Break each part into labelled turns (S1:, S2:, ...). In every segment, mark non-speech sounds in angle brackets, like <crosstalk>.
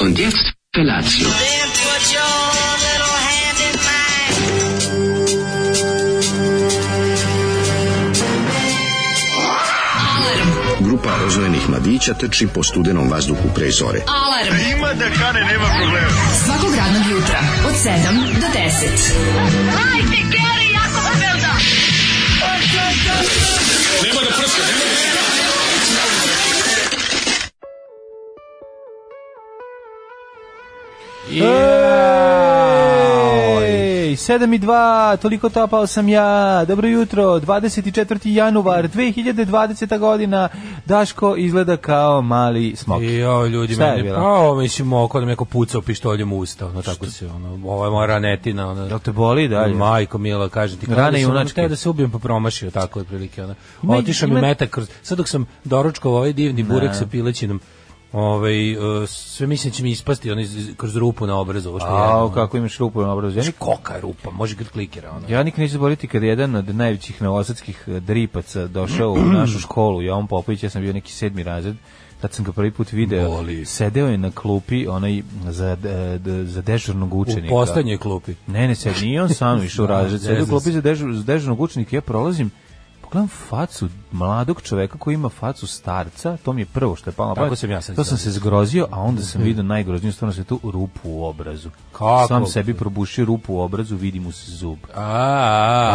S1: Und jetzt Felatio.
S2: Then put your little hand in mine.
S3: Grupa rozvojenih mladića trči po studenom vazduhu pre zore.
S4: Alarm. Ima da kane, nema problema. Svakog radnog jutra, od 7 do 10.
S5: Ej, 7 i 2, toliko tapao sam ja. Dobro jutro, 24. januar 2020. godina. Daško izgleda kao mali smok.
S6: I jo, ljudi,
S5: Šta je
S6: meni,
S5: bilo?
S6: pa ovo, mislim, oko da me neko pucao pištoljem u usta, ono, tako se, ono, ovo je moja ranetina, ono,
S5: Jel te boli dalje?
S6: Majko Mila, kažem ti, kao
S5: Rane
S6: da sam, ono,
S5: junačke.
S6: hteo da se ubijem, pa promašio, tako je prilike, ono.
S5: Ima-
S6: Otišao mi
S5: ima-
S6: metak kroz, sad dok sam doručkao ovaj divni burek sa pilećinom, ovaj, e, sve mislim da će mi ispasti, ono, iz- iz- kroz rupu na obrazu, ovo što je.
S5: Au, kako imaš rupu na obrazu. Ja
S6: Znači,
S5: nik-
S6: koka je rupa, može kad klikera, ono.
S5: Ja nikad neću zaboraviti kad je jedan od najvećih novosadskih eh, dripaca
S6: <clears throat>
S5: došao u našu školu, Jovan Popović, ja sam bio neki sedmi razred, tad sam ga prvi put video,
S6: Boli.
S5: sedeo je na klupi onaj za, eh, d- za dežurnog
S6: U
S5: učenika.
S6: poslednjoj klupi.
S5: Ne, ne, sad nije on
S6: <laughs>
S5: sam išao u razred, sad je u klopi za, dežur, za dežurnog učenika, ja prolazim, pogledam facu mladog čoveka koji ima facu starca, to mi je prvo što je palo. na
S6: Tako
S5: pamet.
S6: sam ja sad
S5: To sam se
S6: izgledao.
S5: zgrozio, a onda
S6: <laughs>
S5: sam vidio najgrozniju stvarno sve tu rupu u obrazu.
S6: Kako?
S5: Sam sebi probušio rupu u obrazu, vidi mu se zub.
S6: A,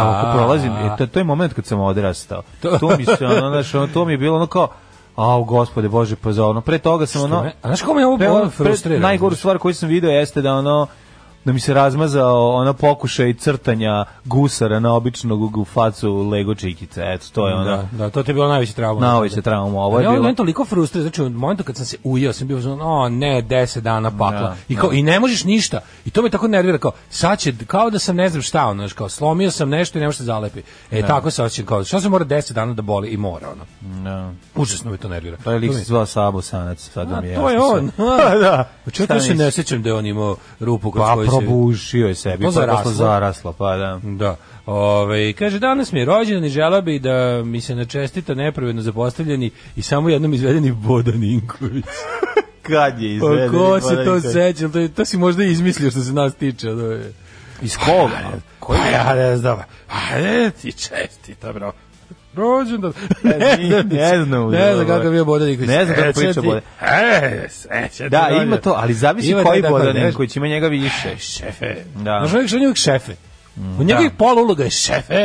S5: A ako prolazim,
S6: a.
S5: e, to, to je moment kad sam odrastao. To mi se, ono, znaš, ono, to mi je bilo ono kao, au, gospode, bože, pa za ono, pre toga sam, ono,
S6: me- a znaš kako me ovo
S5: pre ono-
S6: bolo
S5: pre-
S6: frustrira?
S5: Najgoru stvar koju sam video jeste da, ono, da mi se razmazao ono pokušaj crtanja gusara na običnog u facu Lego čikice. Eto, to je ono.
S6: Da, da, to ti je bilo najveća trauma.
S5: Najveća trauma, ovo je
S6: Ja,
S5: bilo-
S6: meni toliko frustrirao, znači u momentu kad sam se ujeo, sam bio zon, o ne, 10 dana pakla.
S5: Da,
S6: I kao i ne možeš ništa. I to me tako nervira kao sad će kao da sam ne znam šta, ono, znaš, kao slomio sam nešto i ne može se zalepi. E tako se osećam kao šta se mora 10 dana da boli i mora ono.
S5: Da.
S6: Užasno me to nervira.
S5: Taj lik
S6: To mi-
S5: se zvao Sabo Sanac, sad
S6: A,
S5: mi je
S6: to je
S5: jasno
S6: on. <laughs> Pa
S5: sve. da.
S6: Čak
S5: Šta
S6: ja se
S5: nisi?
S6: ne sećam da je on imao rupu kroz
S5: Pa
S6: koju se-
S5: probušio je sebi,
S6: To
S5: pa je posle
S6: zaraslo.
S5: zarasla, pa da.
S6: Da. Ove, kaže, danas mi je rođen i žela bi da mi se načestita nepravedno zapostavljeni i samo jednom izvedeni Bodan Inković.
S5: Kad je
S6: Pa ko se to
S5: Bodaniković?
S6: seća? To, je- to si možda i izmislio što se nas tiče. Ono je.
S5: Iz koga?
S6: Koji pa ja ne znam. Ajde ti čestita, bro. <laughs> Rođendan.
S5: Ne, ne znam,
S6: Ne znam
S5: dobro.
S6: kakav je bio Bodan Inković.
S5: Ne znam kako
S6: Seća
S5: priča
S6: ti-
S5: Bodan.
S6: E, seća ti
S5: Da,
S6: rođendan.
S5: ima to, ali zavisi
S6: Ima taj
S5: koji
S6: tako,
S5: Bodan
S6: ne,
S5: Ivković, ima njega više.
S6: Šefe. Mm,
S5: Da.
S6: Znaš, uvijek što je uvijek šefe. U njegovih pola uloga je šefe.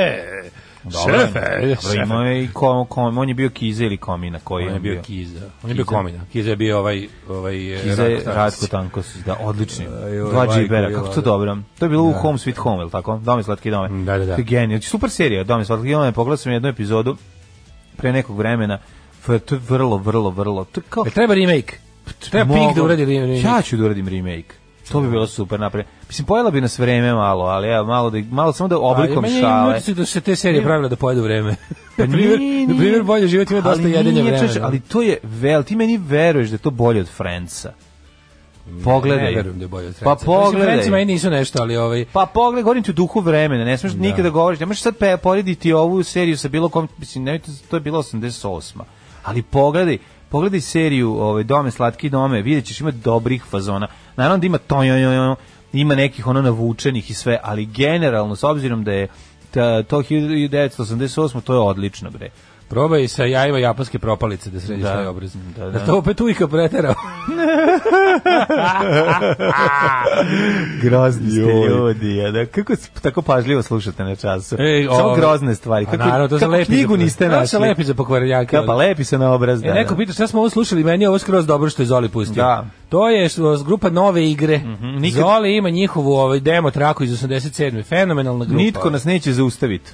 S6: Šefe,
S5: Dobro, imao je i kom, kom, on je bio Kiza ili Komina, koji
S6: On je bio Kiza. On je bio
S5: Kiza.
S6: Komina. Kiza je bio ovaj... ovaj eh,
S5: Kiza je
S6: Ratko Tarasić.
S5: Ratko Tankosić, da, odlični.
S6: joj,
S5: Dva
S6: majko
S5: džibera,
S6: mila,
S5: kako to
S6: da.
S5: dobro. To je bilo u Home Sweet Home, ili tako? Dome slatke dome.
S6: Da, da, da.
S5: To je genijal. Super serija, Dome slatke dome. Pogledao sam jednu epizodu pre nekog vremena. F- To je vrlo, vrlo, vrlo. To je kao...
S6: E, treba remake. Treba
S5: Mogu-
S6: Pink da uradi remake.
S5: Ja ću da uradim remake. To bi bilo super napravljeno. Mislim, pojela bi nas vreme malo, ali ja malo, da, malo samo da oblikom
S6: meni je
S5: šale.
S6: utisak da su se te serije pravile da pojedu vreme.
S5: <laughs> Pa
S6: Na primjer,
S5: nije,
S6: na
S5: nije.
S6: primjer, bolje život ima dosta
S5: Ali
S6: jedenja
S5: nije,
S6: vremena.
S5: čoveče, ali to je vel, ti meni veruješ da je to bolje od Friendsa. Pogledaj.
S6: Ne verujem da je bolje od
S5: Pa
S6: Friendsa. Mislim,
S5: pogledaj.
S6: Friendsi meni nisu nešto, ali ovaj...
S5: Pa pogledaj, govorim ti u duhu vremena, ne smeš nikada govoriš, ne možeš sad pe, porediti ovu seriju sa bilo kom, mislim, ne, to je bilo 88. Ali pogledaj, pogledaj seriju ovaj, Dome, slatki dome, vidjet ćeš, ima dobrih fazona. Naravno da ima to, jo, jo, jo, ima nekih ono navučenih i sve, ali generalno, s obzirom da je ta, to 1988, to je odlično, bre.
S6: Probaj sa jajima japanske propalice da središ
S5: Da.
S6: taj obraz.
S5: Da,
S6: Da,
S5: da.
S6: to opet ujka preterao.
S5: Grozni ste
S6: Joj.
S5: ljudi, a da, kako s- tako pažljivo slušate na času.
S6: Ej,
S5: Samo
S6: ovaj,
S5: grozne stvari.
S6: a
S5: Kako,
S6: naravno, to se
S5: kako
S6: lepi za-
S5: knjigu niste
S6: to se
S5: našli.
S6: lepi za pokvarenjake,
S5: Ja, pa
S6: ali.
S5: lepi se na obraz, da.
S6: E, neko
S5: da.
S6: pita šta smo ovo slušali, meni je ovo skroz dobro što je Zoli pustio.
S5: Da. Mhm,
S6: To je što- s- grupa Nove igre.
S5: nikad-
S6: Zoli ima njihovu ovaj demo traku iz 87. Fenomenalna grupa.
S5: Nitko nas neće zaustaviti.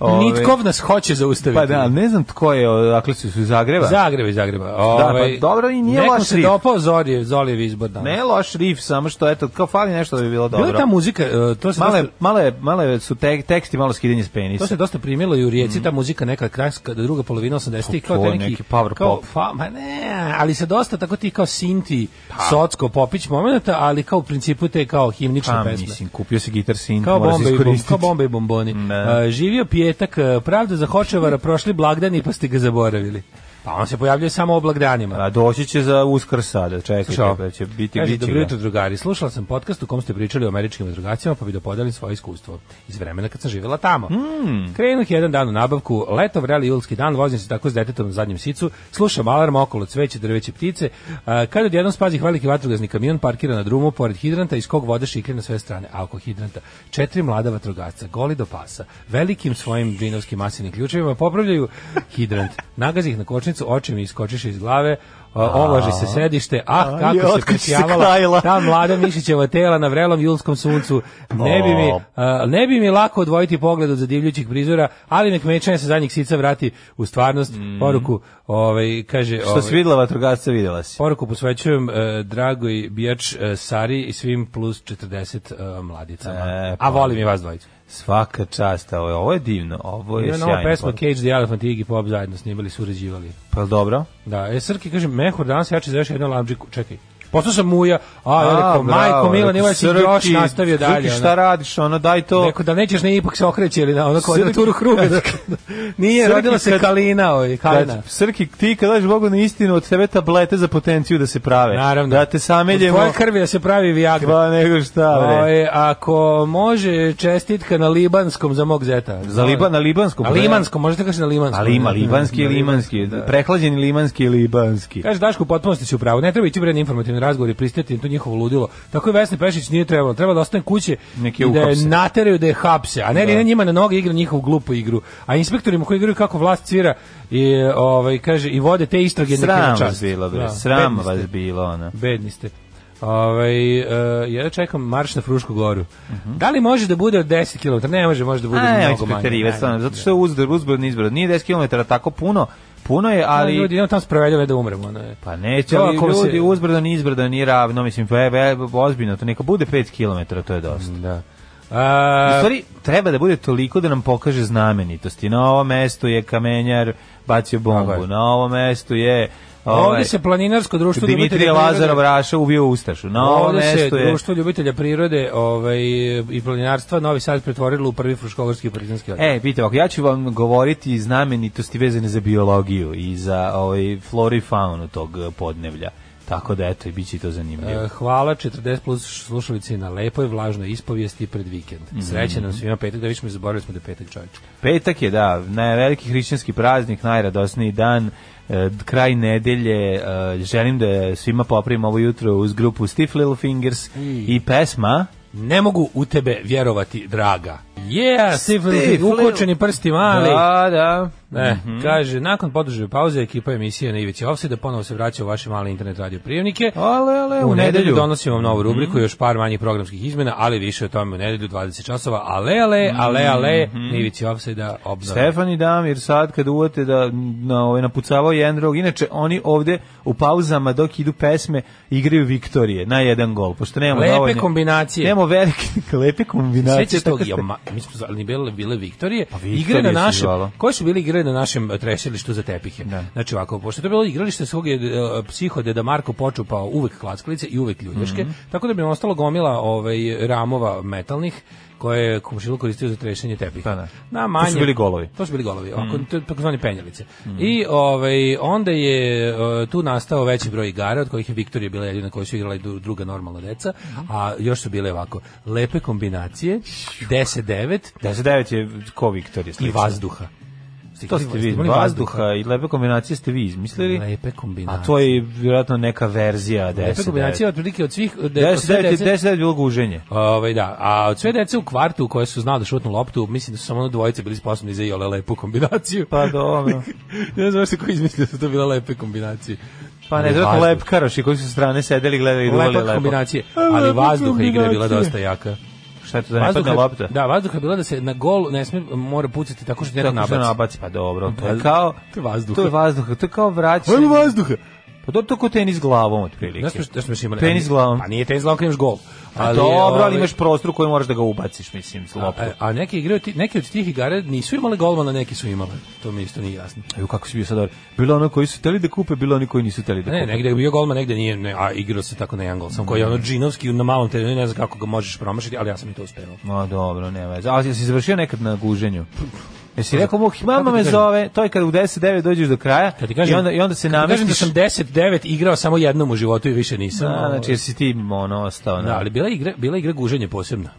S5: Ove,
S6: Nitkov nas hoće zaustaviti.
S5: Pa da, ali ne znam tko je,
S6: dakle,
S5: odakle su, su iz Zagreba.
S6: Zagreba iz Zagreba.
S5: pa
S6: Ovaj,
S5: dobro, i nije
S6: nekom
S5: loš
S6: se
S5: riff.
S6: dopao Zorijev, Zolijev izbor danas.
S5: Ne loš rif, samo što, eto, kao fali nešto da bi bilo
S6: Bila je
S5: dobro.
S6: ta muzika, e, to se
S5: Male,
S6: dosta,
S5: male, male su te, teksti, malo skidenje s penisa.
S6: to se dosta primilo i u Rijeci, ta muzika neka krajska, druga polovina 80-ih,
S5: Pa,
S6: kao
S5: Mhm. to
S6: taj
S5: je
S6: neki,
S5: neki power
S6: kao,
S5: pop.
S6: Pa, ma ne, ali se dosta tako ti kao sinti,
S5: Pa.
S6: socko, popić momenta, ali kao u principu te kao himnične
S5: Pa,
S6: pesme.
S5: mislim, kupio se gitar synth,
S6: Kao
S5: mora se
S6: bombe, i bom,
S5: iskoristiti.
S6: kao bombe i bomboni.
S5: Ne.
S6: E, živio pijetak, e, pravda za Hočevara, prošli blagdani pa ste ga zaboravili. Pa on se pojavljuje samo oblagdanima.
S5: A doći će za uskrs sada, čekajte,
S6: Slušao.
S5: pa će biti
S6: Kaže,
S5: biće
S6: dobro
S5: ga.
S6: jutro, drugari. Slušala sam podcast u kom ste pričali o američkim drugacijama, pa bi da podelim svoje iskustvo iz vremena kad sam živjela tamo.
S5: Hmm.
S6: Krenuh jedan dan u nabavku, leto, vreli julski dan, vozim se tako s detetom na zadnjem sicu, slušam alarm okolo cveće, drveće, ptice. A, kad odjednom spazi veliki vatrogazni kamion parkira na drumu pored hidranta iz kog voda šikre na sve strane, a oko hidranta četiri mlada vatrogasca, goli do pasa, velikim svojim džinovskim masivnim ključevima popravljaju hidrant. Nagazi ih na kočnicu, oči mi iskočiše iz glave, a, ovlaži se sedište, ah,
S5: je,
S6: kako se
S5: otkud si se
S6: prećavala
S5: krajila.
S6: ta mlada Mišićeva tela na vrelom julskom suncu. Ne bi mi, a, ne bi mi lako odvojiti pogled od zadivljućih prizora, ali nek mečanje sa zadnjih sica vrati u stvarnost. Poruku, ovaj, kaže...
S5: Mm. Što si videla vatrogasca, videla si.
S6: Poruku posvećujem eh, dragoj bijač eh, Sari i svim plus 40 eh, mladicama.
S5: E,
S6: A volim i vas dvojicu.
S5: Svaka čast, ovo je, ovo je divno, ovo je
S6: Ima
S5: sjajno.
S6: nova pesma
S5: Pa-
S6: Cage the Elephant i Iggy Pop zajedno snimali, surađivali.
S5: Pa jel dobro?
S6: Da, e, Srki kaže, mehur danas ja ću za još jednu lamđiku. Čekaj, postao sam muja, a, ja rekao,
S5: bravo,
S6: majko Mila,
S5: rekao,
S6: nemoj si
S5: Srki,
S6: još nastavio dalje.
S5: Srki,
S6: ono.
S5: šta radiš, ono, daj to.
S6: Rekao da nećeš ne ipak se okreće ili na ono kvadraturu
S5: Srki-
S6: kruga. Da, <laughs> nije,
S5: Srki
S6: rodila se
S5: kad-
S6: Kalina, ovaj, Kalina.
S5: Kad, Srki, ti kad daš Bogu na istinu, od tebe tablete za potenciju da se prave.
S6: Naravno.
S5: Da te sameljemo.
S6: Od tvoje krvi da se pravi Viagra.
S5: Pa nego šta, bre.
S6: Oj, ako može čestitka na libanskom za mog zeta.
S5: Za liba, na libanskom.
S6: Na limanskom, možete kaži na limanskom.
S5: Ali ima libanski i limanski. Prehlađeni limanski i libanski.
S6: Kaže Daško, potpuno ste si u pravu. Ne treba ići bre na informativni razgovor i pristati na to njihovo ludilo. Tako i Vesni Pešić nije trebalo. Treba da ostane kuće
S5: Nek je
S6: i da je
S5: uhapse.
S6: nateraju da je hapse. A ne, da. ne njima na noge igra njihovu glupu igru. A inspektorima koji igraju kako vlast cvira i, ovaj, kaže, i vode te istrage neka im
S5: Sram
S6: na čast.
S5: vas bilo, bre.
S6: Da,
S5: Sram
S6: bedni ste.
S5: vas bilo, ono.
S6: Bedni ste. Ovaj, e, ja čekam marš na Frušku goru. Da li može da bude od 10 km? Ne može, može da bude
S5: Mhm. A,
S6: mnogo manje.
S5: preterivati,
S6: Ne,
S5: stvarno, zato što je uzbrod, uzbrod, nizbrod. Nije 10 km tako puno, puno je,
S6: Ali
S5: ali...
S6: ljudi, idemo tamo spraveljave da ono umremo. Ne.
S5: Pa neće,
S6: To
S5: ali
S6: ako se-
S5: ljudi, uzbrdo, nizbrdo, nije ravno, mislim, ve, ve, ozbiljno, to neka bude 5 km, to je dosta.
S6: Da.
S5: U
S6: A,
S5: stvari, treba da bude toliko da nam pokaže znamenitosti. Na ovom mestu je kamenjar bacio
S6: Tako je.
S5: bombu, na ovom mestu je... ovaj,
S6: Ovdje se planinarsko društvo
S5: Dimitrije
S6: ljubitelja
S5: Lazarov
S6: prirode-
S5: Raša ubio Ustašu. Na ovom
S6: Ovdje se
S5: mestu je...
S6: društvo ljubitelja prirode ovaj, i planinarstva Novi Sad pretvorilo u prvi fruškogorski partizanski odbor.
S5: E, vidite, ovako, ja ću vam govoriti znamenitosti vezane za biologiju i za ovaj, floru i faunu tog eh, podnevlja. Tako da, eto, i bit će i to zanimljivo.
S6: E, Hvala 40 plus slušalici na lepoj vlažnoj ispovijesti pred vikend.
S5: Mhm.
S6: Sreće nam svima petak, da više mi zaboravili smo da je petak čovječe.
S5: Petak je, da, naj, veliki hrišćanski praznik, najradosniji dan, e, d- kraj nedelje, e, želim da svima popravim ovo jutro uz grupu Stiff Little Fingers i pesma
S6: Ne mogu u tebe vjerovati, draga. Yeah, Siflin,
S5: Stiflin.
S6: ukočeni prsti mali.
S5: Da, Mhm. da.
S6: Ne, kaže, nakon poduže pauze ekipa emisije na Ivici Offside ponovo se vraća u vaše male internet radio prijemnike.
S5: Ale, ale,
S6: u
S5: u
S6: nedelju
S5: nedelju. Mhm.
S6: donosimo novu rubriku, još par manjih programskih izmena, ali više o tome u nedelju 20 časova. Ale, ale, ale, ale, na Ivici Offside obnove.
S5: Mhm. Stefan i Damir sad kad uvate da m, na ovaj napucavao jedan drugog. Inače oni ovde u pauzama dok idu pesme igraju Viktorije na jedan gol. Pošto nemamo
S6: Lepe
S5: dovoljno-
S6: kombinacije.
S5: Nemamo velike <laughs> lepe kombinacije.
S6: Sećaš tog,
S5: tako ste- Pa
S6: ja, ma- mi smo zvali, ni bile, bile Viktorije,
S5: Viktorije
S6: igre na
S5: se
S6: našem,
S5: zvalo.
S6: koje su bile igre na našem e, trešilištu za tepihe. Znači ovako, pošto je to bilo igralište svog je e, psihode da Marko počupao uvek klackalice i uvek
S5: Mhm.
S6: ljuljaške, tako da bi nam ostalo gomila ovaj, ramova metalnih, koje je komšiluk koristio za trešenje tepiha.
S5: Pa Da, da.
S6: Na manje,
S5: To su bili golovi. Mm.
S6: To su bili golovi, ovako, to je takozvani penjelice. I ovaj, onda je e, tu nastao veći broj igara, od kojih je Viktorija bila jedina koja su igrala i dru- druga normalna deca,
S5: Mhm.
S6: a još su bile ovako, lepe kombinacije, 10-9
S5: 10-9 je ko Viktorije.
S6: i
S5: slično.
S6: vazduha.
S5: To ste vi,
S6: imali
S5: vazduha, i lepe kombinacije ste vi izmislili.
S6: Lepe kombinacije.
S5: A to je vjerojatno neka verzija 10.
S6: Lepe kombinacije otprilike od svih... de- od sve
S5: 10
S6: dece-
S5: 10 je bilo guženje.
S6: Ovaj da, a od sve dece u kvartu koje su znali da šutnu loptu, mislim da su samo ono dvojice bili sposobni za jole lepu kombinaciju.
S5: Pa dobro. <laughs>
S6: ne znam što ko izmislio da su to bila lepe kombinacije.
S5: Pa ne,
S6: Ali
S5: zato
S6: vazduh.
S5: lep karoši koji su sa strane sedeli i gledali i duvali
S6: Lepa
S5: lepo.
S6: kombinacije,
S5: A,
S6: ali
S5: lepe
S6: vazduha igra je bila
S5: kombinacije.
S6: dosta jaka.
S5: Šta je to da ne padne lopta?
S6: da, vazduha je bila da se na gol ne smije, mora pucati tako što neko
S5: Tako što
S6: nabaci.
S5: nabaci, pa dobro. To je kao...
S6: To je vazduh.
S5: To je vazduh, to je kao vraćanje.
S6: Ajmo vazduha!
S5: Pa dobro, to kao tenis glavom, otprilike.
S6: Da smo, da smo još imali.
S5: Tenis glavom.
S6: Pa nije tenis glavom kad imaš gol.
S5: A dobro, ali
S6: ovaj,
S5: imaš prostor koji moraš da ga ubaciš, mislim, s
S6: A,
S5: loptu.
S6: a neke igre, od ti- neke od tih igara nisu imale golmana, neki su imale. To mi isto nije jasno.
S5: Evo kako si bio sad dobro. Bilo ono koji su hteli da kupe, bilo oni koji nisu hteli da
S6: Ne,
S5: kupe.
S6: negde je bio golman, negde nije, ne, a igrao se tako na jedan gol. Sam koji je ono džinovski na malom terenu, ne znam kako ga možeš promašiti, ali ja sam i to uspevao.
S5: Ma dobro, nema veze. A si završio nekad na guženju? Jesi rekao mu, mama
S6: Kako ti
S5: me
S6: kažem?
S5: zove, to je kada u 10.9 dođeš do kraja
S6: Kad ti kažem,
S5: i, onda, i onda se
S6: kad ti
S5: namestiš.
S6: Kažem da sam 10-9 igrao samo jednom u životu i više nisam.
S5: Da,
S6: ovaj.
S5: znači, jer si ti ono, ostao.
S6: Da, ali bila je igra, bila je igra guženje posebna.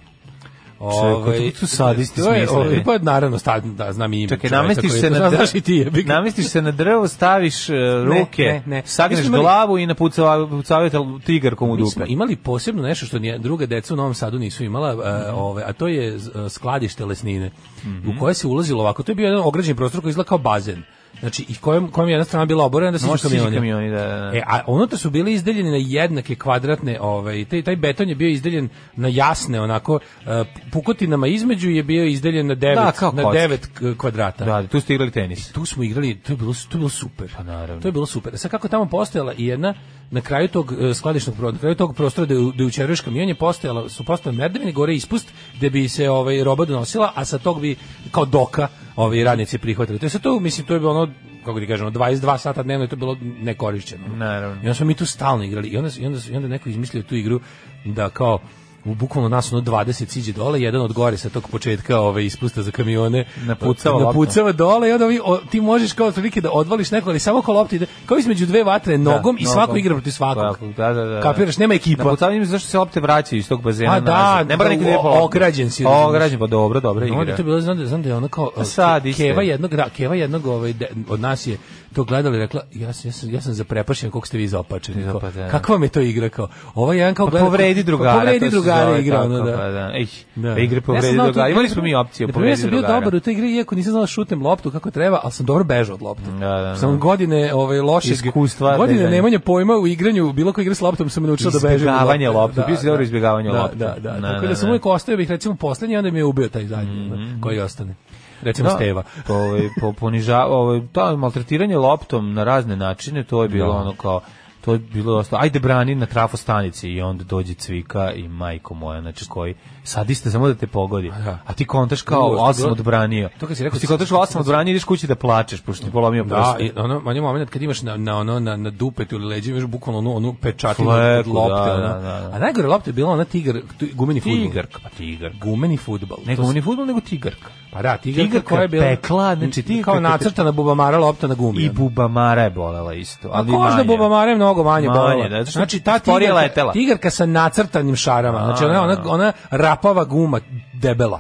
S5: Čekaj, to su sadisti
S6: to je,
S5: smislili.
S6: ovaj, Pa naravno, sta, da, znam i ime.
S5: Čekaj,
S6: čoveka
S5: namestiš
S6: koji-
S5: se na
S6: Znaš,
S5: drvo,
S6: Znaš i ti je. bi ga-
S5: namestiš se na drvo, staviš e, ruke,
S6: ne, ne. Mi
S5: sagneš
S6: smo imali-
S5: glavu i napucavaju te tigarkom u
S6: Mi smo
S5: dupe.
S6: imali posebno nešto što nije, druga deca u Novom Sadu nisu imala, e, ove, a to je z- e, skladište lesnine,
S5: Mhm.
S6: u koje se ulazilo ovako. To je bio jedan ograđen prostor koji izgleda kao bazen. Znači, i kojem, kojem je jedna strana bila oborena da se
S5: Može siđu
S6: kamioni.
S5: kamioni, da, da, da.
S6: E, a unutra su bili izdeljeni na jednake kvadratne, ovaj, taj, taj beton je bio izdeljen na jasne, onako, e, pukotinama između je bio izdeljen na devet,
S5: Da, kao
S6: na
S5: kocka.
S6: devet k- kvadrata.
S5: Da, tu ste igrali tenis.
S6: Znači, Tu smo igrali, to je bilo, to je bilo super.
S5: Pa naravno.
S6: To je bilo super. Sad kako je tamo postojala i jedna na kraju tog e, skladišnog prostora, na kraju tog prostora da da učeruješ kamion je postojala, su postojale merdevine gore je ispust gde bi se ovaj roba donosila, a sa tog bi kao doka ovaj radnici prihvatili. To je sad to, mislim, to je bilo ono kako ti kažemo, 22 sata dnevno je to bilo nekorišćeno.
S5: Naravno.
S6: I onda smo mi tu stalno igrali i onda, i onda, i onda je neko izmislio tu igru da kao u bukvalno nas ono 20 siđe dole, jedan od gore sa tog početka ove ispusta za kamione
S5: Napucava loptom.
S6: napucava loptama dole i onda ovi, o, ti možeš kao otprilike da odvališ neko, ali samo kao lopta ide, kao između dve vatre nogom i
S5: nogom.
S6: svako igra protiv svakog.
S5: Svakog, da, da, da.
S6: Kapiraš, nema ekipa.
S5: Napucavanje mi zašto se lopte vraćaju iz tog bazena
S6: pa- A da,
S5: nazad. Ne mora
S6: da,
S5: niko da ide po
S6: o-
S5: loptu.
S6: ograđen si, razumeš.
S5: Ograđen, pa dobro, dobro
S6: No, onda
S5: igra.
S6: je to bilo, znam da, znam da je ono kao,
S5: A sad
S6: ke-
S5: isto
S6: keva
S5: je.
S6: jednog, da, keva jednog ovaj, de- od nas je to gledala i rekla, ja, sam- ja, sam, ja sam zaprepašen koliko ste vi zaopačeni. Kao,
S5: Zaopačen, Pa da.
S6: kakva mi je to igra? Kao, ovaj jedan kao
S5: Pa
S6: gleda-
S5: povredi
S6: pa
S5: drugara. to
S6: Povredi
S5: se
S6: drugara
S5: zove
S6: igra,
S5: tako,
S6: ono, da.
S5: Pa, da. Ej,
S6: Da.
S5: da. igre
S6: Ja sam
S5: povredi
S6: znao tu
S5: drugara.
S6: igru.
S5: Imali smo mi opciju
S6: Na primjer,
S5: povredi
S6: pa Ja sam bio
S5: drugara.
S6: dobar u toj igri, iako nisam znao da šutem loptu kako treba, ali sam dobro bežao od lopte.
S5: Da, da, da.
S6: Sam godine ovaj, lošeg...
S5: Iskustva,
S6: Godine
S5: da, da.
S6: nemanja pojma u igranju, bilo koje igre s loptom sam naučio da bežim. od
S5: Izbjegavanje lopte,
S6: Da,
S5: bio si
S6: da.
S5: dobro u izbjegavanju
S6: Da,
S5: lopte.
S6: Da, da,
S5: Da,
S6: da. Tako
S5: da,
S6: da sam
S5: da. Mhm.
S6: uvijek ostao, bih recimo poslednji, onda mi je ubio taj zadnji, ono, koji ostane. Recimo Steva.
S5: ovaj po poniža, ovaj to maltretiranje loptom na razne načine, to je bilo
S6: Da.
S5: ono kao to je bilo dosta. Ajde brani na trafo stanici i onda dođe Cvika i majko moja, znači koji sadiste samo da te pogodi.
S6: da.
S5: A ti kontaš kao
S6: Drugo, što je
S5: osam
S6: bilo-
S5: odbranio.
S6: To kad si rekao-
S5: ti kontaš kao osam odbranio, ideš kući da plačeš pošto ti je polomio
S6: Da,
S5: prst. E,
S6: i ono, on je moment kad imaš na, na, ono, na, na dupetu ili leđima, imaš bukvalno onu, onu pečatinu od
S5: Fleku,
S6: lopte.
S5: da,
S6: ono.
S5: da, da, da.
S6: A najgore lopte je bila ona tigar, tu- gumeni fudbal.
S5: Tigarka, pa tigarka.
S6: Gumeni fudbal.
S5: Ne
S6: To se-
S5: gumni fudbal, nego tigarka.
S6: Pa da, tigarka,
S5: Tigarka
S6: koja je bila
S5: pekla, znači tigarka
S6: kao
S5: kad te-
S6: nacrtana bubamara lopta na gumi.
S5: I bubamara je bolela isto, ali
S6: A kožna
S5: manje.
S6: bubamara je mnogo manje,
S5: Manje,
S6: bolela.
S5: da, zato što
S6: znači ta
S5: sporije
S6: tigarka,
S5: letela.
S6: tigarka sa nacrtanim šarama, znači ona, ona, ona rapava guma debela.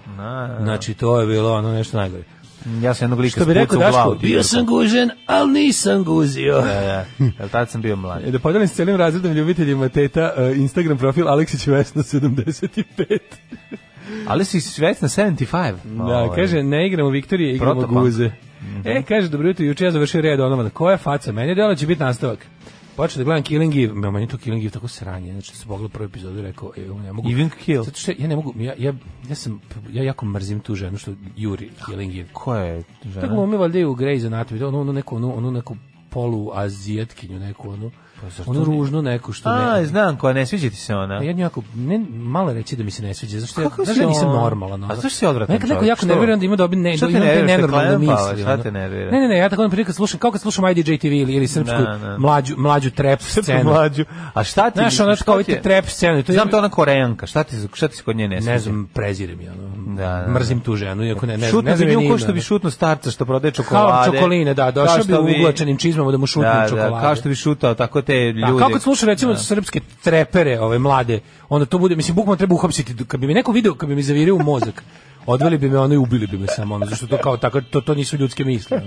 S6: Znači to je bilo ono nešto najgore.
S5: Ja sam jednog lika
S6: Što bi rekao
S5: spucao u glavu
S6: Daško, bio
S5: tigarkom.
S6: sam gužen, ali nisam guzio.
S5: Da, da. Jel tad sam bio mlad.
S6: E, Da podelim s celim razredom ljubiteljima teta e, Instagram profil Aleksić Vesna 75.
S5: Ali si svesna 75.
S6: Da,
S5: ovaj.
S6: kaže, ne igramo Viktorije, igramo
S5: Protopunk.
S6: guze. E, kaže, dobro jutro, juče ja završio red onovan. Koja faca? Meni je delo će biti nastavak. Počeo da gledam Killing Eve, Ma, meni je to Killing Eve tako sranje, znači sam pogledao prvu epizodu i rekao, e, ovo ne mogu.
S5: Even Kill.
S6: Zato što ja ne mogu, ja, ja, ja sam, ja jako mrzim tu ženu što juri Killing Eve.
S5: Ko je
S6: Tako
S5: žena?
S6: glumi valjda i u Grey's Anatomy, to ono, ono neko, ono, ono neku poluazijetkinju, neku ono,
S5: Pa
S6: ono ružno neku što ne... Pa
S5: A, znam koja, ne sviđa ti se ona.
S6: Ja nju jako, ne, malo reći da mi se ne sviđa, zašto ja,
S5: Kako
S6: znaš
S5: si
S6: da nisam
S5: on?
S6: normalan. ono.
S5: A zašto si odvratan
S6: Nekad neko
S5: čovjek?
S6: jako
S5: Što?
S6: nerviran da ima dobi ne,
S5: Što
S6: da
S5: te
S6: ima te
S5: nerviraš, te
S6: nenormalne
S5: klejem palaš?
S6: misli.
S5: Šta
S6: ono.
S5: te nervira?
S6: Ne, ne, ne, ja tako on prilike slušam, kao kad slušam IDJ TV ili, ili srpsku
S5: Da, da.
S6: mlađu, mlađu trap scenu.
S5: Mlađu. A šta ti?
S6: Znaš, ono
S5: šta
S6: kao
S5: ti
S6: ovaj
S5: je?
S6: trap scenu. To je-
S5: Znam to ona koreanka, šta ti, šta ti se kod nje ne sviđa?
S6: Ne znam, prezirem ja. ono.
S5: Da, da, da.
S6: Mrzim tu ženu, iako ne, ne,
S5: Šutno
S6: ne znam
S5: bi
S6: je
S5: nju
S6: ni
S5: ko
S6: ime,
S5: što bi
S6: ono.
S5: šutno starca što prodaje
S6: Kao
S5: čokolade.
S6: čokoline, da, došao
S5: Kao
S6: bi
S5: što
S6: u uglačenim čizmama da mu šutnem
S5: Da, da,
S6: čokolade.
S5: kao što bi šutao, tako te
S6: Da,
S5: ljudi.
S6: kao kad slušam recimo srpske trepere, ove mlade, onda to bude, mislim, bukvalno treba uhapsiti. Kad bi mi neko video, kad bi mi zavirio u mozak, odveli bi me ono i ubili bi me samo ono, zašto to kao tako, to, to nisu ljudske misle.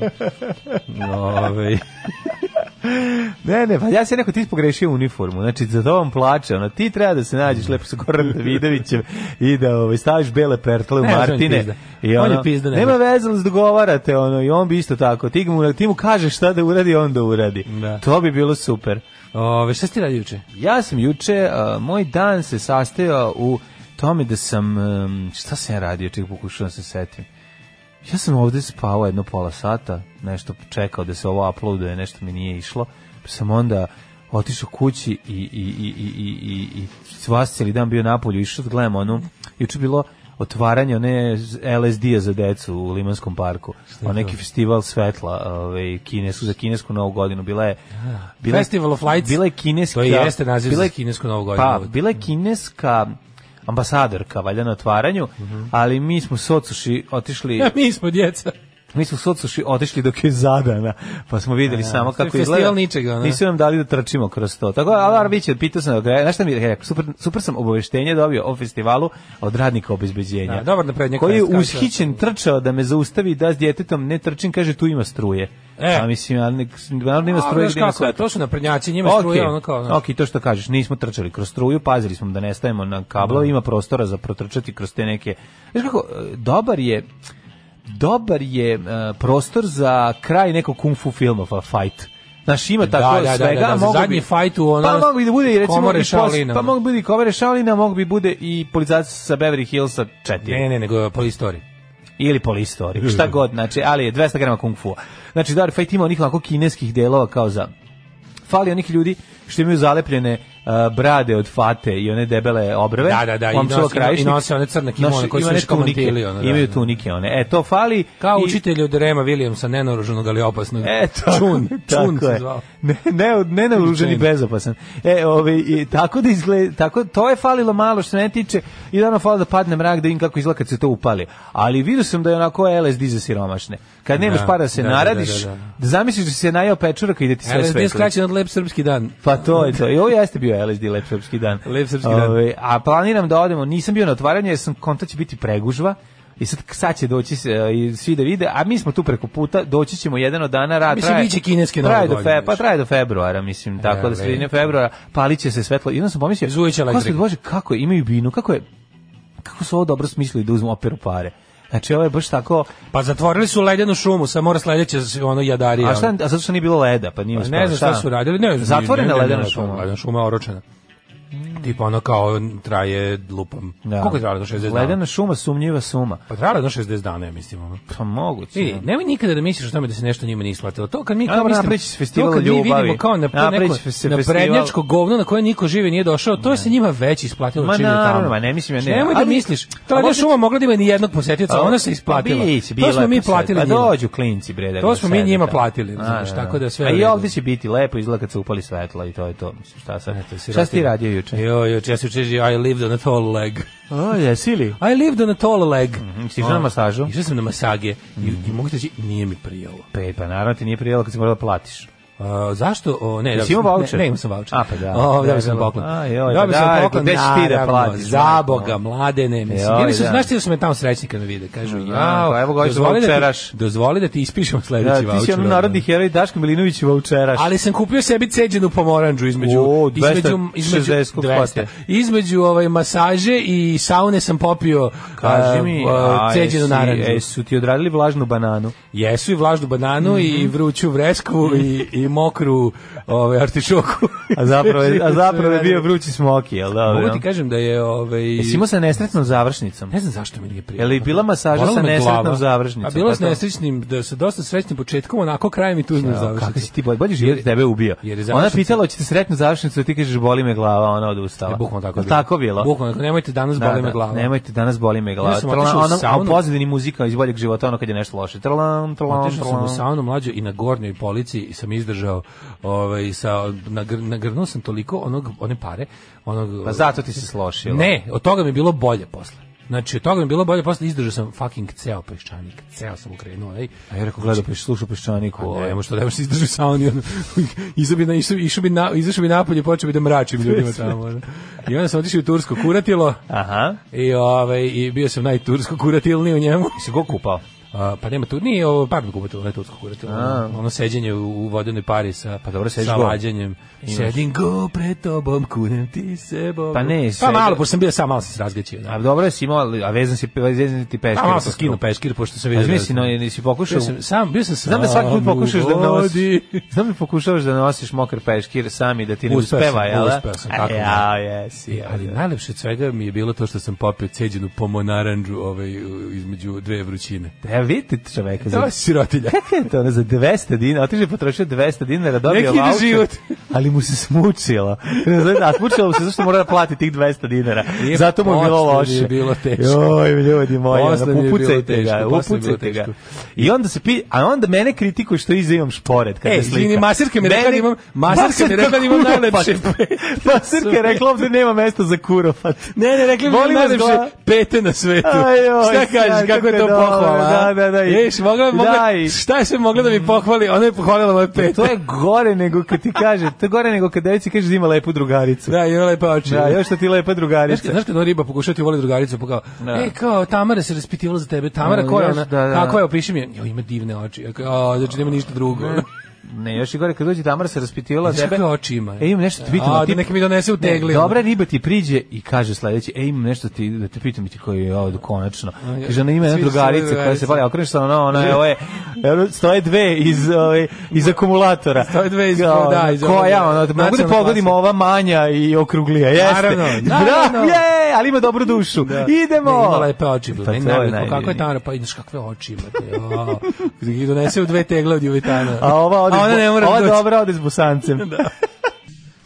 S6: ono. Ove,
S5: Ovaj. Ne, ne, pa ja se neko ti si pogrešio uniformu. Znači za to vam plače, ona ti treba da se nađeš lepo sa Goranom Davidovićem i da ovaj staviš bele pertle u
S6: Ne, on je
S5: Martine.
S6: pizda.
S5: I
S6: On
S5: ono,
S6: je pizda, ne
S5: nema
S6: može.
S5: veze, ali se dogovarate ono i on bi isto tako. Ti mu ti mu kažeš šta da uradi, on da uradi.
S6: Da.
S5: To bi bilo super.
S6: ove, šta ste radi juče?
S5: Ja sam juče, a, moj dan se sastojao u tome da sam, em, šta sam ja radio, čekaj pokušavam da se setim. Ja sam ovde spavao jedno pola sata, nešto čekao da se ovo uploaduje, nešto mi nije išlo, pa sam onda otišao kući i, i, i, i, i, i, i vas cijeli dan bio napolju, išao da gledam ono, juče je bilo otvaranje one LSD-a za decu u Limanskom parku, o neki festival svetla ovaj, kinesku, za kinesku novu godinu, bila je... Bila je-
S6: Festival of Lights.
S5: Bila je kineska...
S6: To jeste naziv
S5: bila je-
S6: za kinesku novu godinu.
S5: Pa, bila je kineska ambasadorka valjda na otvaranju, ali mi smo s ocuši otišli <laughs>
S6: mi smo djeca.
S5: Mi smo s odsuši otišli dok je zadana, pa smo videli samo
S6: to je
S5: kako
S6: festival
S5: izgleda.
S6: ničega, ono.
S5: Nisu nam dali da trčimo kroz to. Tako, Alar Biće, pitao sam, ga, znaš šta mi je rekao, super, super sam obaveštenje dobio o festivalu od radnika obezbeđenja.
S6: Da, dobar naprednjak
S5: Koji je
S6: kaže, kaže,
S5: ushićen trčao da me zaustavi da s djetetom ne trčim, kaže tu ima struje.
S6: E.
S5: E. A mislim, ja nek, naravno ima
S6: A,
S5: struje
S6: znaš
S5: gde ima
S6: kako je,
S5: sveta.
S6: to su naprednjaci, njima struje, ono kao, znaš.
S5: Ok, to što kažeš, nismo trčali kroz struju, pazili smo da ne stavimo na kablo, ima prostora za protrčati kroz te neke... Znaš kako, e, dobar je dobar je e, prostor za kraj nekog kung fu filmova, fight. Znaš, ima tako
S6: da, da,
S5: svega,
S6: da, za
S5: mogu
S6: zadnji
S5: bi-
S6: fight u ono-
S5: Pa mogu bi da bude i recimo...
S6: komore
S5: i pos-
S6: Shaolina,
S5: Pa
S6: ono.
S5: mogu bi i komore Shaolina, mogu bi bude i policajac sa Beverly Hillsa 4
S6: Ne, ne, nego polistori.
S5: ili polistori,
S6: <laughs>
S5: šta god, znači, ali je 200 grama kung fu. Znači, Dark Fight ima onih onako kineskih delova kao za... Fali onih ljudi što imaju zalepljene uh, brade od fate i one debele obrve.
S6: Da, da, da, i
S5: Omčalo
S6: nose- i no-
S5: krajišnik.
S6: i nose one crne kimone
S5: Noše-
S6: koje su
S5: imaju
S6: još kao
S5: tunike,
S6: mantili, ono, da,
S5: Imaju
S6: da.
S5: tunike one. E, to fali.
S6: Kao
S5: i-
S6: učitelj od Rema Williamsa, nenoruženog, ali opasnog.
S5: E, <laughs>
S6: <laughs>
S5: tako,
S6: čun,
S5: tako
S6: čun se
S5: je.
S6: zvao.
S5: Ne, ne, ne naoružan i
S6: Čun.
S5: bezopasan. E, ovaj, i tako da izgleda, tako, to je falilo malo što se ne tiče i da ono falilo da padne mrak da im kako izgleda kad se to upali. Ali vidio sam da je onako LSD za siromašne. Kad nemaš
S6: Da,
S5: para da se
S6: da, da,
S5: naradiš,
S6: da,
S5: da,
S6: da,
S5: zamisliš da si se najao pečuraka i da ti sve
S6: LSD je
S5: svetli.
S6: skraćen od Lep Srpski dan.
S5: Pa to je to. I ovo jeste bio LSD Lep Srpski dan.
S6: Lep srpski dan.
S5: Ovaj, a planiram da odemo, nisam bio na otvaranju jer sam konta će biti pregužva. I sad, sad će doći se, e, i svi da vide, a mi smo tu preko puta, doći ćemo jedan od dana rad.
S6: Mislim, bit će kineske nove
S5: traje do
S6: godine
S5: fe, Pa
S6: još.
S5: traje do februara, mislim, tako da
S6: le.
S5: sredine februara, palit će se svetlo. I onda sam pomislio,
S6: Zvujeće elektrika.
S5: gospod Bože, kako je, imaju binu, kako je, kako su ovo dobro smislili da uzmu operu pare. Znači, ovo je baš tako,
S6: Pa zatvorili su ledenu šumu, sad mora sledeće ono jadarija.
S5: a, šta, a zato što nije bilo leda, pa nije
S6: Pa
S5: uspela,
S6: ne znam šta su radili, ne znam.
S5: Zatvorena
S6: ne, ne, ne,
S5: ledena
S6: ne,
S5: šuma.
S6: Ledena šuma oročena. Tipo ono kao traje lupom.
S5: Da.
S6: Koliko je trajalo do 60 dana?
S5: Ledena šuma, sumnjiva suma.
S6: Pa trajalo je do 60 dana, ja mislim. Ono.
S5: Pa moguće.
S6: Vidi, nemoj nikada da misliš o tome da se nešto njima nije isplatilo. To kad mi kao
S5: Ajmo
S6: mislim,
S5: napraviti festival
S6: to kad mi
S5: ljubavi.
S6: vidimo kao na,
S5: Napravit
S6: neko,
S5: će se
S6: na
S5: festival-
S6: prednjačko govno na koje niko žive nije došao, to je se njima već isplatilo
S5: Ma
S6: čim je
S5: naravno,
S6: tamo.
S5: ma ne mislim ja ne.
S6: Nemoj da
S5: Ali-
S6: misliš,
S5: A
S6: to je
S5: možda-
S6: šuma mogla da ima ni jednog posetioca, ona se isplatila.
S5: Pa biće,
S6: to
S5: bilo
S6: smo
S5: je
S6: mi
S5: posle.
S6: platili
S5: Pa
S6: njima.
S5: dođu klinci bre da
S6: To
S5: ga
S6: smo mi
S5: sede
S6: njima
S5: tamo.
S6: platili,
S5: A,
S6: znaš,
S5: da,
S6: tako da sve
S5: A
S6: u
S5: i
S6: redu.
S5: ovdje će biti lepo, izgleda kad se upali svetla i to je to. Mislim, šta sad?
S6: Eto,
S5: šta si ti
S6: sirotinja.
S5: radio juče?
S6: Jo, jo, ja se učeži, I lived on a tall leg.
S5: O, jesi li?
S6: I lived on a tall leg.
S5: si išao na masažu?
S6: Išao sam na Mhm. masage i, i mogu ti reći, nije mi prijalo.
S5: Pe, pa naravno ti nije prijelo kad si morala da platiš.
S6: A, zašto? O, ne,
S5: Jesi imao
S6: ne,
S5: voucher?
S6: Ne, imao sam voucher.
S5: A, pa da.
S6: O,
S5: Da,
S6: dobio sam
S5: da,
S6: poklon.
S5: da. A, joj,
S6: Dobio
S5: pa
S6: sam
S5: da,
S6: poklon,
S5: gde si ti da
S6: naravno,
S5: platiš,
S6: Za
S5: majko
S6: boga, mladene, mislim.
S5: Joj,
S6: Bili su,
S5: da.
S6: znaš ti da su me tamo srećni kad me vide, kažu,
S5: Da,
S6: jao,
S5: pa evo ga, ovaj su
S6: dozvoli da ti-
S5: voucheraš.
S6: Dozvoli da ti ispišem sledeći
S5: Da,
S6: voucher.
S5: ti si ono
S6: ono.
S5: narodni heroj Daško Milinović voucheraš.
S6: Ali sam kupio sebi ceđenu pomoranđu između
S5: O,
S6: između
S5: 260
S6: između
S5: kupate.
S6: 200. Između ovaj masaže i saune sam popio
S5: Kaži
S6: a,
S5: mi,
S6: a,
S5: a,
S6: ceđenu
S5: jesi-
S6: narandžu.
S5: e, su ti odradili vlažnu <laughs> bananu?
S6: Jesu i vlažnu bananu i vruću vresku i, i mokru ovaj artičoku.
S5: A zapravo je,
S6: <laughs>
S5: a zapravo je bio vrući smoki, jel da? ono?
S6: Mogu ti kažem da je ovaj
S5: Jesi imao sa nesretnom završnicom?
S6: Ne znam zašto mi nije prijelo.
S5: Je li bila masaža
S6: Bolelo
S5: sa
S6: me
S5: nesretnom
S6: glava.
S5: završnicom?
S6: A bilo
S5: Pa
S6: s
S5: to-
S6: nesrećnim, da sa dosta srećnim početkom, onako krajem i tužnim
S5: Evo, Pa Kako si
S6: završnicom.
S5: ti bolji, bolji život tebe ubio.
S6: Pa jer je
S5: Ona
S6: završnica-
S5: pitala hoćete sretnu završnicu, a ti kažeš boli me glava, ona odustala.
S6: E, bukvalno tako
S5: Jel
S6: bilo.
S5: Tako bilo.
S6: Bukvalno, tako, nemojte danas boli me glava.
S5: Nemojte danas boli me glava.
S6: Ja sam
S5: Trlan,
S6: otišao u
S5: ona, a u
S6: saunu.
S5: pozadini muzika iz boljeg života, ono kad je nešto loše. Trlan, trlan,
S6: Otišao sam u
S5: trlan.
S6: saunu mlađo i na gornjoj polici i sam izdržao ovaj sa nagr, nagrnuo sam toliko onog one pare onog
S5: Pa zato ti se slošilo.
S6: Ne, od toga mi je bilo bolje posle. Znači, od toga mi je bilo bolje posle, izdržao sam fucking ceo peščanik, ceo sam ukrenuo, ej.
S5: A ja rekao, gledaj, pa peš, slušao peščaniku.
S6: O,
S5: ovaj.
S6: Nemo što da možeš izdrži sauni. ono, <laughs> Izašao bi na išao išao bi na izašao bi napolje i počeo bi da mračim ljudima tamo. ono. I onda sam otišao u tursko kuratilo
S5: Aha.
S6: i ovaj i bio sam najtursko kuratilni u njemu.
S5: Si go kupao?
S6: A, pa nema tu, nije ovo parno kupatilo, ne tursko kuratilo. Ono, ono seđenje u, u vodenoj pari sa,
S5: Pa dobro, sediš
S6: sa
S5: go.
S6: lađenjem. Sedim go pred tobom, kunem ti se bom.
S5: Pa ne,
S6: pa
S5: sedi-
S6: malo, pošto sam bio sam, malo sam se razgaćio. Da.
S5: A dobro je si imao, a vezan si, vezan ti peškir.
S6: Pa malo sam skinuo peškir, pošto sam vidio.
S5: Razmisli, no, nisi pokušao-
S6: Bio sam, sam, bio sam sam.
S5: Znam da svaki put pokušaš da nosiš.
S6: vodi.
S5: <laughs> Znam da pokušavaš da nosiš mokar peškir sam i da ti ne
S6: Uspeo sam,
S5: uspeva, jel? da?
S6: uspeo sam, tako.
S5: Ja, jesi.
S6: E,
S5: jel
S6: ali
S5: da?
S6: najlepše od svega mi je bilo to što sam popio ceđenu pomonaranđu ovaj, između dve vrućine. E,
S5: Ja vidite čoveka.
S6: To
S5: za-
S6: je <laughs> sirotilja.
S5: Kako je to ono za 200 dinara? Otiže potrošio 200 dinara, dobio
S6: Nek ide
S5: vaučer,
S6: život.
S5: <laughs> ali mu se smučilo. Ne znam, A smučilo mu se zašto mora da plati tih 200 dinara.
S6: Nije
S5: Zato mu je bilo
S6: posle mi
S5: loše.
S6: je bilo teško.
S5: Joj, ljudi moji, ono,
S6: Posle mi je bilo
S5: upucajte ga,
S6: teško, posle mi je bilo
S5: upucajte ga.
S6: teško.
S5: I onda se pi, a onda mene kritikuju što iza imam šporet kad
S6: E,
S5: me slika.
S6: izvini, masirka mi je rekla da imam- masirka mi je rekla da imam
S5: Masirka pa-
S6: najlepše
S5: <laughs> kurofat. Masirka je rekla ovde nema mesta za kurofat.
S6: Ne, ne, rekli mi
S5: Volim
S6: najlepše
S5: vas dva.
S6: pete na svetu.
S5: Ajoj,
S6: Šta kažeš,
S5: sjaj,
S6: kako je to
S5: dobro,
S6: pohvala? a?
S5: da, da, da. i-
S6: Ješ, mogla, mogla,
S5: Da, i-
S6: šta je sve mogla da mi pohvali? Ona je pohvalila moje pete.
S5: To je gore nego kad ti kaže, to je gore nego kad devici kaže da ima lepu drugaricu.
S6: Da, i ona lepa oči.
S5: Da, još što ti lepa
S6: Znaš kad,
S5: drugarica.
S6: znaš kad ona riba pokušava ti voli drugaricu, pa kao,
S5: Da.
S6: e, kao, Tamara se raspitivala za tebe, Tamara,
S5: Da,
S6: ko je
S5: još,
S6: ona?
S5: da, da.
S6: Kako je, opiši mi je, jo, ima divne oči, Ja kao, a, znači nema ništa drugo.
S5: Ne, još i gore kad dođe Tamara se
S6: <laughs>
S5: raspitivala
S6: Znaš
S5: tebe.
S6: kakve oči ima?
S5: E, imam nešto da te pitam.
S6: A,
S5: a ti-
S6: da neka mi donese u tegli.
S5: Ne,
S6: ono.
S5: Dobra riba ti priđe i kaže sledeće, e, imam nešto ti, da te pitam i ti koji je ovo konačno.
S6: ja.
S5: Kaže, ona ima jedna
S6: Sviđa se
S5: drugarica
S6: drugarica.
S5: koja se pali, okreneš se, ona, ona je, ovo je, evo, stoje dve iz, ove, iz akumulatora.
S6: Stoje dve iz-
S5: Kao,
S6: da, iz ovoga.
S5: Koja, ono, mogu da
S6: Nacionalna
S5: pogodim
S6: klasa.
S5: ova manja i okruglija, jeste. <laughs>
S6: Naravno,
S5: Bravo,
S6: naravno.
S5: je, ali ima dobru dušu. Idemo.
S6: Ne, ima lepe oči, bre.
S5: Pa
S6: ne,
S5: to je
S6: najbolje. kako je
S5: najvrednije.
S6: Tamara, pa ideš kakve oči imate. jo. Da ih donese u dve tegle od Juvitana.
S5: A ova ode,
S6: a ona
S5: s bu-
S6: ne mora
S5: ova
S6: doći.
S5: dobra ode s
S6: <laughs>
S5: busancem.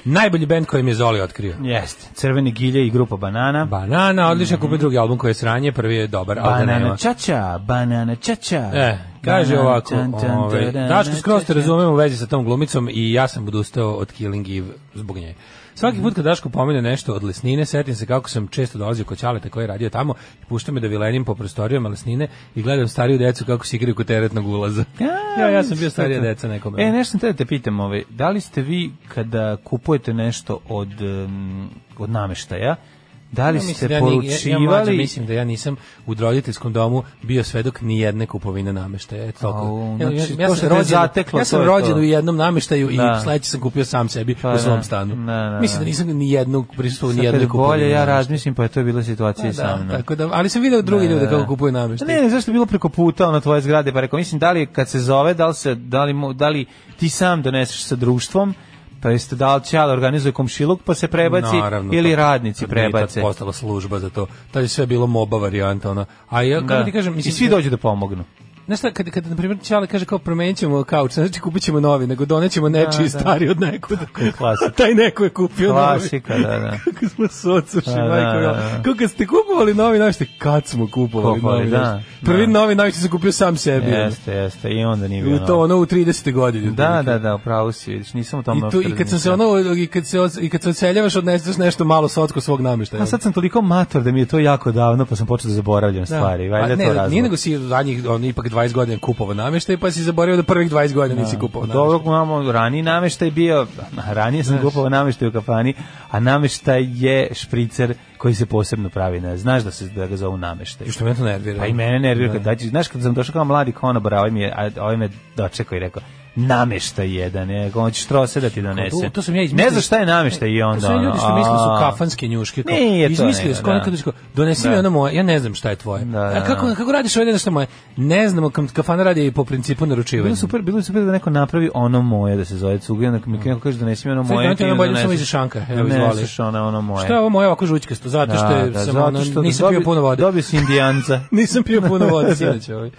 S6: Najbolji bend koji mi je Zoli otkrio.
S5: Jeste, Crvene gilje i grupa Banana.
S6: Banana, odličan kupi drugi album koji je sranje, prvi je dobar, ali da nema.
S5: Banana čača, banana čača.
S6: E, kaže
S5: Banana
S6: ovako,
S5: tan, tan,
S6: ovaj,
S5: tadana,
S6: Daško, skroz te
S5: čača.
S6: razumem u vezi sa tom glumicom i ja sam odustao od Killing Eve zbog nje. Svaki put kad Daško pomene nešto od lesnine, setim se kako sam često dolazio kod Ćaleta koji je radio tamo i pušta me da vilenim po prostorijama lesnine i gledam stariju decu kako se igraju kod teretnog ulaza. Ja, ja sam bio starija deca nekom.
S5: E, nešto sam te da te pitam, ovaj, da li ste vi kada kupujete nešto od, um, od nameštaja, da li
S6: Ja
S5: ste
S6: mislim da ja ni- ja, ja mlađe
S5: poručivali...
S6: mislim da ja nisam u roditeljskom domu bio svedok ni jedne kupovine nameštaja. Eto toliko.
S5: Au,
S6: Ja,
S5: znači,
S6: ja, ja
S5: to
S6: sam
S5: što te
S6: rođen,
S5: zateklo,
S6: ja
S5: to
S6: sam
S5: je to.
S6: rođen u jednom nameštaju
S5: Da.
S6: i sledeći sam kupio sam sebi
S5: Pa
S6: u
S5: da.
S6: svom stanu.
S5: Da, da,
S6: mislim da
S5: da.
S6: nisam ni jednog prisustvovao ni
S5: Sad kad
S6: jedne
S5: je
S6: kupovine.
S5: bolje, ja
S6: nameštaja.
S5: razmislim, pa je to bila situacija i sa
S6: Da,
S5: mnom.
S6: tako da, ali sam video druge ljude kako kupuju nameštaj.
S5: Pa Ne, ne, zašto je bilo preko puta ono tvoje zgrade, pa rekao, mislim, da li je kad se zove, da li, se, da li, mo- da li ti sam doneseš sa društvom, pa jeste da li će organizuje komšiluk pa se prebaci
S6: Naravno,
S5: ili
S6: to-
S5: radnici
S6: to nije tad
S5: prebace.
S6: postala služba za to. Tad je sve bilo moba varijanta ona. A ja kako
S5: Da.
S6: ti kažem, mislim
S5: I svi dođu da
S6: <laughs>
S5: pomognu.
S6: Znaš šta, kad, kad na primjer, Čale kaže kao promenit ćemo kauč, znači kupit ćemo novi, nego donećemo nečiji
S5: da.
S6: stari od nekud.
S5: klasika.
S6: <laughs> Taj neko je kupio
S5: Klasika,
S6: novi.
S5: da,
S6: <laughs>
S5: da.
S6: Kako smo socuši,
S5: Da, da,
S6: majko. mila.
S5: da, da.
S6: Kako kad ste kupovali novi, znaš te, kad smo kupovali
S5: Kupovali,
S6: novi.
S5: da,
S6: znaš.
S5: da.
S6: Prvi novi naviš se kupio sam sebi.
S5: Jeste, jeste, i onda nije
S6: ono.
S5: bilo.
S6: U to ono u 30. godini.
S5: Da,
S6: otprilike.
S5: da, da, upravo si, vidiš, nisam u tom
S6: I, tu, I kad sam se ono, i kad se, os- i kad se odseljavaš, odneseš nešto malo socko svog namještaja.
S5: A sad sam toliko mator da mi je to jako davno, pa sam počeo da zaboravljam stvari.
S6: Pa
S5: Valjda je
S6: ne,
S5: to razlog.
S6: Nije nego si zadnjih, on ipak 20 godina kupovao namještaj, pa si zaboravio da prvih 20 godina nisi kupovao namještaj.
S5: Dobro, imamo raniji nameštaj bio, ranije sam kupovao nameštaj u kafani, a nameštaj je špricer koji se posebno pravi. Ne, znaš da se da ga zovu nameštaj.
S6: I što me to nervira.
S5: Pa i mene nervira kad dađi, znaš kad sam došao kao mladi konobar, a ovaj mi je, a ovaj me dočekao i rekao, nameštaj jedan, je, on će štrose da ti donese.
S6: To, to sam ja izmislio.
S5: ne znaš šta je nameštaj i onda.
S6: To su oni ljudi što
S5: ono,
S6: misle su
S5: a.
S6: kafanske njuške. Kao,
S5: Nije to
S6: Izmislio
S5: nego,
S6: skoro
S5: da.
S6: kad dođe kao, donesi mi
S5: Da.
S6: ono moje, ja ne znam šta je tvoje.
S5: Da, da,
S6: A kako,
S5: da.
S6: kako radiš ovdje nešto moje? Ne znamo, kam- kafana radi i po principu naručivanja.
S5: Bilo je super, bilo je super da neko napravi ono moje da se zove cuga, onda mi neko kaže donesi mi ono
S6: Sad
S5: moje.
S6: imate
S5: ti
S6: ono
S5: mi
S6: bolje da samo
S5: doneseš-
S6: iza šanka, evo,
S5: doneseš
S6: izvoli.
S5: ono ono moje.
S6: Pa Šta je ovo moje ovako žućkasto? Zato što je sam, ono, nisam
S5: dobio-
S6: pio puno vode.
S5: Dobio
S6: <laughs>
S5: si indijanca.
S6: Nisam pio puno
S5: <laughs>
S6: vode sinoć ovaj.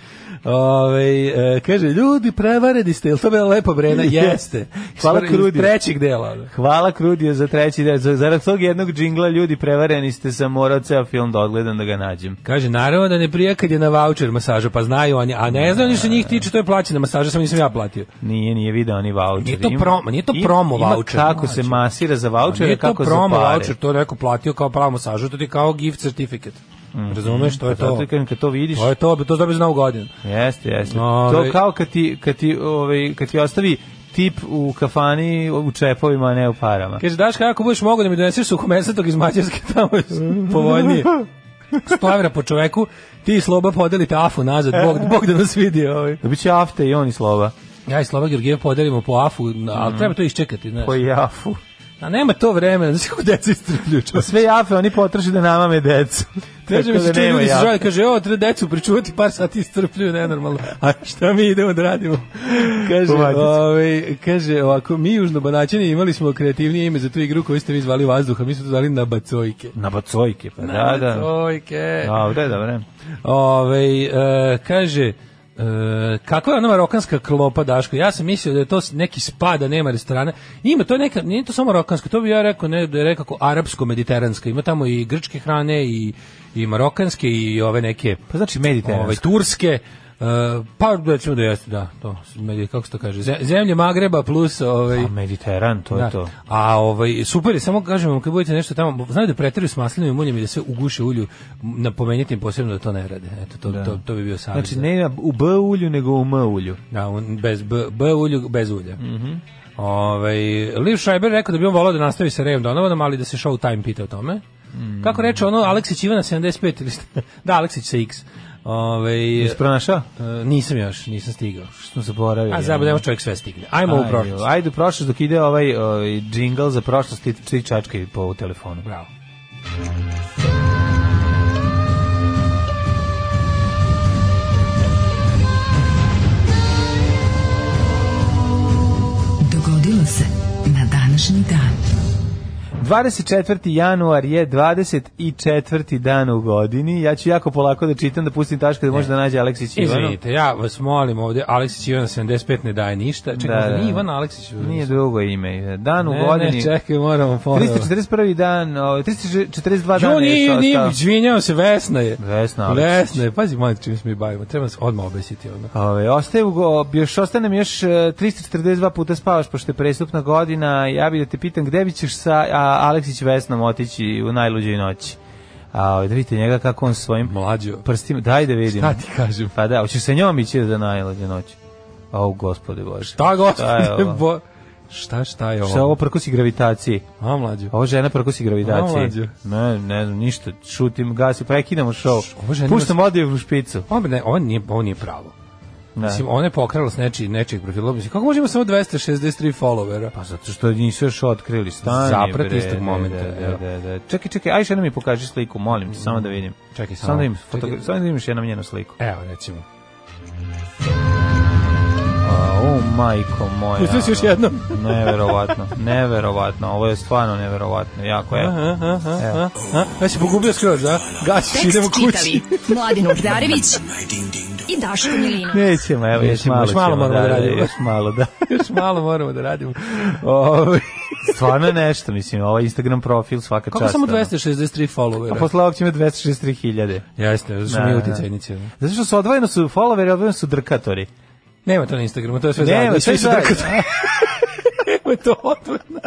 S6: Ovaj e, kaže ljudi prevareni ste, jel to bila lepa brena? Jeste.
S5: Hvala
S6: Iz
S5: Krudi.
S6: Trećeg dela. ono.
S5: Hvala Krudiju za treći del. Za- Zarad tog jednog džingla ljudi prevareni ste sam morao ceo film da odgledam da ga nađem.
S6: Kaže, naravno da ne prija kad je na voucher masaža, pa znaju oni, a ne znaju ni što njih tiče, to je plaćena masaža, samo nisam ja platio.
S5: Nije, nije video ni voucher.
S6: Nije to
S5: Ima-
S6: promo- nije to
S5: ima-
S6: promo
S5: ima
S6: voucher,
S5: kako
S6: mlađe.
S5: se masira za
S6: A
S5: voucher,
S6: nije
S5: a
S6: to
S5: kako za
S6: promo
S5: pare.
S6: voucher, to je neko platio kao pravu masažu, to ti je kao gift certificate. Razumeš, to je
S5: Mhm. Pa Zato
S6: to.
S5: ti kažem, kad to vidiš,
S6: To je to, to dobiješ na novu godinu.
S5: jeste, jeste. To
S6: Ovaj.
S5: kao kad ti, kad ti, ovaj, kad ti ostavi tip u kafani u čepovima, a ne u parama.
S6: Kaže, Daška, ako budeš mogao da mi doneseš suhomesatog iz Mađarske, tamo je
S5: <laughs>
S6: povoljnije. Stavira po čoveku, ti i Sloba podelite afu nazad, Bog, Bog da nas vidi. Ovaj.
S5: Da biće afte i on i slova.
S6: Ja i Sloba Georgijev podelimo po afu, ali treba to iščekati. Znaš.
S5: Mhm. Koji jafu.
S6: A nema to vremena, znaš kako deca istrpljuju čoveče.
S5: Sve jafe oni potroši da namame decu.
S6: Kaže mi
S5: Tako
S6: se
S5: da
S6: čuje
S5: nema
S6: ljudi se
S5: jafe.
S6: žale, kaže, evo, treba decu pričuvati, par sati istrpljuju, nenormalno. A šta mi idemo da radimo? Kaže,
S5: Po matici.
S6: ovaj, kaže ovako, mi južnobanaćani imali smo kreativnije ime za tu igru koju ste vi zvali vazduha, mi smo to zvali nabacojke.
S5: Na bacojke, pa da, da.
S6: Nabacojke.
S5: Dobre, dobre.
S6: Ove, e, kaže, e, kako je ona marokanska klopa, Daško? Ja sam mislio da je to s- neki spa, da nema restorana. Ima, to je neka, nije to samo marokanska, to bi ja rekao, ne, da je rekao arapsko-mediteranska. Ima tamo i grčke hrane, i, i marokanske, i ove neke
S5: Pa znači mediteransko.
S6: ovaj, turske. E, Uh, pa recimo da jeste, da, to, medije, kako se to kaže, ze- zemlje Magreba plus, ovaj,
S5: A Mediteran, to je
S6: da.
S5: Pa to.
S6: A ovaj, super je, samo kažem vam, kad budete nešto tamo, znaju da preteruju s maslinovim uljem i da sve uguše ulju, napomenite im posebno da to ne rade, eto, to, to, to bi bio savjet.
S5: Znači, ne u B ulju, nego u M ulju.
S6: Da, on bez b, b ulju, bez ulja. Mhm. Ovaj Liv Schreiber rekao da bi on volao da nastavi sa Rejom Donovanom, ali da se show time pita o tome.
S5: Mm.
S6: Kako reče ono Aleksić Ivana 75 ili šta? <laughs> Da, Aleksić sa X. Ovaj
S5: Ispronašao?
S6: e, nisam još, nisam stigao.
S5: Što ono? zaboravio.
S6: A zaboravimo nema čovjek sve stigne. Ajmo u
S5: Ajde,
S6: prošlost.
S5: ajde u prošlost dok ide ovaj, ovaj džingl za prošlost i tri čačke po telefonu.
S6: Bravo.
S4: Dogodilo se na današnji dan.
S5: 24. januar je 24. dan u godini. Ja ću jako polako da čitam, da pustim taška da može da nađe Aleksić Ivano.
S6: Izvinite, ja vas molim ovdje, Aleksić Ivana 75 ne daje ništa. Čekaj,
S5: Da,
S6: da,
S5: da.
S6: nije Ivan Aleksić.
S5: Nije drugo ime. Dan u
S6: ne,
S5: godini.
S6: ne, čekaj, moramo ponovno.
S5: 341. dan, ovaj, 342 dana
S6: Jo, nije,
S5: je
S6: nije,
S5: ostao.
S6: izvinjao se, Vesna je.
S5: Vesna Aleksić.
S6: Vesna je, pazi, molim te čim se mi bavimo, treba se odmah obesiti. Ono.
S5: Ove, ostaje u go, još ostaje nam još e, 342 puta spavaš pošto je prestupna godina. Ja bih da te pitam gde bi ćeš sa a, Aleksić Vesnom otići u najluđoj noći. A, ove, da vidite njega kako on svojim
S6: Mlađo,
S5: prstima, daj da vidim.
S6: šta ti kažem?
S5: Pa da, hoćeš sa njom ići da najluđe noći. O, gospode Bože.
S6: Šta
S5: Šta
S6: Pa,
S5: je
S6: gospodine,
S5: ovo?
S6: bo... Šta, šta je ovo?
S5: Šta je ovo prkosi gravitaciji?
S6: A, mlađo.
S5: Ovo žena prkosi
S6: A,
S5: gravitaciji.
S6: mlađe.
S5: Ne, ne znam, ništa. Šutim, gasim, prekidamo šov.
S6: Ovo žena ima-
S5: Puštam odjev u špicu.
S6: Ovo, ne, ovo, nije, ovo nije pravo.
S5: Da.
S6: Mislim, ona je pokrala s nečijeg, nečijeg profila. Mislim, kako možemo samo 263 followera?
S5: Pa zato što nisu još otkrili stanje.
S6: Zaprati
S5: bre,
S6: istog
S5: da,
S6: momenta,
S5: Da, da,
S6: evo.
S5: da, da. Čekaj, čekaj, aj što mi pokaži sliku, molim te, samo da vidim.
S6: Čekaj,
S5: samo.
S6: samo.
S5: da im,
S6: Čekaj.
S5: fotogra- samo da imaš jednom njenu sliku.
S6: Evo, recimo.
S5: A, o, majko moja.
S6: Pustio si još
S5: ono,
S6: jednom.
S5: neverovatno, neverovatno, ovo je stvarno neverovatno, jako, evo.
S6: Aha, aha,
S5: Evo.
S6: aha. Ja si pogubio skroz, da? Gasiš, idemo
S4: Tekst
S6: kući.
S4: čitali Mladin Urdarević i Daško Milinović.
S5: Nećemo, evo, još
S6: Nećemo,
S5: malo,
S6: još malo
S5: ćemo,
S6: moramo
S5: da,
S6: da
S5: da,
S6: radimo.
S5: Još malo, <laughs> da.
S6: <laughs> Još malo moramo da radimo.
S5: Ovaj, stvarno je nešto, mislim, ovaj Instagram profil svaka
S6: Kako
S5: čast.
S6: samo
S5: ono.
S6: 263
S5: A
S6: followera?
S5: posle ovog će imati 263.000.
S6: pa, Jeste, zato što
S5: Da,
S6: mi
S5: da.
S6: uticajnici. ono.
S5: Zato što su odvojeno su followeri, odvojeno su drkatori.
S6: Nema to na Instagramu, to je sve
S5: Nema,
S6: zajedno.
S5: sve
S6: su
S5: zajedno.
S6: drkatori. <laughs> Nema to odvrno.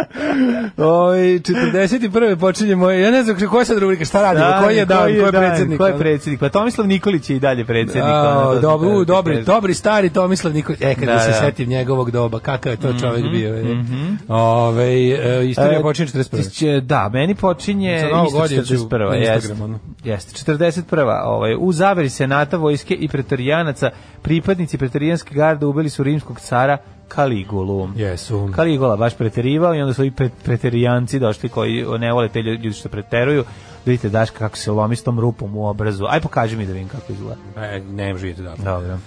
S6: Oj, 41. počinje moje, ja ne znam koja je sad rubrika, šta radimo,
S5: Da,
S6: koji je dan, koji je
S5: dan,
S6: predsjednik.
S5: Ko je
S6: ono?
S5: predsjednik? Pa Tomislav Nikolić je i dalje predsjednik. ono,
S6: A,
S5: to-
S6: dobro,
S5: to-
S6: u,
S5: to-
S6: dobri,
S5: to-
S6: dobri stari Tomislav Nikolić. E, kada
S5: Da,
S6: se
S5: da.
S6: setim njegovog doba, kakav je to čovjek bio. je. Ove, Mhm, e, istorija
S5: E,
S6: počinje 41.
S5: tišće- Da, meni počinje
S6: Za Novu
S5: isto
S6: godinu ću
S5: 41.
S6: na
S5: Jeste,
S6: Instagram, ono.
S5: jeste, 41. Ovaj, u zaveri senata, vojske i pretorijanaca, pripadnici pretorijanske garde ubili su rimskog cara Kaligulu.
S6: Jesu.
S5: Kaligula baš preterivao i onda su i pre, preterijanci došli koji ne vole te ljudi što preteruju. Vidite Daška kako se lomi s tom rupom u obrazu. Aj pokaži mi da vidim kako izgleda.
S6: E, ne možete živjeti da.
S5: Dobro.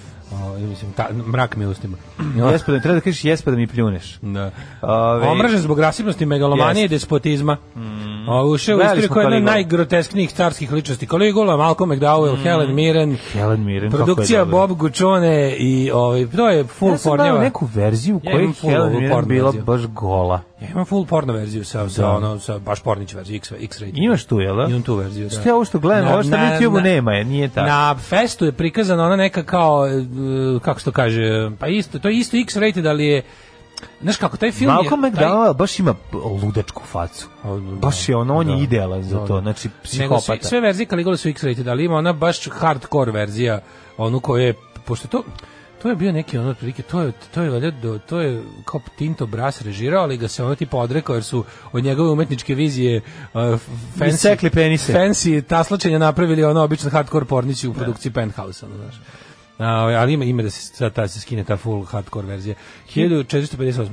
S6: Ove, mislim, ta, mrak mi je ustima.
S5: Jespa da mi, treba da kažeš jespa da mi pljuneš.
S6: Da.
S5: Ove-
S6: Omražen zbog rasipnosti, megalomanije i
S5: Jeste. Mm.
S6: despotizma. O, ušao u
S5: Gledali
S6: istoriju
S5: smo
S6: koja je jedna od
S5: Caligulu.
S6: najgrotesknijih carskih ličnosti. Caligula, Malcolm McDowell, Helen Mirren,
S5: Mm. Helen Mirren, kako je
S6: produkcija
S5: dobro.
S6: Bob Guccione i ovaj, to je full
S5: Ja sam
S6: pornjeva.
S5: gledao neku verziju u
S6: Ja
S5: kojoj
S6: imam
S5: je
S6: full
S5: Helen
S6: ovu
S5: Mirren
S6: porno
S5: bila
S6: verziju.
S5: baš gola.
S6: Ja imam full porno verziju sa, sa, ono, sa baš pornić verziju, X, X-rated.
S5: Imaš tu, jel da?
S6: Imam tu verziju, da.
S5: Šta je ovo što gledam? Ovo što na YouTube-u nema je, nije tako.
S6: Na festu je prikazana ona neka kao, e, kako se to kaže, pa isto, to je isto X-rated, ali je, znaš kako, taj film
S5: Malcolm
S6: je... taj-
S5: McDowell baš ima p- ludačku facu. Baš je ono, on je idealan za to, znači
S6: Nego sve,
S5: psihopata.
S6: sve verzije Caligula su X-rated, ali ima ona baš hardcore verzija, onu koja je, pošto to, to je bio neki ono otprilike, to je, to je, valjda do- to je kao Tinto Brass režirao, ali ga se ono tipa odrekao, jer su od njegove umetničke vizije uh, fancy,
S5: Isekli penise.
S6: fancy taslačenja napravili ono obično hardcore pornići u produkciji Penthouse, ono, znaš. A, ovaj, ali ima, ima da se, sad ta, se skine ta full hardcore verzija. 1458.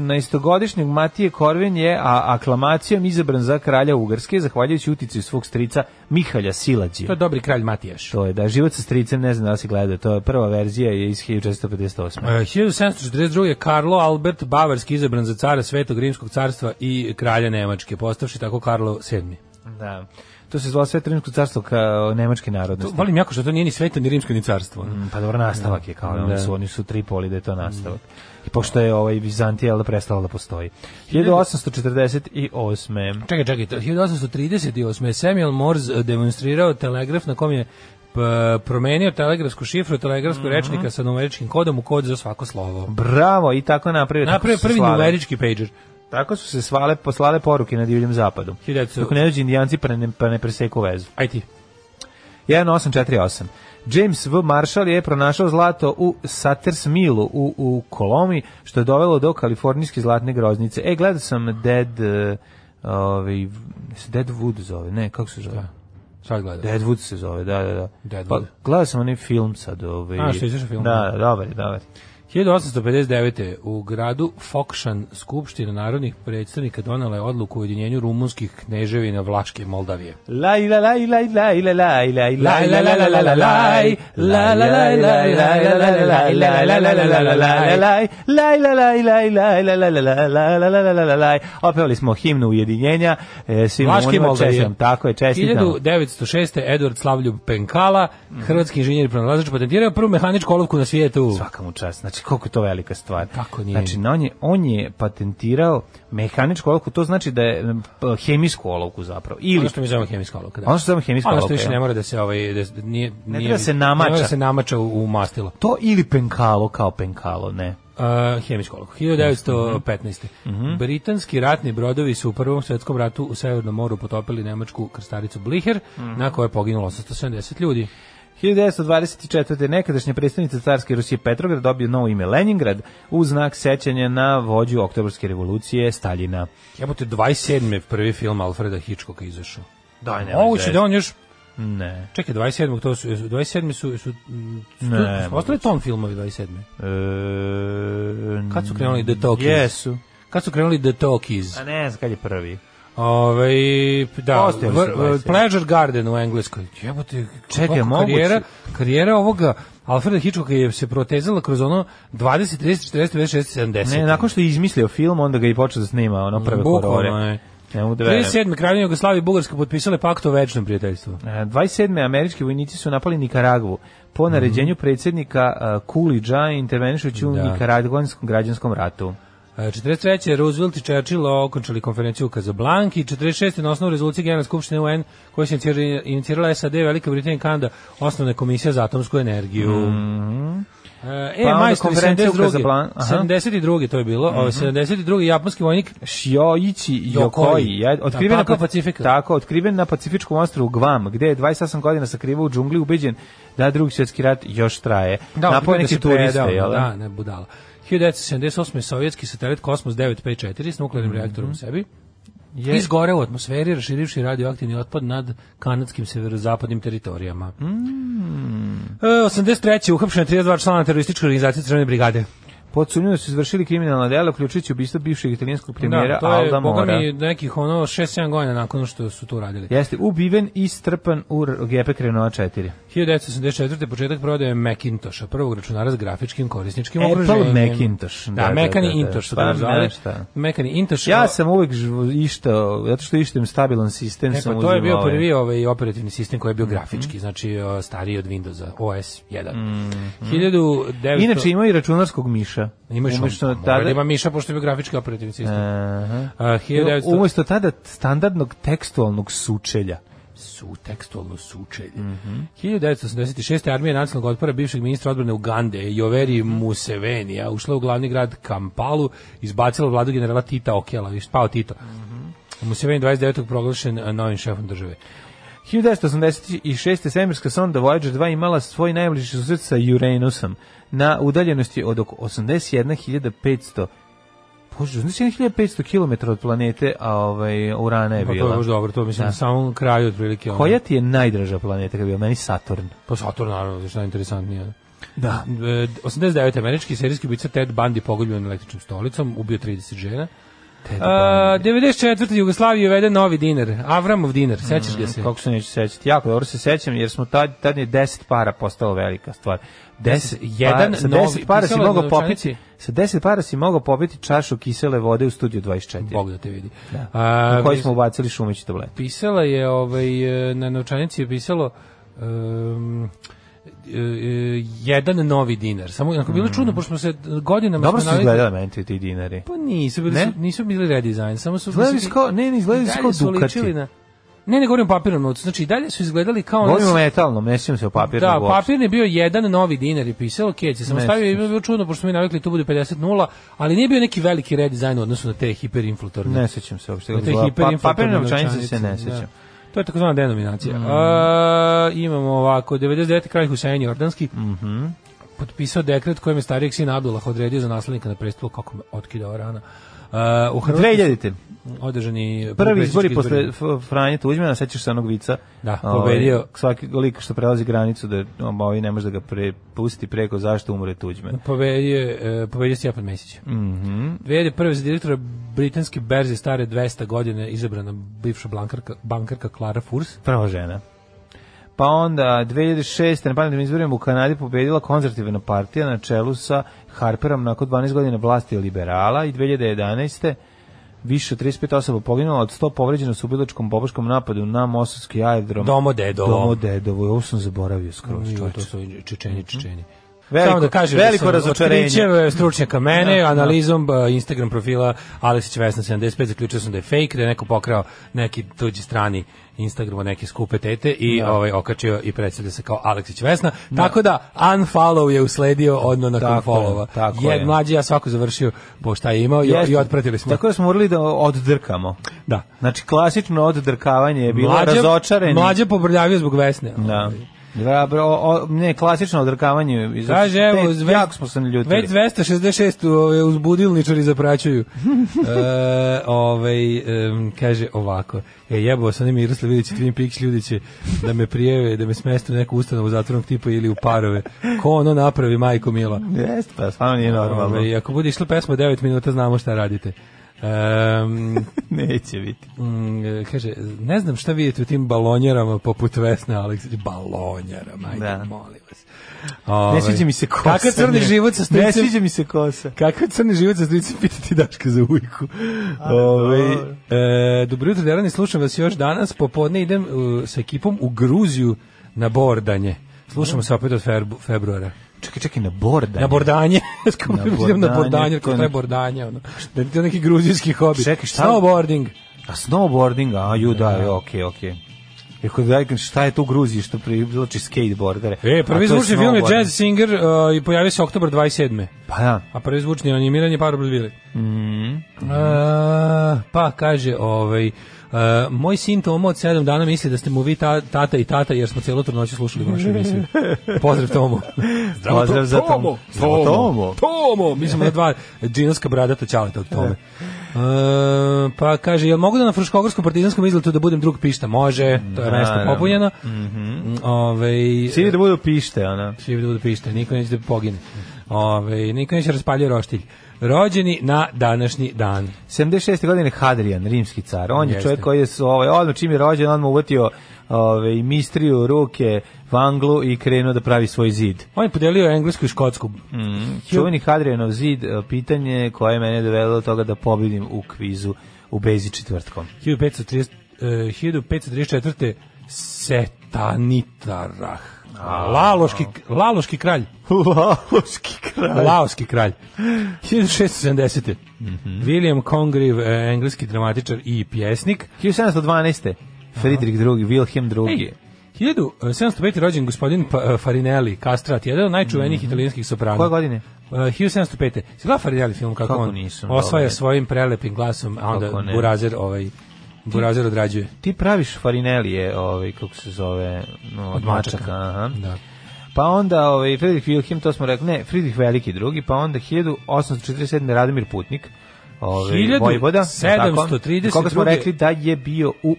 S5: 14-godišnjeg Matije Korvin je a, aklamacijom izabran za kralja Ugarske, zahvaljujući uticaju svog strica Mihalja
S6: To je
S5: Silađija.
S6: dobri kralj Matijaš.
S5: To je da život sa stricem, ne znam da li si gledao, to je prva verzija je iz 1458.
S6: E, 1742. je Karlo Albert Bavarski izabran za cara Svetog Rimskog carstva i kralja Nemačke, postavši tako Karlo VII.
S5: Da. To se zvalo sve Rimsko carstvo kao nemačke
S6: To,
S5: narodnosti.
S6: volim jako što to nije ni sveto, ni rimsko, ni carstvo.
S5: Mm, Pa dobro, nastavak je kao, da. oni, su, oni su tri poli da je to nastavak. I pošto je ovaj Bizantija jel da prestala da postoji. 1848.
S6: Čekaj, čekaj, to- 1838. je Samuel Morse demonstrirao telegraf na kom je p- promenio telegrafsku šifru telegrafskog rečnika sa numeričkim kodom u kod za svako slovo.
S5: Bravo, i Mhm. tako je napravio. tako
S6: Napravio
S5: su se
S6: prvi
S5: slale.
S6: numerički pager.
S5: Tako su se svale, poslale poruke na divljem zapadu.
S6: 1900.
S5: Dok ne dođu indijanci pa ne, pa ne preseku vezu.
S6: Aj ti.
S5: 1848. James V. Marshall je pronašao zlato u Sutters Millu u, u Kolomi, što je dovelo do kalifornijske zlatne groznice. E, gledao sam Dead... Uh, ovaj, se Deadwood zove, ne, kako se zove?
S6: Sad gledam.
S5: Deadwood se zove, da, da, da.
S6: Deadwood.
S5: Pa, gledao sam onaj film sad. Ovaj,
S6: A, što je izašao film?
S5: Da, da, dobar je, dobar je.
S6: 1859. u gradu Fokšan Skupština narodnih predstavnika donala je odluku o ujedinjenju rumunskih kneževina Vlaške i Moldavije.
S5: Laj, la, laj, laj, laj, la, laj, laj, laj, la, la, la, la, la, laj. La, la, laj, laj, laj, la, la, la, laj, la, la, la, la, la, la, la, la, laj. Laj, la, laj, laj, laj, la, la, la, la, la, la, la, la, la, la, laj. Opevali smo himnu ujedinjenja. e, Svim
S6: Vlaške i
S5: onima
S6: Moldavije.
S5: čestitam. Tako je, čestitam.
S6: 1906. Edward Slavljub Penkala, hrvatski inženjer i pronalazač, patentirao prvu mehaničku olovku na svijetu.
S5: Svaka mu čast. Znači, koliko je to velika stvar.
S6: Kako nije?
S5: Znači, na on, je, on je patentirao mehaničku olovku, to znači da je m, p- hemijsku olovku zapravo. Ili
S6: Ono što mi zovemo hemijska olovka. Da.
S5: Ono što zovemo hemijska
S6: Ono
S5: olovka,
S6: što više
S5: ja.
S6: ne mora da se, ovaj, da, s- nije, ne
S5: treba se namača.
S6: Ne mora da se namača u, u mastilo.
S5: to ili penkalo kao penkalo, ne.
S6: Uh, hemijsko olovku. 1915.
S5: Mhm.
S6: Britanski ratni brodovi su u Prvom svjetskom ratu u Severnom moru potopili nemačku krstaricu Blicher,
S5: Mhm.
S6: na kojoj je poginulo 870 ljudi.
S5: 1924. nekadašnja predstavnica carske Rusije Petrograd dobio novo ime Leningrad u znak sećanja na vođu oktobarske revolucije Staljina.
S6: Jebote, 27. je prvi film Alfreda Hitchcocka izašao.
S5: Da, E, ne.
S6: Moguće da on još
S5: Ne.
S6: Čekaj, 27. to su, 27. su, su, mm, su
S5: Ne,
S6: ne, ostali tom filmovi 27.
S5: E,
S6: Kad su krenuli The Talkies?
S5: Jesu.
S6: Kad su krenuli The Talkies?
S5: A ne znam kad je prvi.
S6: Ove, da,
S5: Ostali su
S6: Vr-
S5: 27.
S6: Pleasure Garden u Engleskoj. Jebote,
S5: Čekaj,
S6: kako
S5: moguće?
S6: karijera, karijera ovoga Alfreda Hitchcocka je se protezala kroz ono 20, 30, 40, 50, 70.
S5: Ne, nakon što je izmislio film, onda ga i počeo da snima ono prve
S6: Bukvalno,
S5: horore.
S6: ne.
S5: Ne mogu da verujem.
S6: 37. kraljevina Jugoslavije i Bugarska potpisale pakt o večnom prijateljstvu.
S5: E, 27. američki vojnici su napali Nikaragvu po naređenju predsjednika uh, Kulidža intervenišući u
S6: Mhm. Da.
S5: Nikaragvanskom građanskom ratu.
S6: E, 43. Roosevelt i Churchill okončali konferenciju u Kazablanki. 46. na osnovu rezolucije Generalne skupštine UN koja se inicira- inicirala SAD, Velika Britanija i Kanada, osnovna komisija za atomsku energiju. E,
S5: Mhm. Pa onda
S6: maj
S5: konferencija u
S6: 72.
S5: Kazablan- aha. Mhm.
S6: 72. to je bilo. Ovo, 72. japanski vojnik
S5: Šioići Jokoi,
S6: Jokoi.
S5: je otkriven
S6: Na pakao
S5: Pac-
S6: Pacifika.
S5: Tako, otkriven na Pacifičkom ostrvu Guam, gde je 28 godina sakrivao u džungli ubeđen da drugi svjetski rat još traje. Da, Napao je
S6: otkrio
S5: neki
S6: se predao,
S5: turiste, jel?
S6: Da, ne budala. 1978. sovjetski satelit Kosmos 9P4 s nuklearnim reaktorom u sebi
S5: Mhm. Je-
S6: izgoreo u atmosferi raširivši radioaktivni otpad nad kanadskim severozapadnim teritorijama.
S5: Mm.
S6: E, 83. uhapšena 32 člana terorističke organizacije Crvene brigade.
S5: Pod sumnjom da su izvršili kriminalna dela, uključujući ubistvo bivšeg italijanskog premijera
S6: to je,
S5: Alda
S6: boga
S5: Mora.
S6: mi, nekih ono 6-7 godina nakon što su to radili.
S5: Jeste ubiven i strpan u R- GP Krenova 4.
S6: 1984. početak prodaje Macintosha, prvog računara s grafičkim korisničkim
S5: Apple
S6: okruženjem.
S5: Macintosh,
S6: Da,
S5: E, da, da,
S6: Mekani
S5: da, da.
S6: Intosh.
S5: Pa,
S6: Pa,
S5: ne, šta.
S6: Mekani Intosh.
S5: Ja
S6: o-
S5: sam uvek žv- ištao, zato što ištem stabilan sistem,
S6: E,
S5: sam
S6: pa to je
S5: uzimao Mhm.
S6: bio
S5: ovaj.
S6: prvi ovaj operativni sistem koji je bio grafički, znači o, stariji od Windowsa, OS 1. 1900
S5: Mhm. Inače ima i računarskog miša.
S6: imaš
S5: Umesto
S6: što
S5: tada-
S6: tada ima Miša pošto je bio grafički operativni sistem.
S5: Aha.
S6: A, 1900
S5: Umesto tada standardnog tekstualnog sučelja.
S6: su tekstualno sučelje.
S5: Mhm.
S6: 1986. armija nacionalnog otpora bivšeg ministra odbrane Ugande, Joveri
S5: Mhm.
S6: Musevenija, ušla u glavni grad Kampalu, izbacila vladu generala Tita Okela, viš, pao Tito.
S5: Mhm.
S6: Museveni 29. proglašen a, novim šefom države.
S5: 1986. svemirska sonda Voyager 2 imala svoj najbliži susret sa Uranusom na udaljenosti od oko 81.500 Bože, znači 1.500 km od planete, a ovaj, Urana je
S6: Pa to je
S5: bila.
S6: baš dobro, to mislim
S5: Da.
S6: na samom kraju otprilike. ono.
S5: Koja ti je najdraža planeta kad je bila? Meni Saturn.
S6: Pa Saturn, naravno, znaš, najinteresantnija.
S5: Da.
S6: E, 89. američki serijski ubica Ted Bundy pogubljen električnom stolicom, ubio 30 žena.
S5: Ted
S6: A, 94. Jugoslaviji uvede novi dinar, Avramov dinar, sećaš ga se?
S5: Kako se neću sećati? Jako dobro se sećam jer smo tad, tad je 10 para postalo velika stvar. 10
S6: jedan
S5: para, pa- sa
S6: novi-
S5: 10 para si
S6: pisalo je
S5: mogao
S6: na
S5: popiti
S6: novčanici.
S5: sa 10 para si mogao popiti čašu kisele vode u studiju 24.
S6: Bog da te vidi.
S5: Da.
S6: A,
S5: u koji smo ubacili šumići tablet.
S6: Pisala je, ovaj, e, na novčanici je pisalo um, e, e, jedan novi dinar. Samo, onako, bilo je čudno, pošto smo se godinama...
S5: Mm. Dobro
S6: smo
S5: su
S6: navikli-
S5: izgledali meni ti, ti dinari.
S6: Ono Pa nisu bili,
S5: Ne?
S6: su, nisu bili redizajn, samo su...
S5: Izgledali su kao, ne, ne, izgledali su
S6: dalje
S5: kao
S6: su
S5: dukati.
S6: ličili na- Ne, ne govorim o papirnom novcu. Znači, i dalje su izgledali kao... ono-
S5: Govorimo o metalnom, ne sjećam se o papirnom
S6: Da,
S5: uopšte.
S6: papir je bio jedan novi dinar i pisalo keće. Sam
S5: Ne
S6: stavio i
S5: sjećam
S6: bilo bilo čudno, pošto smo mi navikli tu bude 50 nula, ali nije bio neki veliki redizajn u odnosu na te hiperinflatorne.
S5: Ne sećam se uopšte.
S6: Na te
S5: Pa,
S6: hiperinflatorne
S5: papirne novčanice
S6: novčanice,
S5: se ne
S6: da.
S5: sećam. Mm.
S6: To je takozvana denominacija. A, imamo ovako, 99. kralj Husein Jordanski
S5: Mhm.
S6: potpisao dekret kojim je starijeg sina Abdullah odredio za naslednika na prestolu, kako me otkidao rana. A, u Hrvatskoj
S5: 2000.
S6: su održani
S5: Prvi izbori
S6: predsjednički
S5: posle F- Franje Tuđmana, sećaš se onog vica?
S6: Da,
S5: Ovaj,
S6: pobedio.
S5: Svaki lik što prelazi granicu, da um, ovi ne može da ga prepusti preko zašto umre Tuđman.
S6: Pobedio, je, e, pobedio je Stjepan Mesić. Mm -hmm. 2001. za direktora britanske berze stare 200 godine izabrana bivša blankarka, bankarka Clara Furs.
S5: Prva žena. Pa onda 2006. na parlamentarnim izborima u Kanadi pobedila konzervativna partija na čelu sa Harperom nakon 12 godina vlasti liberala i 2011. više od 35 osoba poginulo, od 100 povređeno su u biločkom bobaškom napadu na Mosovski aerodrom.
S6: Domodedovo.
S5: Domodedovo, ovo sam zaboravio skroz.
S6: Jo,
S5: čoveče.
S6: to su Čečeni, Čečeni.
S5: Mhm. Veliko-
S6: Samo da kažem,
S5: veliko
S6: da sam
S5: razočarenje.
S6: otkrićem, e, stručnjaka mene, analizom e, Instagram profila Aleksić Vesna 75, zaključio sam da je fake, da je neko pokrao neki tuđi strani Instagram od neke skupe tete i ovaj okačio i predstavlja se kao Aleksić Vesna. Tako da unfollow je usledio odno nakon
S5: Tako je,
S6: followa.
S5: tako je.
S6: Mlađi ja svako završio po šta je imao i,
S5: Jeste.
S6: i otpratili smo.
S5: Tako da smo morali da oddrkamo.
S6: da.
S5: Znači, klasično oddrkavanje je bilo razočareni.
S6: Mlađe pobrljavio zbog Vesne.
S5: Da. Da, bro, o, o, ne, klasično odrakavanje. iz-
S6: Kaže, evo,
S5: te-
S6: zve-
S5: jako smo se naljutili.
S6: Već 266 ove, uzbudilničari
S5: <laughs>
S6: zapraćuju. e, ovaj, em, kaže ovako, e, jebao sam nimi Miroslav Vidić i Twin Peaks ljudi će da me prijeve, da me smeste u neku ustanovu zatvornog tipa ili u parove. Ko ono napravi, majko mila?
S5: Jeste, pa stvarno nije normalno.
S6: Ovaj, ako bude išla pesma 9 minuta, znamo šta radite. Em,
S5: <laughs> Neće biti.
S6: Mm, e, kaže, ne znam šta vidite u tim balonjerama poput Vesne Aleksić. Balonjerama, ajde,
S5: Da.
S6: molim vas.
S5: Ne
S6: Ovaj,
S5: sviđa mi se kosa.
S6: Kakav crni
S5: ne.
S6: život sa
S5: Ne
S6: stricem?
S5: sviđa mi se kosa.
S6: Kakav crni život sa stricem pitati Daška za ujku. Ove, e, dobro jutro, Derani, slušam vas još danas. Popodne idem e, sa ekipom u Gruziju na bordanje. Slušamo se opet od febru- februara.
S5: Čekaj, čekaj, na bordanje.
S6: Na bordanje. Skupno
S5: <laughs> Na
S6: idem na
S5: bordanje,
S6: bordanje, jer
S5: to je
S6: to je
S5: neki-
S6: bordanje. Ono. Da je to neki gruzijski hobi.
S5: Čekaj, šta-
S6: Snowboarding.
S5: A snowboarding, a ju da, je, okej, okej. Rekao da šta je to u Gruziji što privlači skateboardere?
S6: E, prvi
S5: A to je
S6: zvučni film je
S5: snowboarding.
S6: Jazz Singer e, i pojavio se oktobar 27.
S5: Pa da.
S6: A prvi zvučni animiran je Paro Bradvili.
S5: Mhm.
S6: E, pa kaže, ovaj, e, moj sin Tomo od 7 dana misli da ste mu vi ta, tata i tata jer smo celu noću slušali vašu
S5: <laughs>
S6: emisiju. Pozdrav Tomo.
S5: Pozdrav za Tom- Zdravo,
S6: Tomo.
S5: Tomo.
S6: Tomo. Mi smo na dva džinovska bradata čaleta od Tome. E, pa kaže, jel mogu da na Fruškogorskom partizanskom izletu da budem drug pišta? Može, to je mesto
S5: Naravno. Mhm.
S6: popunjeno. Ovaj,
S5: Svi da budu pište, ono. ona.
S6: svi budu da pište, niko neće da pogine. Ove, niko neće raspaljuje roštilj. Rođeni na današnji dan.
S5: 76. godine Hadrian, rimski car. On je
S6: Jeste.
S5: čovjek koji je s- ovaj odmah čim je rođen, odmah uvatio ovaj mistriju u ruke, vanglu i krenuo da pravi svoj zid.
S6: On je podelio englesku i škotsku.
S5: Čuveni Hadrianov zid, e, pitanje koje je mene dovelo do toga da pobedim u kvizu u Bezi četvrtkom.
S6: 1530, eh, 1534. Setanitarah. Laloški, Laloški kralj.
S5: Laloški kralj.
S6: Laoski kralj. 1670. William Congreve, eh, engleski dramatičar i pjesnik.
S5: 1712. Fridrik II, Wilhelm II.
S6: Ej, 1705. e, rođen gospodin Pa- eh, Farinelli, kastrat, jedan od najčuvenijih italijanskih soprana.
S5: Koje godine?
S6: Uh, 1705. Si gledao Farinelli film kako,
S5: Kako
S6: on
S5: nisam,
S6: osvaja
S5: dobro.
S6: svojim prelepim glasom, a
S5: Kako
S6: onda
S5: ne.
S6: Burazer, ovaj, Burazer odrađuje.
S5: Ti praviš farinelije, ovaj, kako se zove, no, od mačaka. Aha.
S6: Da.
S5: Pa onda ovaj Fridrik Wilhelm, to smo rekli, ne, Fridrik Veliki drugi, pa onda 1847 Radomir Putnik, ovaj
S6: 1732.
S5: vojvoda, tako? koga smo rekli da je bio u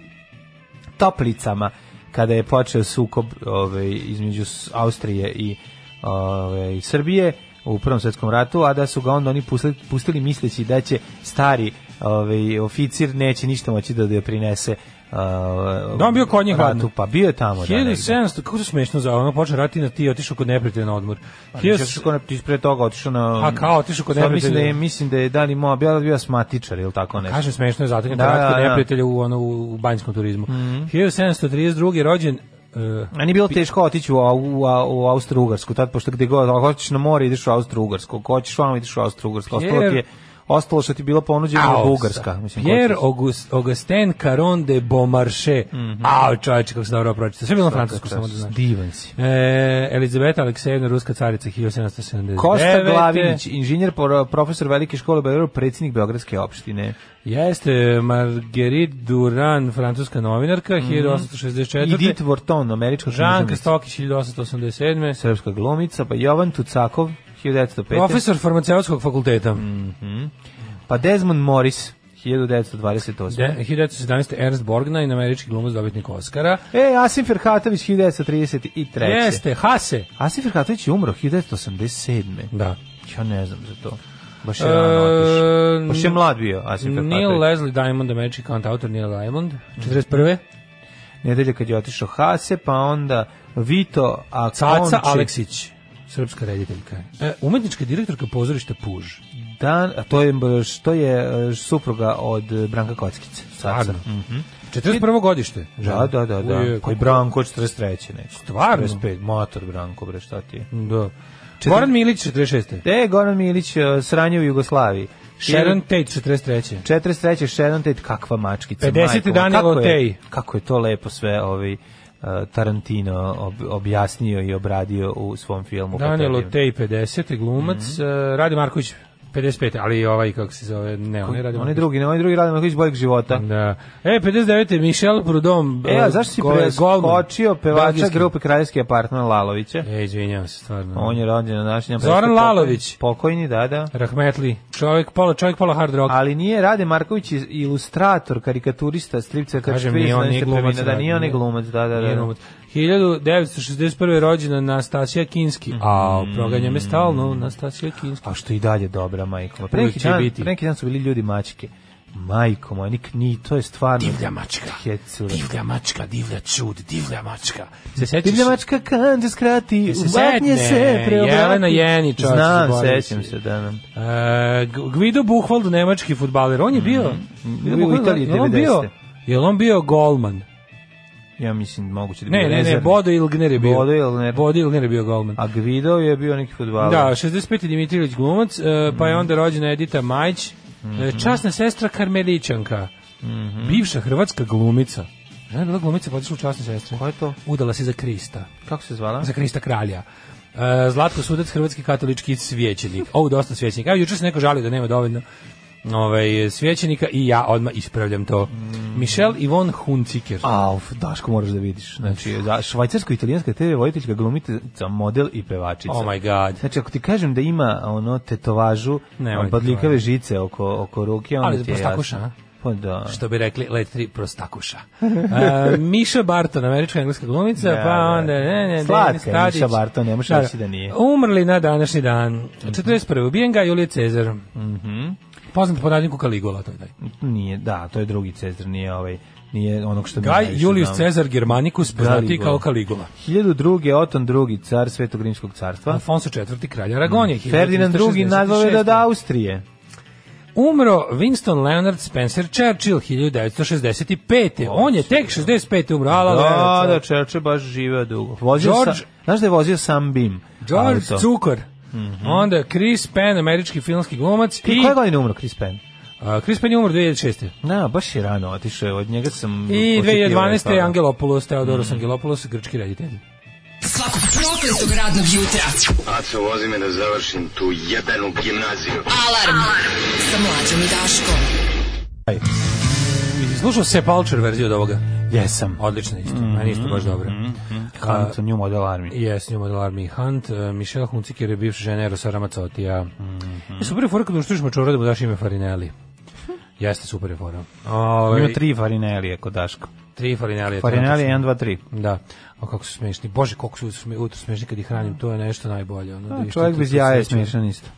S5: Toplicama kada je počeo sukob ovaj između S- Austrije i ovaj Srbije u Prvom svetskom ratu, a da su ga onda oni pustili, pustili misleći da će stari ovaj oficir neće ništa moći da da prinese
S6: Da, on bio kod njih
S5: ratu,
S6: ladno.
S5: pa bio je tamo da, negde.
S6: 1700, kako se smešno zove, ono počne rati na ti i otišao kod neprijatelja na odmor.
S5: Ti
S6: 1000
S5: si kod ti si pre toga otišao na
S6: A, kao, otišao kod
S5: Sad Mislim da
S6: neprijatelja.
S5: je mislim da je Dani Moa bio bio asmatičar ili tako nešto.
S6: Kažem smešno je zateknuo
S5: Da,
S6: da, Mhm.
S5: da,
S6: kod
S5: da.
S6: neprijatelja u, ono, u banjskom turizmu. 1732. rođen uh,
S5: A nije bilo teško otići u, Au- u, Au- u Austro-Ugarsku, tad pošto gde god, ako hoćeš na more ideš u Austro-Ugarsku, ako hoćeš vamo ideš u Austro-Ugarsku, ostalo ti je ostalo što ti je bilo ponuđeno je
S6: Au,
S5: Bugarska.
S6: sa-
S5: Mislim, ko
S6: Pierre
S5: će-
S6: August, Augustin Caron de Beaumarchais. Mm -hmm. Ao, čovječe, kako se dobro pročita. Sve je bilo na francusku, samo da znaš.
S5: Divan si.
S6: E, Elizabeta Aleksejevna, ruska carica 1779.
S5: Kosta Glavinić, inženjer, pro- profesor velike škole u Beogradu, predsjednik Beogradske opštine.
S6: Jeste Marguerite Duran, francuska novinarka,
S5: Mhm.
S6: 1864.
S5: Edith Wharton, američka
S6: Žanka
S5: književnica.
S6: Stokić, 1887.
S5: srpska glumica, pa Jovan Tucakov, 1905.
S6: Profesor farmaceutskog fakulteta.
S5: Mhm. Pa Desmond Morris, 1928.
S6: De, 1917. Ernst Borgnine, američki glumac dobitnik Oscara.
S5: E, Asim Ferhatović, 1933.
S6: Jeste, Hase.
S5: Asim Ferhatović je umro 1987.
S6: Da.
S5: Ja ne znam za to. E, Baš je rano otišao. Pa Baš je mlad bio Asim
S6: E, Neil
S5: Ferhatović.
S6: Leslie Diamond, američki kantautor Neil Diamond,
S5: Mhm.
S6: 41.
S5: Nedelje kad je otišao Hase, pa onda Vito Akonči.
S6: Caca Aleksić, srpska rediteljka. E, umetnička direktorka pozorišta Puž.
S5: Dan, a to je, što je e, supruga od e, Branka Kockice. Caca.
S6: Stvarno. 41. godište. žena.
S5: Mhm. Da, da, da, da.
S6: Uje,
S5: Koji Branko 43. neko.
S6: Stvarno?
S5: 45, motor Branko, bre, šta ti je?
S6: Da. Goran Milić, 46.
S5: E, Goran Milić, e, sranje u Jugoslaviji.
S6: Sharon Tate, 43.
S5: 43. Sharon Tate, kakva mačkica.
S6: 50.
S5: majko moja.
S6: Danilo
S5: Kako je-
S6: Tej.
S5: Kako je to lepo sve ovaj, e, Tarantino ob, objasnio i obradio u svom filmu.
S6: Danilo
S5: Katarijem.
S6: Tej, 50. glumac. Mm
S5: Mhm.
S6: Radi Marković, 55. Ali ovaj, kako se zove, ne, on je Radi
S5: Oni
S6: Marković.
S5: drugi, ne, oni drugi radimo koji boljeg života.
S6: Da. E, 59. Michel Prudom.
S5: E, a zašto si
S6: go- golman.
S5: preskočio pevača
S6: Belgijski.
S5: grupe Kraljevski apartman Lalovića?
S6: E, izvinjavam se, stvarno.
S5: On je rođen na današnjem...
S6: Zoran
S5: pokojni-
S6: Lalović.
S5: Pokojni, da, da.
S6: Rahmetli, čovjek pola, čovjek pola hard rock.
S5: Ali nije Rade Marković iz- ilustrator, karikaturista, stripca,
S6: Kažem,
S5: karikaturista,
S6: nije on,
S5: nešto
S6: nije glumac,
S5: prvina, Da,
S6: da,
S5: nije on je
S6: nije.
S5: glumac, da, da, da.
S6: Nije glumac. 1961. rođena Nastasija Kinski.
S5: Mhm.
S6: A, proganja me stalno, Nastasija Kinski.
S5: A Pa što i dalje dobra, majko. moja. Pre neki
S6: će
S5: dan,
S6: biti.
S5: pre neki dan su bili ljudi mačke. Majko moja, nik ni, to je stvarno...
S6: Divlja mačka.
S5: Hecura.
S6: Divlja mačka, divlja čud, divlja mačka. Se sećaš?
S5: Divlja mačka kan te skrati,
S6: se
S5: uvatnje
S6: sedne,
S5: se, preobrati.
S6: Jelena Jenić, čovječe,
S5: Znam,
S6: zaboravio
S5: sećam
S6: si.
S5: se, da nam.
S6: E, Gu- Guido Buchwald, nemački futbaler. On je bio...
S5: Guido Buchwald,
S6: Jel on bio-
S5: 90-te.
S6: Jel on bio golman?
S5: Ja mislim, moguće da bi
S6: Ne, ne, ne,
S5: rezervni.
S6: Bodo Ilgner je bio.
S5: Bodo Ilgner.
S6: Bodo Ilgner je bio golman.
S5: A Gvido je bio neki futbaler.
S6: Da, 65. Dimitrijević glumac, e, pa je
S5: Mhm.
S6: onda rođena Edita Majić, e, časna sestra Karmelićanka,
S5: Mhm.
S6: bivša hrvatska glumica. Žena je bila glumica, pa otišla u časne sestre.
S5: Ko je to?
S6: Udala se za Krista,
S5: Kako se zvala?
S6: za Krista kralja. E, Zlatko Sudac, hrvatski katolički svećenik. Ovo dosta svećenika. Evo, juče se neko žalio da nema dovoljno ovaj, svećenika i ja odmah ispravljam to. Michel Ivon Hunciker.
S5: Auf, Daško moraš da vidiš. Znači, za švajcarsko-italijanska TV voditeljka glumica, model i pevačica.
S6: Oh my god.
S5: Znači, ako ti kažem da ima ono tetovažu,
S6: Nemoj ti
S5: badljikave
S6: govoriti.
S5: žice oko, oko ruke, onda
S6: Ali
S5: ti je
S6: prostakuša,
S5: jasno.
S6: a?
S5: Pa da.
S6: što bi rekli let tri prostakuša. E, Miša Barton, američka engleska glumica,
S5: Da,
S6: pa
S5: da.
S6: onda ne, ne,
S5: Slatka je
S6: Denis Tadić.
S5: Miša Barton, ne možeš reći da nije. Mhm.
S6: Umrli na današnji dan. 41. Ubijen ga Julije Cezar. Mhm. Poznat po nadimku Kaligula, to je taj.
S5: Nije, da, to je drugi Cezar, nije ovaj, nije onog što mi
S6: Gaj
S5: najviše
S6: Julius
S5: znamo.
S6: Cezar Germanicus, poznati
S5: Caligula.
S6: kao Kaligula.
S5: 1002. Oton drugi, car Svetog Rimskog carstva.
S6: Alfonso IV. kralj Aragonije.
S5: Mm. Ferdinand II.
S6: 1366.
S5: nadvove od Austrije.
S6: Umro Winston Leonard Spencer Churchill 1965. On je tek 65. umro. Ala,
S5: Da,
S6: Leonard
S5: da, Čerče baš živeo dugo. Vozio
S6: George-
S5: sa, znaš da je vozio sam Bim?
S6: George
S5: auto?
S6: Cukor. Onda Chris Penn, američki filmski glumac.
S5: Mhm. I
S6: I,
S5: koje godine umro Chris Penn?
S6: a, Chris Penn je umro 2006.
S5: Da, baš je rano otišao, od njega sam...
S6: I
S5: očekivao Mhm.
S6: 2012. je
S5: nešto.
S6: Angelopoulos, Theodoros Angelopoulos, grčki reditelj.
S4: Svakog prokletog radnog jutra.
S3: Aco, vozi me da završim tu jebenu gimnaziju.
S4: Alarm. Sa mlađom i Daškom.
S6: I Slušao se Palcher verziju od ovoga.
S5: Jesam.
S6: Odlično
S5: Mhm.
S6: isto, meni isto baš dobro.
S5: Hamilton, New Model Army.
S6: Jes, njom od Army Hunt, e, Michelle Hunziker je bivša žena Erosa Ramacotija.
S5: Mhm.
S6: I super je fora kada uštuješ mačora da mu daš ime
S5: <laughs>
S6: Farinelli. Jeste super je fora. Ove,
S5: Ima tri farinelije kod Daška.
S6: tri Farinelli.
S5: Farinelije 1, 2, 3.
S6: Da. A kako su smešni. Bože, koliko su jutro sme- jutro smešni kad ih hranim, to je nešto najbolje. Ono, da
S5: A,
S6: vidiš
S5: čovjek
S6: tu-
S5: bez
S6: tu
S5: jaja je
S6: sreću.
S5: smiješan Mhm. isto.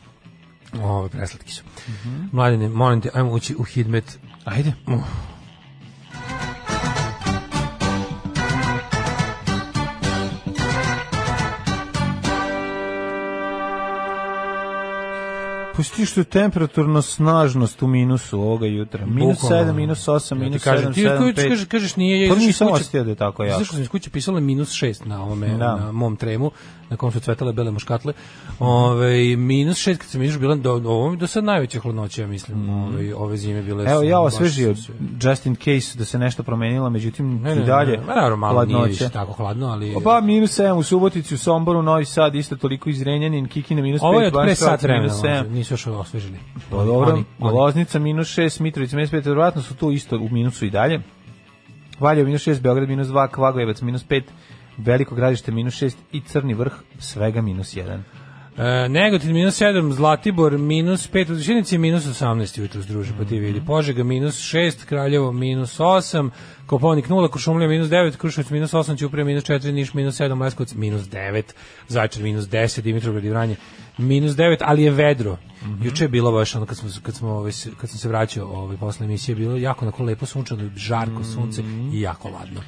S6: Ove, preslatki su. Mladine, molim te, ajmo ući u hidmet.
S5: Ajde. Pusti što je temperaturno snažnost u minusu ovoga jutra. Minus
S6: Bukvalno.
S5: 7, minus 8,
S6: Ja ti
S5: minus 7,
S6: kažem,
S5: 7,
S6: ti kažeš-
S5: 5.
S6: kažeš, kažeš nije, ja
S5: Pa
S6: izašao iz
S5: nisam
S6: kuće.
S5: ostio da je tako jako.
S6: Zašto sam iz kuće pisala minus 6 na ovome,
S5: Da.
S6: na mom tremu. na kom su cvetale bele muškatle. Ove, minus šest, kad sam išao, bila do, ovo mi do sad najveća hladnoća, ja mislim, ove, ove zime bile
S5: Mhm. Evo,
S6: su
S5: ja
S6: baš
S5: osvežio
S6: su se-
S5: just in case da se nešto promenilo, međutim,
S6: Ne, ne,
S5: i dalje
S6: ne, naravno, malo nije
S5: hladnoće.
S6: više tako hladno, ali...
S5: Pa minus 7 u Subotici, u Somboru, Novi Sad, isto toliko izrenjanin, Kikina minus 5,
S6: Ovo je od pre
S5: Banjska
S6: sat vremena,
S5: minus
S6: možda,
S5: 7.
S6: nisu još osvežili.
S5: Pa dobro,
S6: Oni- oni-
S5: Loznica minus 6, Mitrovica minus 5, vjerojatno su tu isto u minusu i dalje. Valjevo minus 6, Beograd minus 2, Kvagojevac minus 5, Veliko gradište minus 6 i Crni vrh svega minus 1.
S6: E, Negotin minus 7, Zlatibor minus 5, Uzišenici minus 18 jutro druže, pa ti vidi. Požega minus 6, Kraljevo minus 8, Koponik 0, Košumlija minus 9, Krušovac minus 8, Ćuprija minus 4, Niš minus 7, Leskovac minus 9, Zajčar minus 10, Dimitrovgrad i Vranje minus 9, ali je vedro. Juče je bilo baš ono kad smo kad smo ovaj se- kad sam se vraćao ovaj posle emisije bilo je jako onako lepo sunčano, žarko sunce i jako ladno.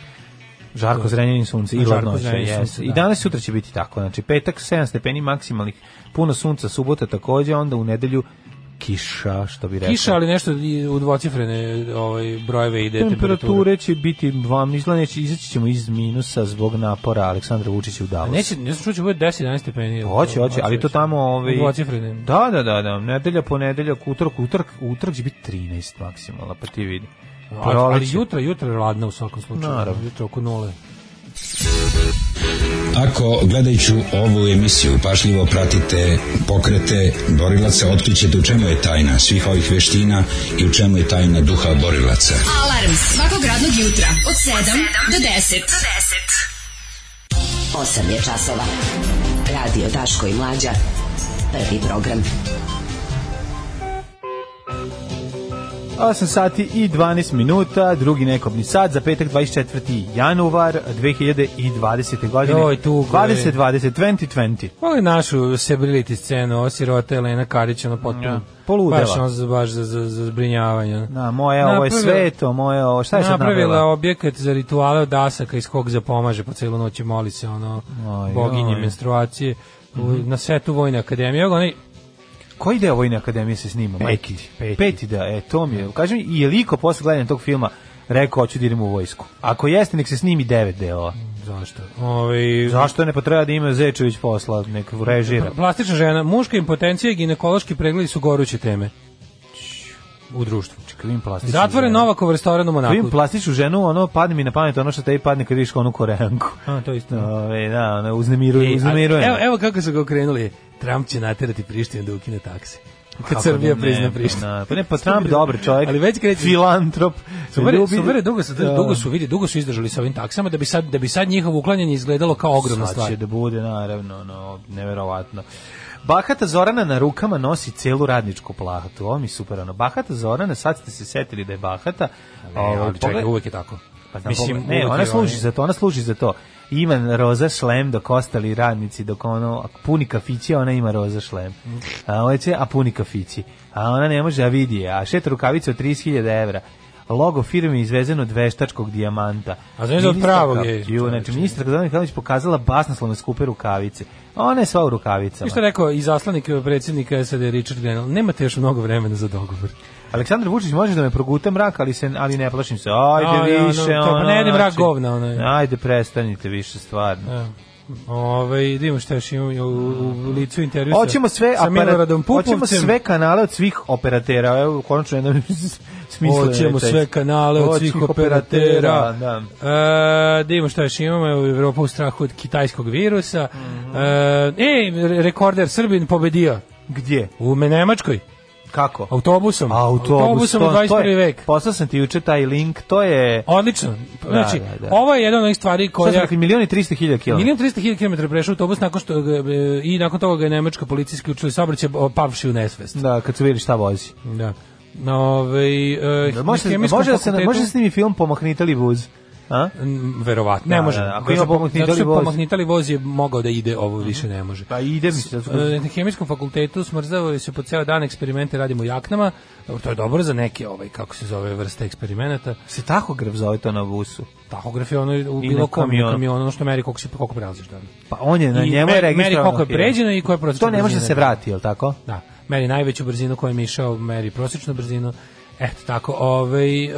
S5: Žarko zrenjanin sunce i
S6: Žarko
S5: hladnoće.
S6: Zrenjanin
S5: jeste.
S6: sunce,
S5: I
S6: da.
S5: danas i sutra će biti tako. Znači petak 7 stepeni maksimalnih, puno sunca, subota takođe, onda u nedelju kiša, što bi rekao.
S6: Kiša, ali nešto i u dvocifrene ovaj brojeve ide temperature.
S5: Temperature će biti vam izgleda će izaći ćemo iz minusa zbog napora Aleksandra Vučića u
S6: A
S5: Davosu.
S6: Neće, ne znam što će bude 10 11 stepeni.
S5: Hoće, hoće, ali to tamo ovaj
S6: dvocifrene.
S5: Da, da, da, da. Nedelja, ponedeljak, utorak, utorak, utorak će biti 13 maksimalno, pa ti vidi.
S6: Ali, ali
S5: Proleće.
S6: jutro, jutro je ladno u svakom slučaju.
S5: Naravno.
S6: Jutro oko nule.
S1: Ako gledajuću ovu emisiju pašljivo pratite pokrete borilaca, otkrićete u čemu je tajna svih ovih veština i u čemu je tajna duha borilaca.
S4: Alarm svakog radnog jutra od 7 do 10.
S7: 8 je časova. Radio Daško i Mlađa. Prvi program.
S5: 8 sati i 12 minuta, drugi nekobni sat za petak 24. januar 2020. godine.
S6: Joj, tugo je.
S5: 2020, 20, 20.
S6: Voli našu sebrilitis scenu, osirota Elena Karić, ono potpuno.
S5: Ja. Poludela.
S6: Baš, ono, za- baš za, za, za zbrinjavanje. ono.
S5: Na, moje ovo je
S6: Napravila-
S5: sveto, moje ovo, šta je sad
S6: napravila
S5: napravila?
S6: objekat za rituale od Asaka iz kog zapomaže po celu noć i moli se ono
S5: Aj,
S6: boginje
S5: aj.
S6: menstruacije u-
S5: Mhm.
S6: na setu Vojne akademije. Evo ga onaj
S5: Koji deo Vojne akademije se snima? majke ti?
S6: peti.
S5: Peti da, e, to mi je. Kažem, i je liko posle gledanja tog filma rekao, hoću da idem u vojsku. Ako jeste, nek se snimi devet delova.
S6: zašto? Ovaj
S5: Zašto ne potreba da ima Zečević posla, nek režira.
S6: Plastična žena, muška impotencija i ginekološki pregledi su goruće teme u društvu.
S5: Kvim plastičnu
S6: Zatvore
S5: ženu.
S6: Novakov restoran u Monaku.
S5: Kvim plastičnu ženu, ono, padne mi na pamet ono što tebi padne kad vidiš onu koreanku.
S6: A, to je isto.
S5: <laughs> Ove, da, ono, uznemiruje, uznemiruje.
S6: E, Evo, evo kako su ga okrenuli. Trump će naterati Prištinu da ukine takse. Kad
S5: Kako
S6: Srbija
S5: da ne,
S6: prizna
S5: pa
S6: Prištinu.
S5: na- Pa ne, pa Trump dobar čovjek.
S6: Ali već kreće-
S5: Filantrop.
S6: Super,
S5: Ljubi-
S6: super, dugo su,
S5: Da.
S6: dugo su vidi, dugo su izdržali sa ovim taksama da bi sad da bi sad njihovo uklanjanje izgledalo kao ogromna
S5: Sad
S6: stvar.
S5: će da bude, naravno, no, neverovatno. Bahata Zorana na rukama nosi celu radničku plahatu. Ovo mi je super, ono. Bahata Zorana, sad ste se setili da je bahata. ovaj,
S6: Ali,
S5: Ovo,
S6: ali čekaj,
S5: pogled-
S6: uvek je tako.
S5: Pa znam,
S6: Mislim,
S5: Mislim, ne,
S6: uvek
S5: ona
S6: je
S5: služi
S6: ovaj-
S5: za to, ona služi za to. Ima roza šlem dok ostali radnici, dok ono puni kafići, ona ima roza šlem. A ona će, a puni kafići. A ona ne može, a vidi je. A šet rukavica od 30.000 evra. Logo firme izvezen od veštačkog dijamanta.
S6: A znaš da od
S5: Ministarka-
S6: pravog je,
S5: Ju, znači,
S6: čoveče.
S5: ministar Gordana Mihajlović pokazala basnoslovne skupe rukavice. A Ona je sva u rukavicama.
S6: Što je rekao i zaslanik e, predsjednika SAD Richard Grenell, nemate još mnogo vremena za dogovor.
S5: Aleksandar Vučić može da me proguta mrak, ali se ali ne plašim se. Ajde
S6: Aj, ono,
S5: više,
S6: to,
S5: ono.
S6: pa ne jedem mrak
S5: znači,
S6: govna, ono.
S5: Ajde prestanite više stvarno.
S6: E, Ove, idemo Ovaj, šta još imam u, u licu intervju sa-
S5: Hoćemo sve
S6: sa Miloradom
S5: aparat,
S6: Pupovcem.
S5: hoćemo sve kanale od svih operatera. Evo konačno <laughs> jedan smislen
S6: Hoćemo
S5: recept.
S6: sve kanale od svih operatera.
S5: Da.
S6: E, da imamo šta još imamo, evo Evropa u strahu od kitajskog virusa. E, ej, re- rekorder Srbin pobedio
S5: Gdje?
S6: u Nemačkoj,
S5: Kako?
S6: autobusom. autobusom u
S5: to- to
S6: 21.
S5: je-
S6: vek.
S5: Poslao sam ti juče taj link, to je
S6: Odlično. Znači,
S5: da, da.
S6: ovo je jedan od onih stvari
S5: Šta ste
S6: koja...
S5: rekli, milion i 300 hiljada kila.
S6: Milion 300.000 km prešao autobus nakon što ga, e, i nakon toga ga je nemačka policija isključila saobraćaj o, pavši u nesvest.
S5: Da, kad su vidjeli šta vozi.
S6: Da. Na ovaj e,
S5: Da, može,
S6: hemijskom
S5: može, da se,
S6: fakultetu-
S5: može da se snimi film Pomahnitali vuz. A?
S6: Mm, verovatno ne
S5: Da,
S6: može.
S5: da, da. Ako
S6: Zato
S5: ima
S6: što-
S5: pomahnitali
S6: zato što
S5: voz.
S6: pomahnitali voz je mogao da ide, ovo više ne može.
S5: Pa ide mi se.
S6: E, Na hemijskom fakultetu smrzavaju se po ceo dan eksperimente radimo u jaknama. Dobro, to je dobro za neke ovaj kako se zove vrste eksperimenata.
S5: Se tahograf zove to na busu.
S6: Tahograf je ono u
S5: I
S6: bilo
S5: na
S6: kom
S5: kamionu.
S6: kamionu, ono što meri koliko se koliko prelaziš dan.
S5: Pa on je na
S6: I
S5: njemu
S6: meri-
S5: je
S6: meri
S5: registrovano.
S6: koliko je pređeno i koja je prosječna
S5: To ne može da
S6: brzina.
S5: se vrati, je li tako?
S6: Da, meri najveću brzinu kojom je išao, meri prosječnu brzinu. Eto, tako, ovaj, e,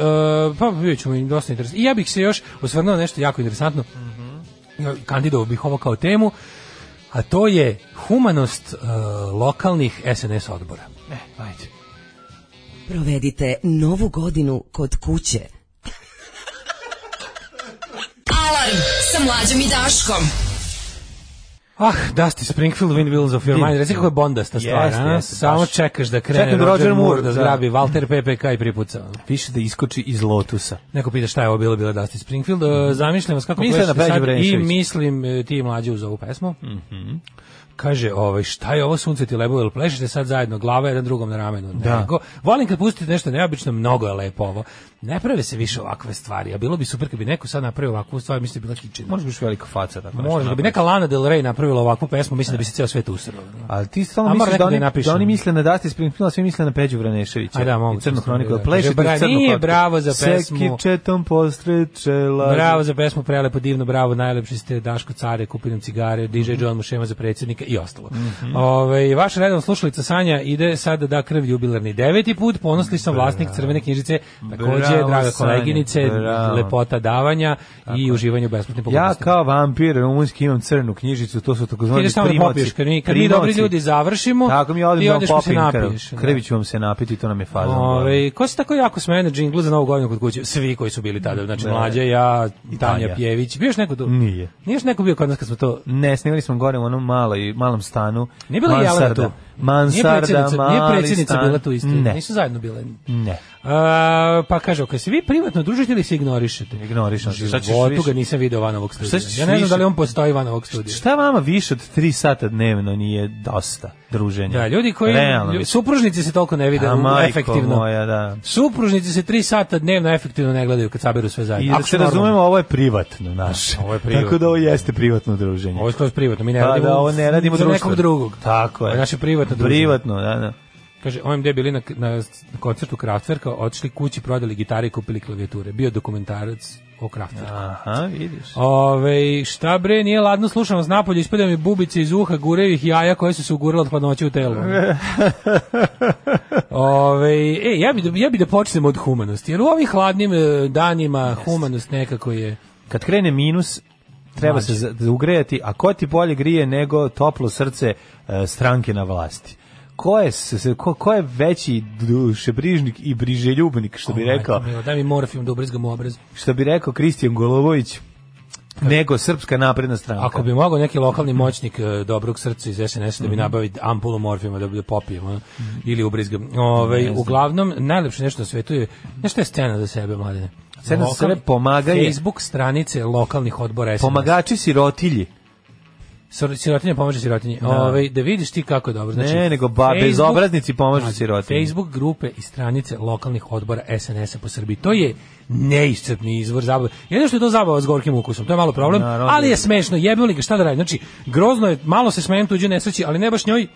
S6: pa vidjet ćemo im dosta interesantno. I ja
S5: Mhm.
S6: bih se još osvrnuo na nešto jako interesantno. Mm Kandidovao bih ovo kao temu, a to je humanost uh, lokalnih SNS odbora.
S5: E, ajde.
S7: Provedite novu godinu kod kuće.
S4: Alarm sa mlađom i Daškom.
S6: Ah, Dusty Springfield, Wind Wheels of Your Mind. Reci kako je bondasta stvar,
S5: Jeste,
S6: a?
S5: jeste,
S6: Samo
S5: baš.
S6: čekaš da krene
S5: Čekam da
S6: Roger,
S5: Roger
S6: Moore,
S5: Moore,
S6: da
S5: da.
S6: zgrabi Walter PPK i pripuca. ono.
S5: Piše da iskoči iz Lotusa.
S6: Neko pita šta je ovo bilo, bilo je Dusty Springfield. E, Zamišljam vas kako
S5: Misle
S6: plešete
S5: Mhm. na Peđu
S6: sad i
S5: Breniševića.
S6: mislim e, ti mlađe uz ovu pesmu.
S5: Mhm.
S6: Kaže, ovaj, šta je ovo sunce ti lebo, jel plešete sad zajedno, glava jedan drugom na ramenu.
S5: Da.
S6: Nego, volim kad pustite nešto neobično, mnogo je lepo ovo. Ne prave se više ovakve stvari, a bilo bi super kad bi neko sad napravio ovakvu stvar, mislim da bi bila kičina.
S5: Možeš biti velika faca tako nešto.
S6: Može, da bi
S5: napraviš.
S6: neka Lana Del Rey napravila ovakvu pesmu, mislim da bi se ceo svet usrao.
S5: Ali ti
S6: A
S5: stalno
S6: mora
S5: misliš
S6: neko
S5: da
S6: da
S5: oni,
S6: je napiše.
S5: da oni misle na Dusty Springfield, a svi misle na Peđu Vraneševića.
S6: A da, moguće,
S5: I crnu hroniku.
S6: da.
S5: Da. Pleše
S6: Kaže,
S5: ti
S6: bra-
S5: crnu
S6: nije
S5: hroniku.
S6: bravo za pesmu.
S5: Sekičetom postrećela.
S6: Bravo za pesmu, prelepo, divno, bravo, najlepši ste Daško Care, kupi nam cigare, DJ
S5: Mhm.
S6: John Mušema za predsjednika i ostalo. Ovaj, vaša redom slušalica Sanja ide sada da krv jubilarni deveti put, ponosli sam vlasnik crvene knjižice, takođe,
S5: Bravo,
S6: draga
S5: Sanja,
S6: koleginice,
S5: bravo.
S6: lepota davanja i uživanje u besplatnim
S5: Ja
S6: pogodnostima.
S5: kao vampir rumunski imam crnu knjižicu, to su
S6: Ti
S5: takozvani
S6: ideš tamo da
S5: primoci.
S6: popiješ, kad mi, kad mi dobri
S5: Primoci.
S6: ljudi završimo,
S5: Tako mi
S6: ti
S5: odim da vam
S6: odeš pa se
S5: popim krv.
S6: napiješ. da.
S5: Krvi ću vam se napiti, to nam je faza.
S6: Ove, ko se tako jako smeje na džinglu za novu godinu kod kuće? Svi koji su bili tada, znači mlađe, ja, Tanja
S5: Tanja.
S6: Pjević. Bio još neko tu?
S5: Nije.
S6: Nije još neko bio kod nas kad smo to...
S5: Ne, snimali smo gore u onom maloj, malom stanu.
S6: Nije bila Jelena
S5: Mansarda.
S6: tu? nije
S5: Mansarda,
S6: predsjednica,
S5: mali
S6: nije predsjednica
S5: stan.
S6: bila tu isto.
S5: Ne,
S6: Nisu zajedno bile.
S5: ne.
S6: A, pa kaže, ako se vi privatno družite ili se ignorišete?
S5: Ignorišem
S6: Znači,
S5: se. Šta ćeš
S6: Životu
S5: više?
S6: ga nisam video van ovog studija.
S5: ćeš
S6: Ja ne znam
S5: više?
S6: da li on postoji van ovog studija.
S5: Šta vama više od 3 sata dnevno nije dosta druženja?
S6: Da, ljudi koji...
S5: Realno.
S6: lju-
S5: mislim.
S6: supružnici se toliko ne vide
S5: A,
S6: u-
S5: majko
S6: efektivno.
S5: moja, da.
S6: Supružnici se tri sata dnevno efektivno ne gledaju kad saberu sve zajedno.
S5: I da
S6: Ako
S5: se
S6: su normalni.
S5: razumemo, ovo je privatno naše.
S6: Ovo je privatno.
S5: Tako da ovo jeste privatno druženje.
S6: Ovo je skroz privatno, mi ne
S5: Pa
S6: radimo,
S5: da, ovo ne radimo
S6: za
S5: društveno.
S6: nekog drugog.
S5: Tako je.
S6: Ovo je naše privatno druženje.
S5: Privatno, da, da.
S6: Kaže, OMD bili na, na koncertu Kraftwerka, odšli kući, prodali gitare i kupili klavijature. Bio dokumentarac o Kraftwerku.
S5: Aha, vidiš.
S6: Ove, šta bre, nije ladno, slušam vas napolje, ispadaju mi bubice iz uha, gurevih jaja koje su se ugurale od hladnoće u
S5: <laughs>
S6: telu. Ove, e, ja bi, da- ja bi da počnem od humanosti, jer u ovim hladnim e, danima humanost nekako je...
S5: Kad krene minus, treba
S6: Mlađe.
S5: se za- za ugrejati, a ko ti bolje grije nego toplo srce e, stranke na vlasti? Ko je, s- s- ko, ko je veći dušebrižnik i briželjubnik, što
S6: Oh
S5: bi rekao,
S6: Majko mila, ovaj, Daj mi morfijum da ubrizgam u obraz.
S5: što bi rekao Kristijan Golovović, nego Srpska napredna stranka.
S6: Ako bi mogao neki lokalni moćnik e, dobrog srca iz SNS
S5: Mhm.
S6: da mi nabavi ampulu morfijuma da bi da popijem ono, ili ubrizgam. Ovaj uglavnom najlepše nešto na svetu je nešto je scena za sebe mladine.
S5: Scena za
S6: Lokal-
S5: sebe pomagaje-
S6: Facebook stranice lokalnih odbora SNS.
S5: Pomagači sirotilji.
S6: Sir- Sirotinja pomaže sirotinji. Da. Ovaj da vidiš ti kako je dobro. Znači,
S5: Ne, nego ba- bezobraznici pomažu
S6: Znači,
S5: sirotinji.
S6: Facebook grupe i stranice lokalnih odbora SNS-a po Srbiji. To je neiscrpni izvor zabave. Jedno što je to zabava s gorkim ukusom, to je malo problem,
S5: Naravno.
S6: ali je smešno, jebio li ga, šta da radi? Znači, grozno je, malo se smejem tuđe nesreći, ali ne baš njoj,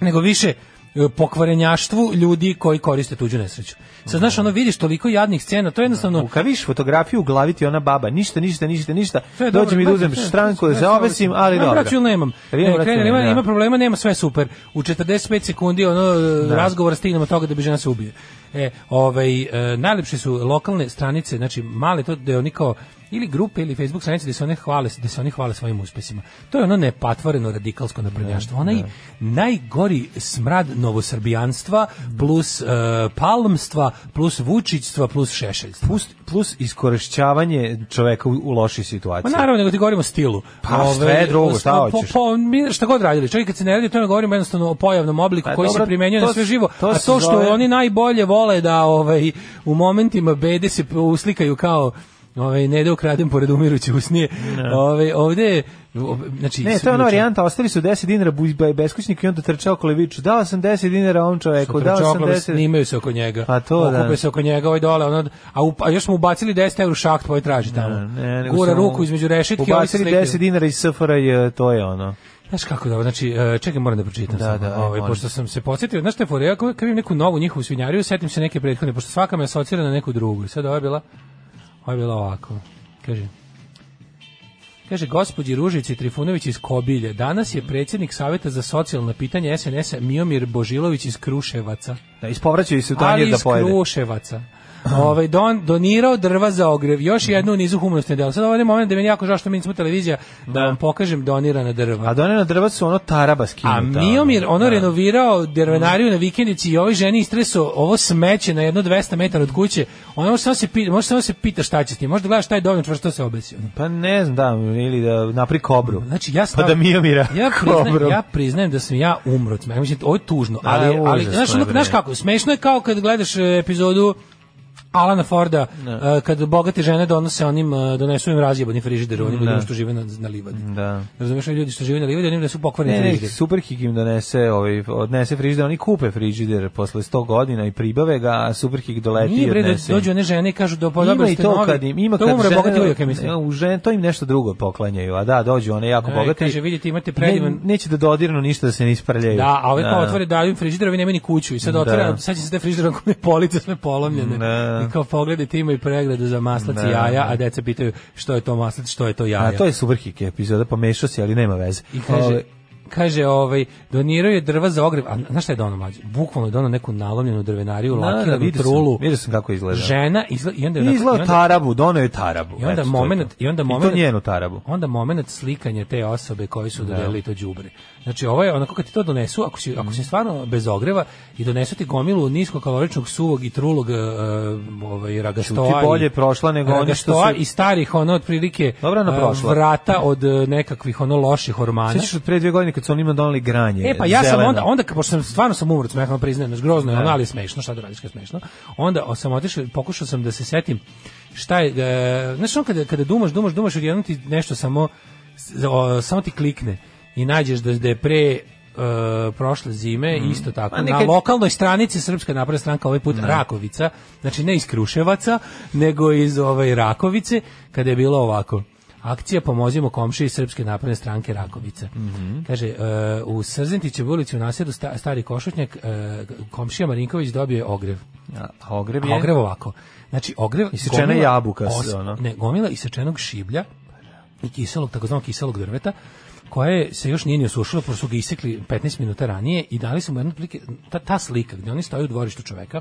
S6: nego više e, pokvarenjaštvu ljudi koji koriste tuđu nesreću. Sad, znaš, ono, vidiš toliko jadnih scena, to je jednostavno...
S5: Kad vidiš fotografiju u glavi ti je ona baba, ništa, ništa, ništa, ništa.
S6: Sve je
S5: Dođem
S6: E, dobro,
S5: i da uzmem
S6: sve, sve,
S5: štranku da
S6: sve,
S5: se
S6: sve,
S5: obesim, ali
S6: Imam
S5: dobro.
S6: račun nemam.
S5: Da vidimo
S6: Ne,
S5: račun,
S6: krene, E, nema,
S5: da.
S6: ima problema, nema, sve je super. U 45 sekundi ono razgovor stignemo od toga da bi žena se ubije. E, ovaj e, najlepše su lokalne stranice, znači male to da je oni kao ili grupe ili Facebook stranice gde se one hvale, gde se oni hvale svojim uspesima. To je ono nepatvoreno radikalsko naprednjaštvo. Onaj najgori smrad novosrbijanstva plus e, palmstva plus vučićstva plus šešeljstva.
S5: plus, plus iskorišćavanje čoveka u, u lošoj situaciji.
S6: Ma Pa naravno, nego ti govorimo o stilu.
S5: Pa,
S6: Ove,
S5: sve drugo, šta
S6: po-
S5: hoćeš?
S6: po- mi šta god radili. Čovjek kad se ne radi, o tome govorimo jednostavno o pojavnom obliku
S5: Pa,
S6: koji se
S5: dobro,
S6: primenjuje
S5: to
S6: na sve
S5: s-
S6: živo.
S5: to
S6: a
S5: se
S6: to što
S5: zove-
S6: oni najbolje vole da ovaj, u momentima bede se uslikaju kao Ovaj ne da ukradem pored umiruće usnije. Ovaj ovde je, o- znači
S5: Ne, to je ona varijanta, ostavili su 10 dinara buj- ba- beskućniku i onda trčao Koleviću. Dao sam 10 dinara ovom čoveku,
S6: Sutra
S5: dao sam
S6: čokoladom
S5: 10...
S6: snimaju se oko njega.
S5: Pa to, da.
S6: Okupe se oko njega, ovaj dole, ono, a, up, a još mu ubacili 10 evra u šaht, ovaj traži tamo.
S5: Ne, nego
S6: Gura
S5: su mu
S6: ruku između rešetke, ovaj se
S5: Ubacili
S6: slikaju.
S5: 10 dinara iz SFRA i to je ono.
S6: Znaš kako dobro, znači, e, čekaj, moram da pročitam
S5: Da,
S6: samo,
S5: da, ajde,
S6: ovaj,
S5: molim.
S6: pošto sam se podsjetio, znaš šta je fora, ja kad vidim neku novu njihovu svinjariju, setim se neke prethodne, pošto svaka me asocira na neku drugu, i sad ova je bila, ova je bila ovako, kaže, Kaže, gospođi Ružici Trifunović iz Kobilje, danas je predsjednik Saveta za socijalna pitanja SNS-a Miomir Božilović iz Kruševaca.
S5: Da, ispovraćaju se u
S6: Ali
S5: tanjer da
S6: iz
S5: pojede.
S6: Kruševaca. ovaj, don, donirao drva za ogrev, još jednu u nizu humanosti dela. Sad ovaj moment da mi je jako žao što mi nismo televizija, da, vam pokažem donirana drva.
S5: A donena drva su ono taraba skinuta.
S6: A Miomir, ono renovirao
S5: Mhm.
S6: dervenariju na vikendici i ovoj ženi istreso ovo smeće na jedno 200 metara od kuće. Ona može samo se pita, može samo se pita šta će s tim. Možda gledaš taj dovoljno čvrsto se obesio.
S5: Pa ne znam, da, ili da napri kobru.
S6: Znači ja
S5: Pa
S6: stav,
S5: da Miomira
S6: ja
S5: kobrom.
S6: priznajem, ja priznajem da sam ja umro od smeha. Mislim, ovo je tužno, ali,
S5: je
S6: ali
S5: užasno
S6: znaš,
S5: je,
S6: ono-
S5: bre.
S6: znaš kako, smešno je kao kad gledaš e, epizodu Alana Forda, e, kad bogate žene donose onim, e, donesu im razjebani frižider, onim ljudima što žive na, na livadi.
S5: Da.
S6: Razumeš, oni ljudi što žive na livadi, onim da su pokvarni
S5: Ne, ne,
S6: frižider.
S5: Superhik im donese, ovaj, odnese frižider, oni kupe frižider posle 100 godina i pribave ga, a Superhik doleti
S6: Nije
S5: i
S6: bre da
S5: odnese. im.
S6: dođu one žene i kažu da
S5: Ima
S6: podobali
S5: i
S6: Pa ste
S5: to
S6: novi.
S5: kad im, ima
S6: to
S5: kad
S6: umre
S5: žene-
S6: bogati uvijek, ja mislim.
S5: u žene, to im nešto drugo poklanjaju, a da, dođu one jako
S6: E,
S5: bogate.
S6: kaže, vidite, imate
S5: Ne-
S6: predivan-
S5: neće da dodirnu ništa da se ne isprljaju.
S6: Da, a ove kao
S5: Da.
S6: otvore da im frižider, ovi nemaju ni kuću i sad otvara,
S5: Da.
S6: sad će se da frižider ako mi police sve polomljene.
S5: Da.
S6: I kao pogledajte imaju pregradu za maslac i jaja, a deca pitaju što je to maslac, što je to jaja.
S5: A to je Superhik epizoda, pomešao se, ali nema veze.
S6: I kaže,
S5: Ovaj,
S6: kaže ovaj donirao je drva za ogrev a znaš šta je dono mlađe bukvalno je dono neku nalomljenu drvenariju
S5: Da,
S6: lakiranu
S5: da, vidio sam,
S6: trulu
S5: vidio sam kako izgleda.
S6: žena izla, i onda je
S5: I
S6: onako- i
S5: izlao
S6: onda-
S5: tarabu, doneo je tarabu.
S6: I onda
S5: Eto, to je
S6: momenat-
S5: to.
S6: i onda
S5: I
S6: momenat-
S5: to njenu tarabu.
S6: onda moment slikanja te osobe koji su dodelili to đubre. Znači ovo je onako kad ti to donesu, ako
S5: Mm.
S6: si ako si stvarno bez ogreva i donesu ti gomilu niskokaloričnog suvog i trulog e, ovaj ragastoa.
S5: Čuti,
S6: i-
S5: bolje prošla nego oni što
S6: ragastoa
S5: su-
S6: i starih ono otprilike
S5: Dobro, ona
S6: e,
S5: prošla.
S6: vrata od e, nekakvih ono loših hormona.
S5: Sećaš od pre dve godine kad su onima doneli granje.
S6: E pa ja sam
S5: zeleno?
S6: onda onda kad pošto sam stvarno sam umro od smeha, ono priznajem, znaš, grozno je, ono, ali je smešno, šta da radiš kad je smešno. Onda o, sam otišao, pokušao sam da se setim šta je, e, znaš ono kada kada dumaš, dumaš, dumaš, odjednom ti nešto samo s- o, samo ti klikne i nađeš da da je pre e, prošle zime isto tako
S5: Ma
S6: na
S5: nekad-
S6: lokalnoj stranici Srpska napredna stranka ovaj put Rakovica znači ne iz Kruševaca nego iz ove Rakovice kada je bilo ovako Akcija Pomozimo komšiji Srpske napredne stranke Rakovica. Kaže, e, u Srzentićevu ulici u naselju sta- Stari Košutnjak e, komšija Marinković dobio je ogrev.
S5: A, a ogrev
S6: A
S5: je...
S6: ogrev ovako. Znači, ogrev...
S5: Isečena
S6: gomila
S5: jabuka,
S6: os-
S5: sve ono.
S6: Ne, gomila isečenog šiblja i kiselog, takozvanog kiselog drveta, koje se još nije ni osušilo, pošto su ga isekli 15 minuta ranije i dali su mu jednu prilike, ta, ta slika gdje oni stoje u dvorištu čoveka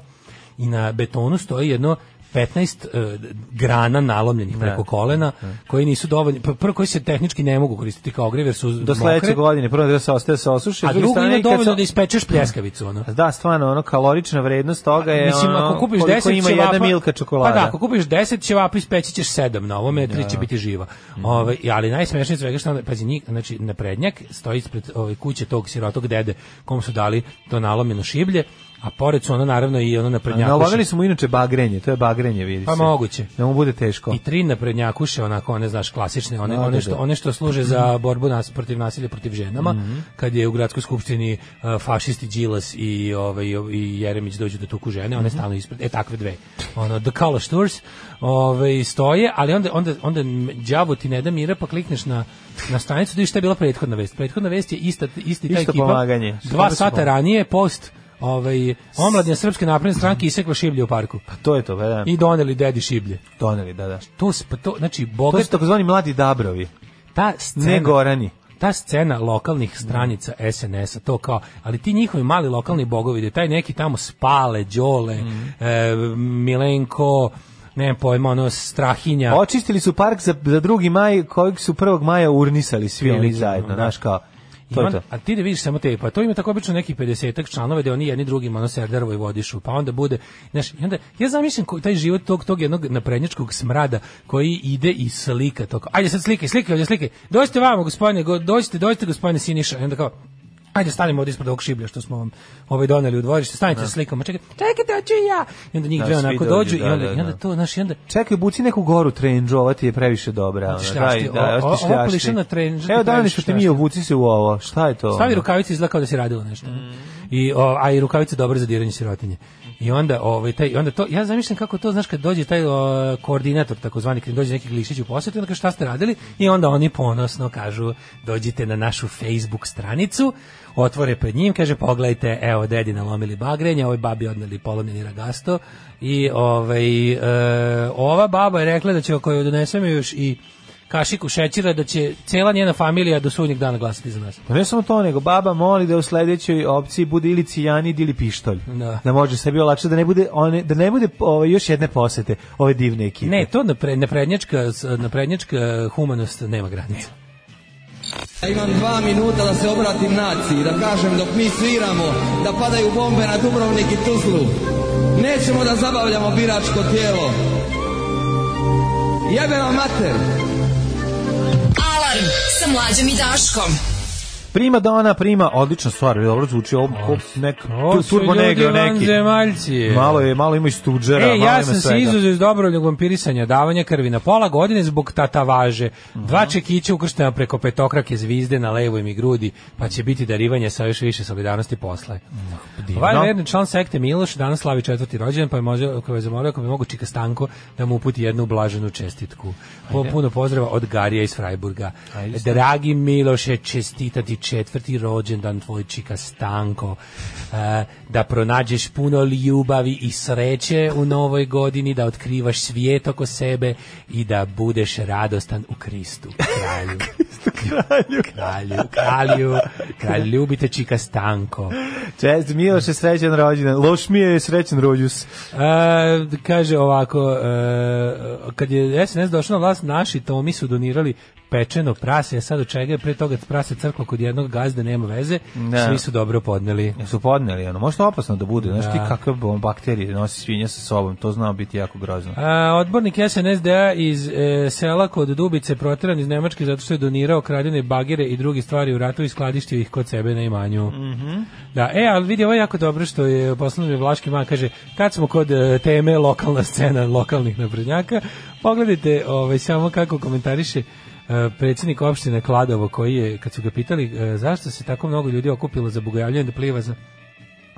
S6: i na betonu stoji jedno 15 e, grana nalomljenih preko kolena koji nisu dovoljni pr- prvo koji se tehnički ne mogu koristiti kao ogrev jer su
S5: Do sledeće godine, prvo da se ostaje se osuši.
S6: a
S5: s druge
S6: drugo
S5: strane,
S6: ima
S5: i kad
S6: dovoljno
S5: se-
S6: da ispečeš pljeskavicu ono
S5: Da, stvarno, ono, kalorična vrednost toga je
S6: Mislim,
S5: ono,
S6: ako kupiš
S5: koliko
S6: 10
S5: ima
S6: ćevapa,
S5: jedna milka čokolada.
S6: Pa da, ako kupiš 10 ćevapa, ispeći ćeš 7 na ovome, 3 će biti živa.
S5: Mhm.
S6: Ovaj, ali najsmešnije od svega što onda, pazi, njih, znači, naprednjak stoji ispred ove kuće tog sirotog dede kom su dali to nalomljeno šiblje, a pored su ono naravno i ono naprednjakuše.
S5: Nalovili smo inače bagrenje, to je bagrenje, vidi
S6: Pa
S5: se.
S6: moguće.
S5: Da mu bude teško.
S6: I tri naprednjakuše, onako, one, znaš, klasične, one,
S5: Pa. Da, da,
S6: one, što,
S5: da.
S6: one što služe za borbu nas, protiv nasilja protiv ženama,
S5: Mhm.
S6: kad je u gradskoj skupštini uh, fašisti Đilas i, ovaj, i Jeremić dođu da tuku žene,
S5: Mhm.
S6: one stalno ispred, e, takve dve. Ono, the color stores ovaj, stoje, ali onda, onda, onda đavo ti ne da mira, pa klikneš na, na stranicu, da vidiš šta je bila prethodna vest. Prethodna vest je ista, isti taj
S5: Isto
S6: ekipa.
S5: pomaganje.
S6: Dva
S5: Dobro se
S6: sata
S5: pomaže.
S6: ranije, post ovaj, omladne srpske napredne stranke isekla šiblje u parku.
S5: To je to, pa da.
S6: I doneli dedi šiblje.
S5: doneli, da, da.
S6: To, s- pa to znači
S5: To su
S6: bogat,
S5: takozvani mladi dabrovi,
S6: ta
S5: ne
S6: scena,
S5: gorani.
S6: ta scena lokalnih stranica SNS-a, to kao, ali ti njihovi mali lokalni bogovi, da taj neki tamo spale, đole,
S5: Mhm.
S6: e, Milenko, ne pojma, ono, Strahinja.
S5: Očistili su park za, za drugi maj, kojeg su 1. maja urnisali svi oni
S6: Prilike,
S5: zajedno,
S6: da.
S5: znaš kao.
S6: I
S5: To je
S6: on-
S5: to.
S6: A ti da vidiš samo te, pa to ima tako obično neki 50-ak članova gde oni jedni drugim ono serderovo i vodišu, pa onda bude, znaš, i onda, ja zamišljam ko- taj život tog, tog jednog naprednjačkog smrada koji ide i slika to, kao, ajde sad slike, slike, ovdje slike, dođite vamo gospodine, go, dođite, dođite gospodine Siniša, i onda kao, Ajde stanemo ovdje ispred ovog šiblja što smo vam ovaj doneli u dvorište. Stanite se slikamo. Čekajte, čekajte, hoću i ja. I onda njih
S5: Da,
S6: dve
S5: svi
S6: onako
S5: dođu,
S6: dođu i
S5: da,
S6: onda,
S5: da,
S6: i onda
S5: da.
S6: to, znaš, i onda
S5: Čekaj, buci neku goru trendžu, ova ti je previše dobra. ona,
S6: Šljašti,
S5: daj, daj,
S6: o-
S5: ovo ti
S6: o- ovo
S5: šljašti.
S6: plišana trendža ti
S5: Evo daj
S6: previše
S5: nešto što mi je, obuci se u ovo. Šta je to?
S6: Stavi
S5: ono? Mm.
S6: rukavice izgleda kao da se radilo nešto. ono. I o, a i rukavice dobre za diranje sirotinje. I onda ovaj taj onda to ja zamišljam kako to znaš kad dođe taj o, koordinator takozvani kad dođe neki glišić u posetu i onda kaže šta ste radili i onda oni ponosno kažu dođite na našu Facebook stranicu otvore pred njim kaže pogledajte evo dedi nalomili bagrenja ovoj babi odneli polomljeni ragasto i ovaj e, ova baba je rekla da će ako joj donesemo još i kašiku šećera da će cela njena familija do sudnjeg dana glasati za nas.
S5: Pa ne samo to, nego baba moli da u sledećoj opciji bude ili cijanid ili pištolj.
S6: Da.
S5: da može sebi olakšati da ne bude one da ne bude ove, još jedne posete ove divne ekipe.
S6: Ne, to napre, naprednjačka, s- naprednjačka humanost nema granica.
S8: Ja imam dva minuta da se obratim naciji, da kažem dok mi sviramo, da padaju bombe na Dubrovnik i Tuzlu. Nećemo da zabavljamo biračko tijelo. Jebe vam mater!
S4: Alarm sa mlađom i Daškom.
S5: Prima Dona, prima, odlična stvar, dobro zvuči ovo, ko, nek,
S6: pa,
S5: tu, turbo negro neki. E,
S6: Zemaljci.
S5: Malo je, malo ima i stuđera,
S6: E,
S5: malo
S6: ja
S5: ima
S6: sam se
S5: svega.
S6: izuzeo iz dobrovoljnog vampirisanja, davanja krvi na pola godine zbog tatavaže.
S5: Mhm.
S6: Dva čekića ukrštena preko petokrake zvizde na levoj mi grudi, pa će biti darivanje sa još više solidarnosti posle. Ovaj verni član sekte Miloš danas slavi četvrti rođendan, pa je može, ako je zamolio, ako bi mogu Čika Stanko da mu uputi jednu blaženu čestitku. Po, puno pozdrava od Garija iz Frajburga. Dragi Miloše, čestitati četvrti rođendan tvoj Čika Stanko. E, da pronađeš puno ljubavi i sreće u novoj godini, da otkrivaš svijet oko sebe i da budeš radostan u Kristu, kralju. kralju. kralju, kralju, kralju, ljubite Čika Stanko.
S5: Čest, Miloš je srećan rođendan. Loš mi je srećan rođus.
S6: E, kaže ovako, e, kad je SNS došao na vlast, naši Tomi su donirali pečeno prase, a sad od čega je pre toga prase crklo kod jednog gazde, nema veze,
S5: Ne.
S6: svi su dobro podneli.
S5: Su podneli, ono, možda opasno da bude, znaš ti kakve bo- bakterije nosi svinja sa sobom, to znao biti jako grozno.
S6: A, odbornik SNSD-a iz e, sela kod Dubice proteran iz Nemačke zato što je donirao kradene bagire i druge stvari u ratu i skladištio ih kod sebe na imanju. Da, e, ali vidi, ovo je jako dobro što je poslao mi je Vlaški man, kaže, kad smo kod e, teme lokalna scena lokalnih naprednjaka, pogledajte ovaj, samo kako komentariše e, predsjednik opštine Kladovo koji je, kad su ga pitali e, zašto se tako mnogo ljudi okupilo za bogojavljanje da pliva za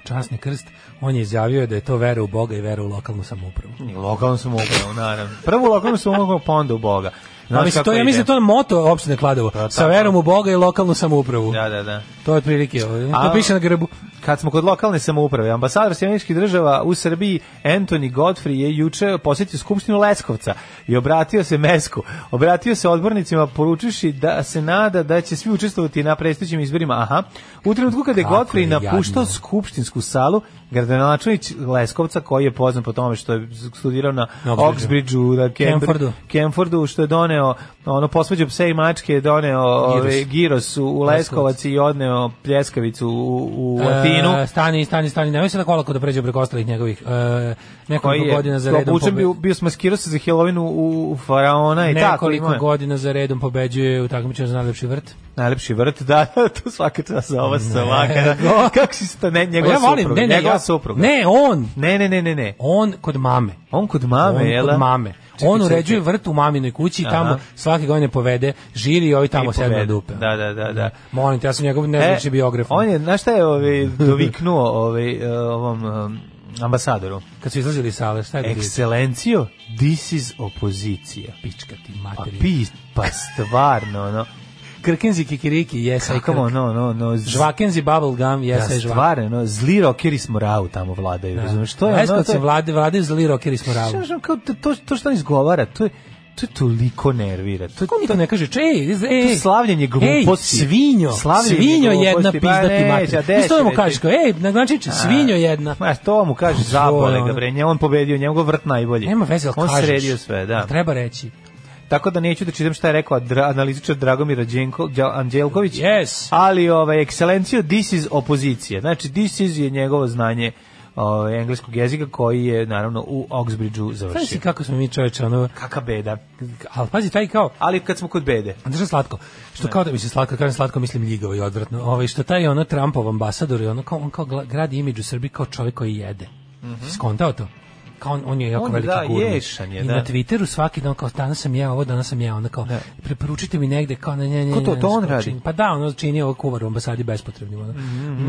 S6: časni krst, on je izjavio da je to vera u Boga i vera u lokalnu samoupravu.
S5: I Lokalno sam upravo, naravno. Prvo lokalno sam upravo, pa onda u Boga.
S6: Pa mislim, to, ja mislim, da je to moto opštine Kladovo.
S5: Pa,
S6: Sa
S5: tako.
S6: verom u Boga i lokalnu samoupravu.
S5: Da, da, da.
S6: To je otprilike, ovo. to
S5: A-
S6: piše na grbu.
S5: Kad smo kod lokalne samouprave, ambasador Sjedinjenih država u Srbiji Anthony Godfrey je juče posjetio skupštinu Leskovca i obratio se Mesku. Obratio se odbornicima poručivši da se nada da će svi učestvovati na predstojećim izborima. Aha. U trenutku kada je
S6: Kako je
S5: Godfrey napuštao
S6: jadno.
S5: skupštinsku salu, gradonačelnik Leskovca koji je poznat po tome što je studirao na
S6: Na Oxbridgeu.
S5: Oxbridgeu, da Cambridge-
S6: Camfordu.
S5: Camfordu što je doneo ono posvađao pse i mačke, je doneo ove, giros u, u Leskovac i odneo pljeskavicu u, u Latinu.
S6: E, stani, stani, stani, nemoj se tako olako da pređe preko ostalih njegovih e,
S5: koji
S6: nekoliko
S5: je
S6: godina za redom.
S5: obučen
S6: pobe-
S5: bio, bio smaskirao se za Halloween u, u faraona i E, tako
S6: Nekoliko
S5: ima.
S6: godina za redom pobeđuje u takmičenju za najlepši vrt.
S5: Najlepši vrt, da, <laughs> to svaka čast za ova salaka. da.
S6: Nego.
S5: <laughs> Kako si to, ne,
S6: Pa
S5: njegova supruga,
S6: ne, ne,
S5: njegova
S6: ja,
S5: supruga.
S6: ne, on,
S5: ne, ne, ne, ne, ne.
S6: on kod mame.
S5: On kod mame,
S6: on
S5: jel?
S6: kod mame.
S5: Čekaj,
S6: on
S5: čekaj.
S6: uređuje vrt u maminoj kući i
S5: Aha.
S6: tamo svake godine povede žiri i ovi tamo
S5: I
S6: sedme na
S5: pobedi.
S6: dupe. znači
S5: Da, da, da, da.
S6: Molim te, ja sam njegov
S5: E,
S6: nezvučni biograf.
S5: On je, znaš šta
S6: <laughs>
S5: je ovaj, doviknuo ovaj, eh, ovom em, ambasadoru?
S6: Kad su izlazili iz sale, šta je bilo?
S5: Ekscelencijo, this is opozicija.
S6: pička ti
S5: Pa
S6: materina.
S5: pi, pa stvarno, ono.
S6: Krkenzi kikiriki, yes I
S5: Kako
S6: krk.
S5: ono, no, no.
S6: Žvakenzi bubble gum, yes I
S5: Da,
S6: žvak.
S5: stvarno, no, zli rokeri smo rau tamo vladaju, razumiješ? To je ono,
S6: Leskovac
S5: to je,
S6: se vlade, vlade zli rokeri smo ravni.
S5: Znaš, ono, kao to, to, to što on izgovara, to je, to je toliko nervira. To,
S6: Kako niko ne kaže, če, ej,
S5: to
S6: ej,
S5: slavljenje gluposti.
S6: Ej, svinjo,
S5: Slavljenje
S6: svinjo jedna
S5: gluposti, pa
S6: pizda ti
S5: neće, a
S6: mater.
S5: gde
S6: Isto
S5: će
S6: mu
S5: reći?
S6: kažeš, kao, ej, naglančiće, svinjo jedna.
S5: Ma, to mu kaže, zabole
S6: ono.
S5: ga, bre, nje, on pobedio, njemu ga vrt najbolji.
S6: Nema veze, ali
S5: On
S6: kažeš.
S5: sredio sve, da.
S6: Treba reći.
S5: Tako da neću da čitam šta je rekao dra, analizičar Dragomir Anđelko, Đa- Anđelković.
S6: Yes.
S5: Ali, ovaj, ekscelencijo, this is opozicija. Znači, this is je njegovo znanje ovaj, engleskog jezika koji je, naravno, u Oxbridgeu
S6: Znaš si
S5: završio.
S6: kako smo mi čoveče, ono,
S5: Kaka beda.
S6: ali pazi, taj kao,
S5: Ali kad smo kod bede.
S6: Znaš šta je slatko? Što kao da mi se slatko, kad kažem slatko, mislim ljigavo i odvratno. Ovaj, što taj ono Trumpov ambasador, i ono kao, on kao gla- gradi imidž u Srbiji kao čovjek koji jede. Mm Skontao to? Kao on, on je jako
S5: On,
S6: veliki
S5: da,
S6: gurme.
S5: ješan je,
S6: I
S5: da.
S6: na Twitteru svaki dan kao danas sam ja ovo, danas sam ja ono kao preporučite mi negde kao ne ne ne.
S5: Ko to-
S6: ne,
S5: to
S6: ne,
S5: on
S6: kao
S5: radi?
S6: čini- Pa da, ono čini ovo kuvar u ambasadi bespotrebnim. Ono.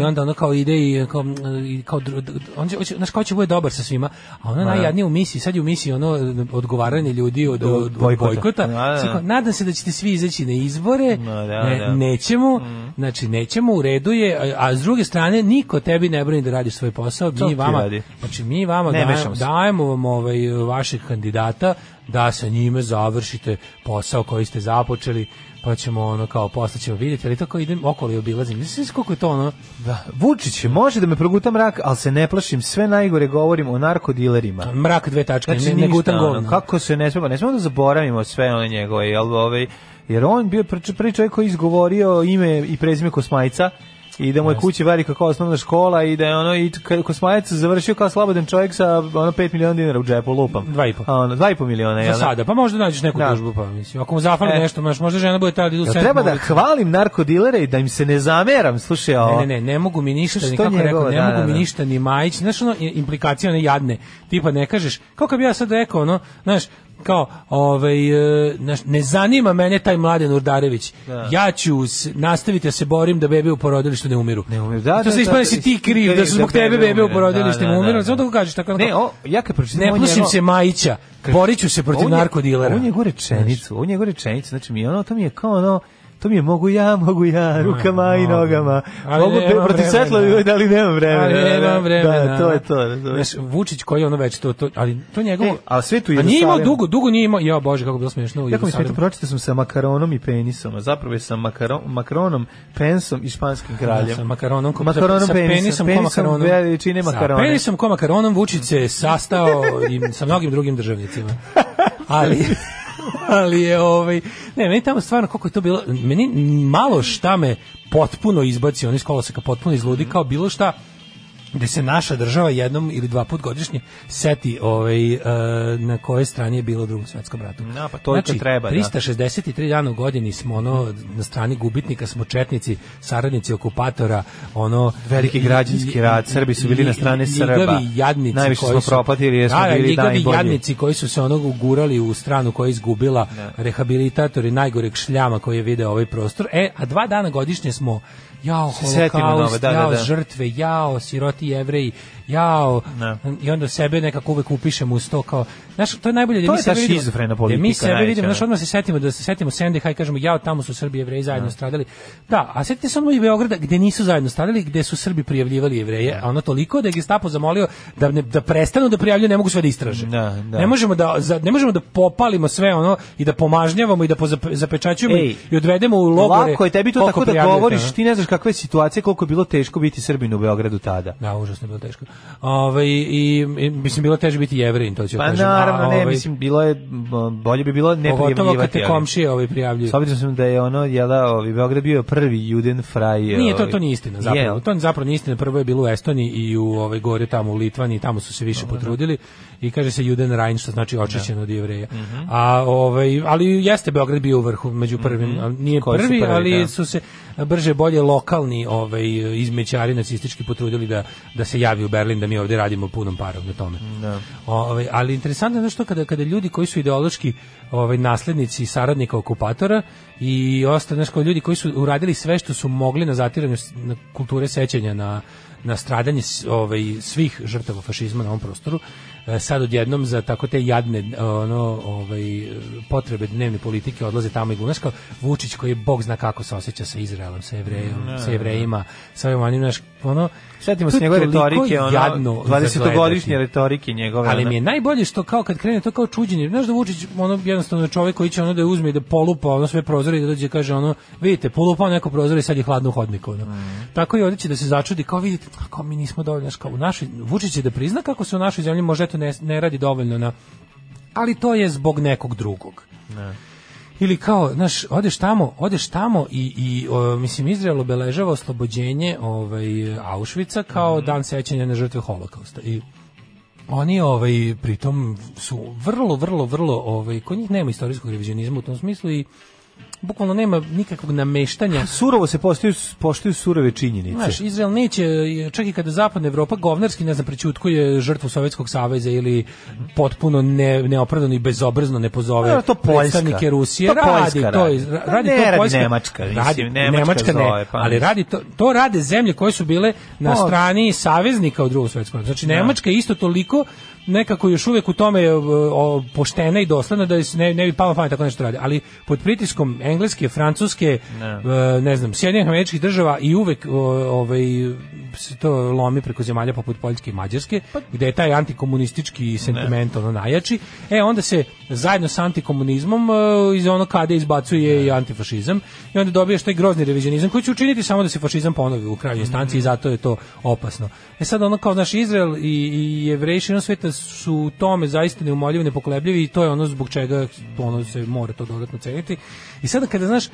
S6: I onda ono kao ide i kao, mm, i kao dru- dru- on će, hoće- znaš kao će bude dobar sa svima, a ono najjadnije u misiji, sad je u misiji ono odgovaranje ljudi od, od, od
S5: bojkota.
S6: bojkota.
S5: Da, da,
S6: Sve
S5: da.
S6: kao, nadam se da ćete svi izaći na izbore.
S5: Ma, da,
S6: ne,
S5: da. Mm.
S6: Nećemo, znači nećemo, u redu je, a, a s druge strane niko tebi ne brani da radiš svoj posao,
S5: To
S6: mi
S5: ti
S6: vama.
S5: radi.
S6: Znači mi vama
S5: Ne
S6: daje-
S5: mešamo se.
S6: dajemo, dajemo vam ovaj, vaših kandidata da sa njime završite posao koji ste započeli pa ćemo ono kao posle ćemo vidjeti ali to kao idem okolo i obilazim mislim koliko je to ono
S5: Da. Vučić, može da me proguta mrak, ali se ne plašim, sve najgore govorim o narkodilerima.
S6: mrak dve tačke
S5: Znači,
S6: ne, ne
S5: ništa,
S6: gutam
S5: ono,
S6: govno.
S5: Kako se ne smemo, ne smemo da zaboravimo sve one njegove, jel, ovaj, jer on bio prvi, prvi čovjek koji je izgovorio ime i prezime Kosmajca, i da mu je kući vari kako osnovna škola i da je ono i k- Kosmajac završio kao slobodan čovjek sa ono 5 miliona dinara u džepu lupam.
S6: Dva i po.
S5: A, ono, dva i po miliona,
S6: za
S5: jel? da?
S6: sada pa možda nađeš neku
S5: Da.
S6: tužbu pa mislim ako mu zafali
S5: E.
S6: nešto možda, možda žena bude tada idu
S5: Jel
S6: sedmi
S5: treba
S6: na
S5: da
S6: ulicu.
S5: hvalim narkodilere i da im se ne zameram, slušaj, ovo.
S6: Ne, ne, ne, ne mogu mi ništa,
S5: Što
S6: ni kako je rekao,
S5: njegovo,
S6: ne
S5: da,
S6: mogu
S5: da,
S6: mi
S5: da.
S6: ništa ni Majić, znaš ono, implikacija one jadne, tipa ne kažeš, kao kad bi ja sad rekao, ono, znaš, kao, ovaj, e, znaš, ne zanima mene taj Mladen Urdarević, ja ću s- nastaviti da se borim da bebe u porodilištu ne umiru.
S5: Ne umiru, da,
S6: I to
S5: da,
S6: se
S5: da,
S6: ispane
S5: da,
S6: si ti
S5: i-
S6: kriv, da su zbog tebe bebe u porodilištu
S5: da,
S6: ne
S5: da,
S6: umiru,
S5: da.
S6: zato kako kažeš, tako,
S5: Ne,
S6: onako,
S5: o, ja kad pročitam
S6: ne
S5: ovo
S6: plašim
S5: njegovo-
S6: se Majića, borit ću se protiv
S5: On je-
S6: narkodilera.
S5: On je gore rečenicu, on je gore rečenicu, znači mi je ono, to mi je kao ono, to mi je mogu ja, mogu ja, rukama i
S6: mogu.
S5: nogama.
S6: Ali
S5: mogu
S6: nemam
S5: pe- protiv
S6: vremena.
S5: svetla, ali nemam vremena.
S6: Ali nema vremena.
S5: Da, to je to. razumeš?
S6: Znaš, Vučić koji je ono već to, to ali to njegovo...
S5: E, a sve tu
S6: A nije imao
S5: Jerusalim.
S6: dugo, dugo nije imao, ja bože kako je bilo smiješno u
S5: Jako mi smeta,
S6: Jerusalimu.
S5: pročitao sam sa makaronom i penisom, a zapravo je sa makaron, makaronom, pensom i španskim kraljem.
S6: Sa makaronom, ko,
S5: makaronom,
S6: sa
S5: penisom,
S6: penisom, ko
S5: penisom
S6: makaronom.
S5: veličine makarone.
S6: Sa penisom ko makaronom Vučić se sastao i sa mnogim drugim državnicima.
S5: <laughs>
S6: Ali ali je ovaj ne meni tamo stvarno koliko je to bilo meni malo šta me potpuno izbaci on iz koloseka potpuno izludi kao bilo šta gde se naša država jednom ili dva put godišnje seti ovaj, e, na kojoj strani je bilo u drugom svetskom ratu.
S5: Da, pa to je to treba, da.
S6: 363 dana u godini smo ono na strani gubitnika, smo četnici, saradnici okupatora, ono
S5: Veliki građanski rat, Srbi su bili na strani
S6: i- i-
S5: Srba.
S6: ljigavi jadnici
S5: Najviše
S6: koji
S5: smo
S6: su-
S5: propatili jer smo
S6: Da, da,
S5: bili
S6: ljigavi
S5: najbolji.
S6: jadnici koji su se onog ugurali u stranu koja je izgubila rehabilitatori najgoreg šljama koji je video ovaj prostor. E, a dva dana godišnje smo jao,
S5: setimo
S6: holokaust,
S5: nove, da, da,
S6: jao,
S5: da.
S6: žrtve, jao, siroti jevreji, jao,
S5: Da.
S6: i onda sebe nekako uvek upišemo uz to kao, znaš, to je najbolje da
S5: To
S6: mi
S5: je
S6: sebe
S5: ta
S6: vidimo-
S5: šizofrena
S6: da mi
S5: politika
S6: sebe
S5: najveća,
S6: vidimo,
S5: da.
S6: znaš, odmah se setimo da se setimo SNDH i kažemo jao, tamo su Srbi i Jevreji zajedno stradali. Da, a setite se odmah i Beograda gde nisu zajedno stradali, gde su Srbi prijavljivali Jevreje, a ono toliko da je Gestapo zamolio da ne, da prestanu da prijavljuju, ne mogu sve da istraže.
S5: Da, da.
S6: Ne možemo da za- ne možemo da popalimo sve ono i da pomažnjavamo i da pozape- zapečaćujemo i-
S5: Ej,
S6: i odvedemo u logore.
S5: Lako je tebi to
S6: koliko
S5: tako da
S6: prijavljujete,
S5: govoriš,
S6: ono.
S5: ti ne znaš kakva je situacija, koliko je bilo teško biti Srbin u Beogradu tada.
S6: Da, užasno je bilo teško. Ovaj i, i mislim bilo je teže biti jevrein, to ću
S5: Pa
S6: kažem.
S5: naravno,
S6: A,
S5: ne,
S6: ovaj,
S5: mislim, bilo je, m, bolje bi bilo ne
S6: Pogotovo kad
S5: prijavljivati.
S6: te
S5: ali-
S6: komšije ovaj prijavljuju.
S5: S obzirom sam da je ono, jel da, ovi, Beograd bio prvi juden fraj.
S6: Nije to
S5: ovi-
S6: to nije istina zapravo.
S5: ovaj, Jel?
S6: To zapravo nije istina. Prvo je bilo u Estoniji i u ovaj gore tamo u Litvani, tamo su se više potrudili i kaže se Juden Rajn što znači očišćen od Jevreja.
S5: Mhm.
S6: A ovaj ali jeste Beograd bio u vrhu među prvim, ali nije
S5: Mhm. Koji su
S6: prvi,
S5: prvi,
S6: ali
S5: da.
S6: su se brže bolje lokalni ovaj izmećari nacistički potrudili da da se javi u Berlin da mi ovdje radimo punom parom na tome. Ovaj, ali interesantno je što kada kada ljudi koji su ideološki ovaj naslednici i saradnika okupatora i ostali znaš, kao ljudi koji su uradili sve što su mogli na zatiranju s- na kulture sećanja na na stradanje s- ovaj svih žrtava fašizma na ovom prostoru e, sad odjednom za tako te jadne e, ono ovaj potrebe dnevne politike odlaze tamo i glumaš kao Vučić koji bog zna kako se osjeća sa Izraelom sa
S5: Mm,
S6: Jevrejom sa Jevrejima sa ovim onim, znaš, ono
S5: Sjetimo
S6: to
S5: se
S6: je
S5: njegove
S6: toliko
S5: retorike, ono,
S6: jadno za gledati.
S5: 20-godišnje retorike njegove.
S6: Ali
S5: ono.
S6: mi je najbolje što kao kad krene to kao čuđenje. Znaš da Vučić ono jednostavno je čovjek koji će ono da uzme i da polupa ono sve prozore i da dođe i kaže ono vidite polupao neko prozor i sad je hladno u hodniku ono.
S5: Mm.
S6: Tako i ovdje će da se začudi kao vidite a, kao mi nismo dovoljno znaš, kao u našoj Vučić će da prizna kako se u našoj zemlji možda eto ne, ne radi dovoljno na ali to je zbog nekog drugog. Ili kao, znaš, odeš tamo, odeš tamo i, i o, mislim, Izrael obeležava oslobođenje ovaj, Auschwitza kao
S5: Mhm.
S6: dan sećanja na žrtve holokausta. I oni ovaj pritom su vrlo vrlo vrlo ovaj kod njih nema istorijskog revizionizma u tom smislu i bukvalno nema nikakvog nameštanja
S5: Surovo se poštuju, poštuju surove činjenice.
S6: Znaš, Izrael neće, čak i kada zapadna Evropa govnarski, ne znam, prećutkuje žrtvu Sovjetskog saveza ili potpuno ne, neopravdano i bezobrazno ne pozove
S5: Dobro, to Poljska.
S6: predstavnike Rusije.
S5: To Poljska
S6: radi, to,
S5: radi.
S6: iz- ra-
S5: Pa
S6: radi
S5: ne
S6: to
S5: radi
S6: Poljska.
S5: Nemačka, mislim,
S6: Radi- ne,
S5: Nemačka zove, pa
S6: ali
S5: mislim.
S6: radi to, to rade zemlje koje su bile na
S5: Pa-
S6: strani saveznika u drugom svjetskom ratu. Znači, Nemačka je isto toliko nekako još uvijek u tome e, o, poštena i dosledna da joj se ne, ne bi palo na pamet tako nešto radi. Ali pod pritiskom engleske, francuske, ne, ne znam, Sjedinjenih američkih država i uvek o, ovaj se to lomi preko zemalja poput Poljske i Mađarske, gde je taj antikomunistički sentiment ono najjači. E onda se zajedno s antikomunizmom e, iz ono kada izbacuje i antifašizam i onda dobiješ taj grozni revizionizam koji će učiniti samo da se fašizam ponovi u krajnjoj instanci i zato je to opasno. E sad ono kao naš Izrael i, i jevreji širom sveta su u tome zaista neumoljivi, nepokolebljivi i to je ono zbog čega ono se mora to dodatno ceniti. I sada kada znaš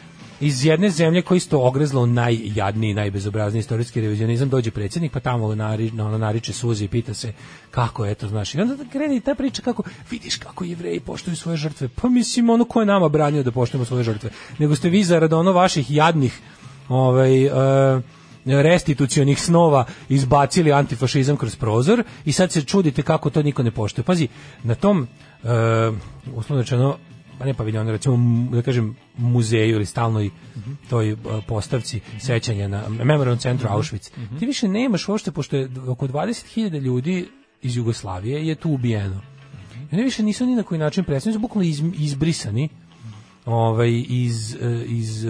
S6: iz jedne zemlje koja je isto ogrezla u najjadniji, najbezobrazniji istorijski revizionizam, dođe predsjednik pa tamo nari, na, ono nariče suzi i pita se kako je to, znaš. I onda krene i ta priča kako, vidiš kako jevreji poštuju svoje žrtve. Pa mislim, ono ko je nama branio da poštujemo svoje žrtve. Nego ste vi zarad ono vaših jadnih ovaj, e, restitucionih snova izbacili antifašizam kroz prozor i sad se čudite kako to niko ne poštuje. Pazi, na tom, e, uslovno rečeno, pa ne paviljonu, recimo, m, da kažem, muzeju ili stalnoj toj e, postavci sećanja na Memorialnom centru Auschwitz. Ti više nemaš uopšte, pošto je oko 20.000 ljudi iz Jugoslavije je tu ubijeno. I oni više nisu ni na koji način predstavljeni, su bukvalno iz- izbrisani ovaj iz e, iz e,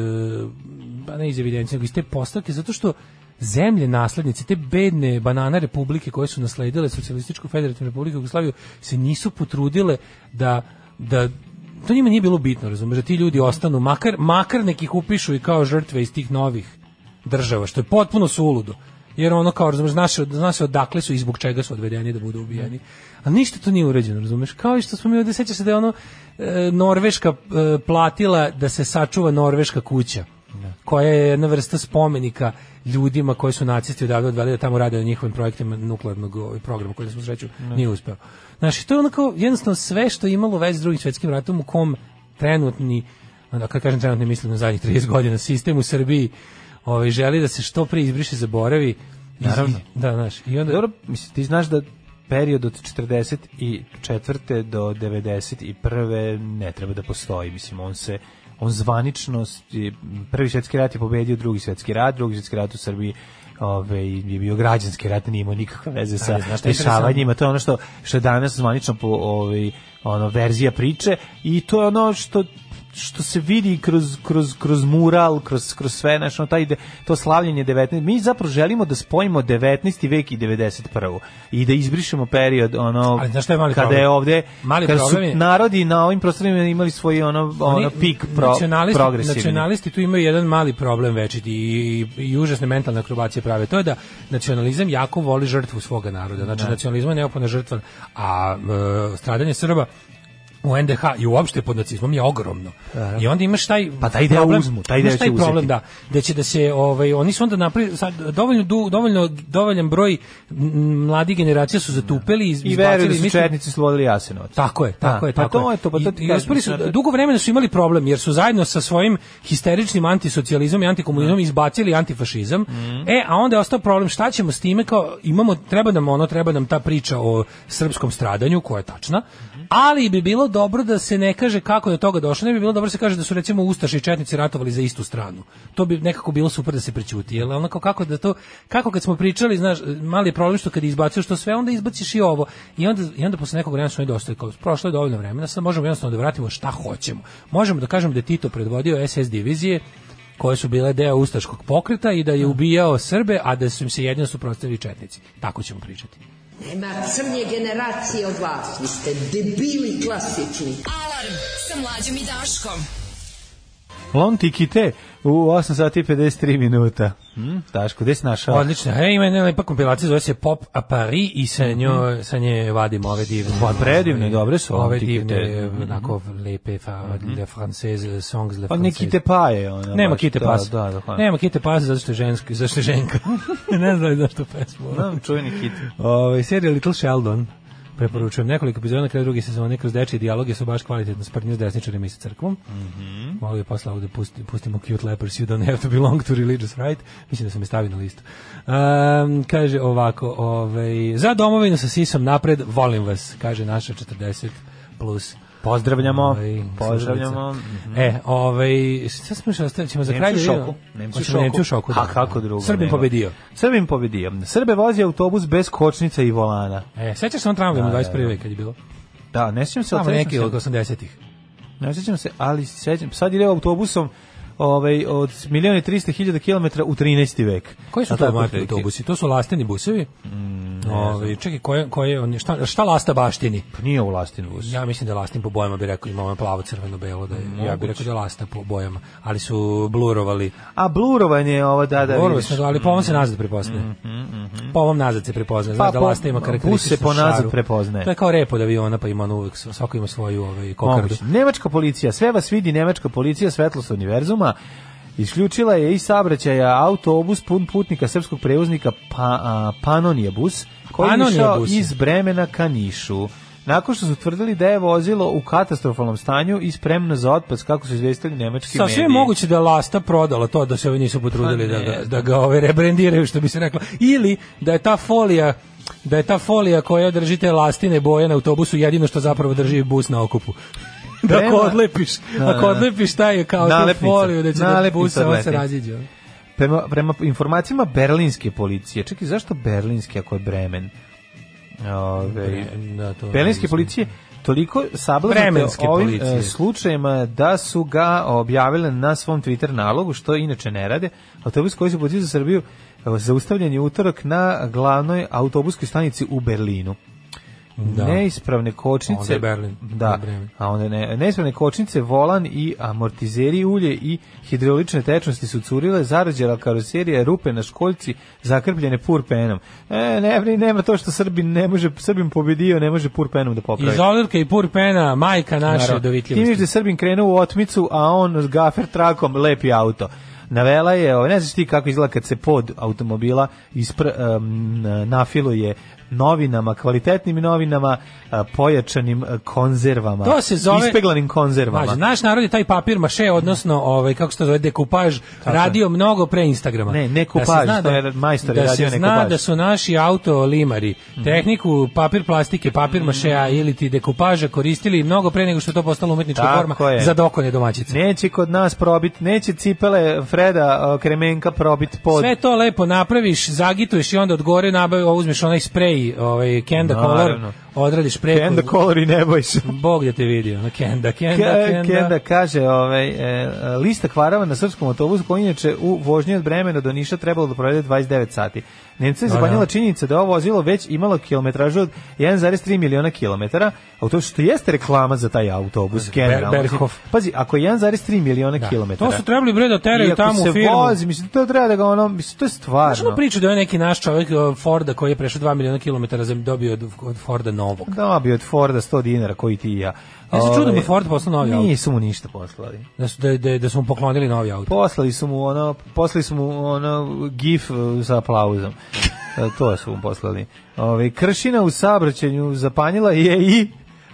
S6: pa ne iz evidencije, nego iz te postavke zato što zemlje naslednice te bedne banana republike koje su nasledile socijalističku federativnu republiku Jugoslaviju se nisu potrudile da da to njima nije bilo bitno, razumeš, da ti ljudi ostanu makar makar nekih upišu i kao žrtve iz tih novih država, što je potpuno suludo. Jer ono kao, razumeš, zna se, zna se odakle su i zbog čega su odvedeni da budu ubijeni. A ništa to nije uređeno, razumeš? Kao i što smo mi ovde, seća se da je ono e, Norveška e, platila da se sačuva Norveška kuća, koja je jedna vrsta spomenika ljudima koji su nacisti odavde odveli da tamo rade na njihovim projektima nuklearnog ovaj, programa koji smo sreću nije uspeo. Znaš, i to je onako jednostavno sve što je imalo vez s drugim svetskim ratom u kom trenutni, onda kad kažem trenutni mislim na zadnjih 30 godina, sistem u Srbiji ovaj, želi da se što pre izbriše, zaboravi. Iz-
S5: Naravno.
S6: Da, znaš. I onda,
S5: Dobro, mislim, ti znaš da period od 44. do 91. ne treba da postoji, mislim, on se on zvanično, s- je- prvi svjetski rat je pobedio drugi svjetski rat, drugi svjetski rat u Srbiji ove, je bio građanski rat, nije imao nikakve veze sa
S6: Ali, znaš šta je
S5: rešavanjima, to je ono što, što je danas zvanično po, ove, ono, verzija priče i to je ono što što se vidi kroz, kroz, kroz mural, kroz, kroz sve, znaš, ono, taj, de- to slavljenje 19. Mi zapravo želimo da spojimo 19. vek i 91. I da izbrišemo period, ono,
S6: Ali znaš šta je mali
S5: kada
S6: problem?
S5: je ovde,
S6: Mali
S5: kada su
S6: problem je-
S5: narodi na ovim prostorima imali svoj, ono, ono, pik pro,
S6: nacionalisti,
S5: progresivni.
S6: Nacionalisti tu imaju jedan mali problem večiti i, i, i užasne mentalne akrobacije prave. To je da nacionalizam jako voli žrtvu svoga naroda. Znači, nacionalizam je neophodna žrtva, a e, stradanje Srba u NDH i uopšte pod nacizmom je ogromno. I onda imaš taj
S5: Pa taj deo uzmu, taj
S6: imaš
S5: deo će uzeti.
S6: problem, da, da će da se ovaj oni su onda napravili sad dovoljno du- dovoljno dovoljan broj m, mladih generacija su zatupeli i
S5: I
S6: izbacili
S5: veruju da su
S6: mislim-
S5: četnici slobodili Jasenovac.
S6: tako je, tako
S5: Da,
S6: je,
S5: pa
S6: tako
S5: to je to, pa to
S6: I-
S5: ti
S6: i
S5: kažem,
S6: uspeli su,
S5: mislim,
S6: dugo vremena su imali problem jer su zajedno sa svojim histeričnim antisocijalizmom i antikomunizmom izbacili antifašizam.
S5: Mhm.
S6: E, a onda je ostao problem šta ćemo s time kao imamo treba nam ono, treba nam ta priča o srpskom stradanju koja je tačna,
S5: Mhm.
S6: ali bi bilo dobro da se ne kaže kako je do toga došlo, ne bi bilo dobro da se kaže da su recimo ustaše i četnici ratovali za istu stranu. To bi nekako bilo super da se prećuti, jel? Onako kako da to kako kad smo pričali, znaš, mali je problem što kad izbacuješ to sve, onda izbaciš i ovo. I onda i onda posle nekog vremena su oni dosta kao prošlo je dovoljno vremena, sad možemo jednostavno da vratimo šta hoćemo. Možemo da kažemo da je Tito predvodio SS divizije koje su bile deo ustaškog pokreta i da je ubijao Srbe, a da su im se jedino suprotstavili četnici. Tako ćemo pričati.
S7: Nema crnje generacije od vas. Vi ste debili klasični.
S4: Alarm sa mlađom i Daškom.
S5: Lon Tikite u 8 sati i 53 minuta. Hm? Daško, gde si našao?
S6: Odlično. E, ima jedna lepa kompilacija, zove se Pop a Paris i sa, njo, sa nje vadimo ove divne...
S5: Mhm. Pa, predivne, dobre su
S6: Ove
S5: ove
S6: divne, e,
S5: Tikite.
S6: onako, lepe, fa, le française, songs le
S5: Mhm. Pa
S6: française.
S5: neki te paje. Ona,
S6: Nema
S5: baš,
S6: kite
S5: da,
S6: pas.
S5: Da, pa. da, hvala.
S6: Nema kite pas zato što je ženski, zato što je ženka. <laughs> ne znam zašto pesmu.
S5: Znam, čuveni kite.
S6: Ovaj serija Little Sheldon preporučujem nekoliko epizoda na kraju druge sezone kroz dečije dijaloge su baš kvalitetno sprdnje s desničarima i sa crkvom. Mhm. Mm Malo je posle ovde pusti, pustimo Cute Lepers You Don't Have to Belong to Religious Right. Mislim da sam je stavio na listu. Um, kaže ovako, ovaj za domovinu sa sisom napred volim vas, kaže naša 40 plus.
S5: Pozdravljamo,
S6: Ovaj,
S5: pozdravljamo. Mhm.
S6: slušalica. E, ovaj, šta smo još ostavili? Ćemo za kraj
S5: Nemci
S6: da
S5: u
S6: vidimo?
S5: šoku. Nemci u
S6: Hoćemo
S5: šoku.
S6: Nemci u šoku, da.
S5: A kako drugo?
S6: Srbin
S5: nego.
S6: pobedio.
S5: Srbin pobedio. Srbe vozi autobus bez kočnica i volana.
S6: E, sećaš se on tramvajem u
S5: Da, da,
S6: 21. veka kad je bilo?
S5: Da, ne sjećam se.
S6: Tamo
S5: ali
S6: neki
S5: sećam
S6: od
S5: se.
S6: 80-ih.
S5: Ne sjećam se, ali se sjećam. Sad ide autobusom ovaj, od milijona i 300 hiljada kilometra u 13. vek.
S6: Koji su
S5: A
S6: to
S5: tako
S6: mati
S5: otprilike. Mm,
S6: autobusi? To su lasteni busevi? Ove, čekaj, koje, koje, on je- šta, šta lasta baštini?
S5: Pa Nije u lastinu bus.
S6: Ja mislim da je lastin po bojama bi rekao ima ono plavo, crveno, belo, da je, ja bih rekao da je lasta po bojama, ali su blurovali.
S5: A blurovanje ovo, da, da,
S6: Blurovali
S5: vidiš. Mm-hmm.
S6: su, ali po ovom se nazad prepoznaje. Po ovom nazad se prepoznaje, znaš
S5: Pa
S6: da
S5: po-
S6: lasta ima
S5: bus
S6: karakterističnu
S5: se po nazad
S6: šaru.
S5: prepoznaje.
S6: To je kao rep od aviona, pa ima ono uvek, svako ima svoju ovaj, kokardu.
S5: Moguće. Nemačka policija, sve vas vidi nemačka policija, svetlost univerzuma, isključila je iz saobraćaja autobus pun putnika srpskog prevoznika pa, a, Panonija bus, koji je
S6: Panonija
S5: išao
S6: bus je.
S5: iz Bremena ka Nišu. Nakon što su tvrdili da je vozilo u katastrofalnom stanju i spremno za otpad, kako su izvestili nemački mediji.
S6: Sasvim je moguće da je Lasta prodala to da se ovi nisu potrudili
S5: Pa
S6: da
S5: ne
S6: ga,
S5: znam.
S6: da ga ove rebrendiraju što bi se reklo ili da je ta folija da je ta folija koja drži te lastine boje na autobusu jedino što zapravo drži bus na okupu. <laughs> Da ako
S5: Prema-
S6: odlepiš,
S5: Da,
S6: ako
S5: da.
S6: odlepiš taj kao tu
S5: Nalepnica.
S6: foliju da će da
S5: Nalepnica
S6: bus on se
S5: odleti.
S6: raziđe.
S5: Prema, prema informacijama berlinske policije, čekaj, zašto berlinske ako je Bremen? Ove,
S6: Da, to
S5: Berlinske policije toliko
S6: Vremenske
S5: sablaznate ovim
S6: policije.
S5: e, slučajima da su ga objavile na svom Twitter nalogu, što inače ne rade. Autobus koji se puti za Srbiju e, zaustavljen je utorak na glavnoj autobuskoj stanici u Berlinu.
S6: Da.
S5: Neispravne kočnice.
S6: Onda je Berlin.
S5: Da.
S6: Bremen.
S5: A onda ne, neispravne kočnice, volan i amortizeri ulje i hidraulične tečnosti su curile, zarađela karoserija, rupe na školjci, zakrpljene purpenom. E, ne, ne, nema to što Srbin ne može, Srbin pobedio, ne može purpenom da popravi.
S6: Iz olirke i purpena, majka naša
S5: Naravno. Ti vidiš da
S6: dovitljivosti.
S5: je Srbin krenuo u otmicu, a on s gafer trakom lepi auto. Navela je, ovaj, ne znaš ti kako izgleda kad se pod automobila ispr, um, nafiluje novinama, kvalitetnim novinama, a, pojačanim e, konzervama.
S6: To se zove-
S5: Ispeglanim konzervama.
S6: Znači, naš narod je taj papir maše, odnosno, ovaj, kako se to zove, dekupaž, radio mnogo pre Instagrama.
S5: Ne, ne kupaž,
S6: se zna
S5: to je majstor je
S6: da se
S5: radio ne
S6: zna
S5: kupaž. Mhm.
S6: da su naši auto limari, tehniku papir plastike, papir mašea ili ti dekupaža koristili mnogo pre nego što je to postalo umetnička
S5: Tako
S6: forma
S5: je.
S6: za dokonje domaćice.
S5: Neće kod nas probit, neće cipele Freda e, Kremenka probit pod.
S6: Sve to lepo napraviš, zagituješ i onda od gore nabavi, uzmeš onaj sprej, ovaj Kenda Color,
S5: Naravno.
S6: odradiš preko.
S5: Kenda kolori, ne boj se.
S6: Bog da te vidi, ono, Kenda, Kenda,
S5: Ke-
S6: Kenda.
S5: Kenda kaže, ovaj, e, lista kvarava na srpskom autobusu koji inače u vožnji od Bremena do Niša trebalo da provede 29 sati. Nemca je
S6: Da,
S5: zapanjila
S6: da.
S5: činjenica da je ovo vozilo već imalo kilometražu od 1,3 miliona kilometara, a to što jeste reklama za taj autobus, generalno.
S6: Berhof.
S5: Pazi, ako je 1,3 miliona
S6: Da.
S5: kilometara,
S6: To su trebali bre da
S5: i
S6: teraju
S5: ako
S6: tamo
S5: se
S6: u firmu.
S5: vozi, mislim, to treba da ga ono, mislim, to je
S6: Znaš onu
S5: stvarno.
S6: priču da je onaj neki naš čovjek o, Forda koji je prešao 2 miliona kilometara zem dobio od, od Forda novog.
S5: Da, bi od Forda 100 dinara, koji ti i ja.
S6: Ja se čudom
S5: Ovaj,
S6: je Ford poslao novi auto.
S5: Nisu mu ništa poslali.
S6: Da su, da, da, da su mu poklonili novi auto.
S5: Poslali su mu ono, poslali su mu ono gif e, sa aplauzom. E, To su mu poslali. Ove, kršina u saobraćaju zapanjila je i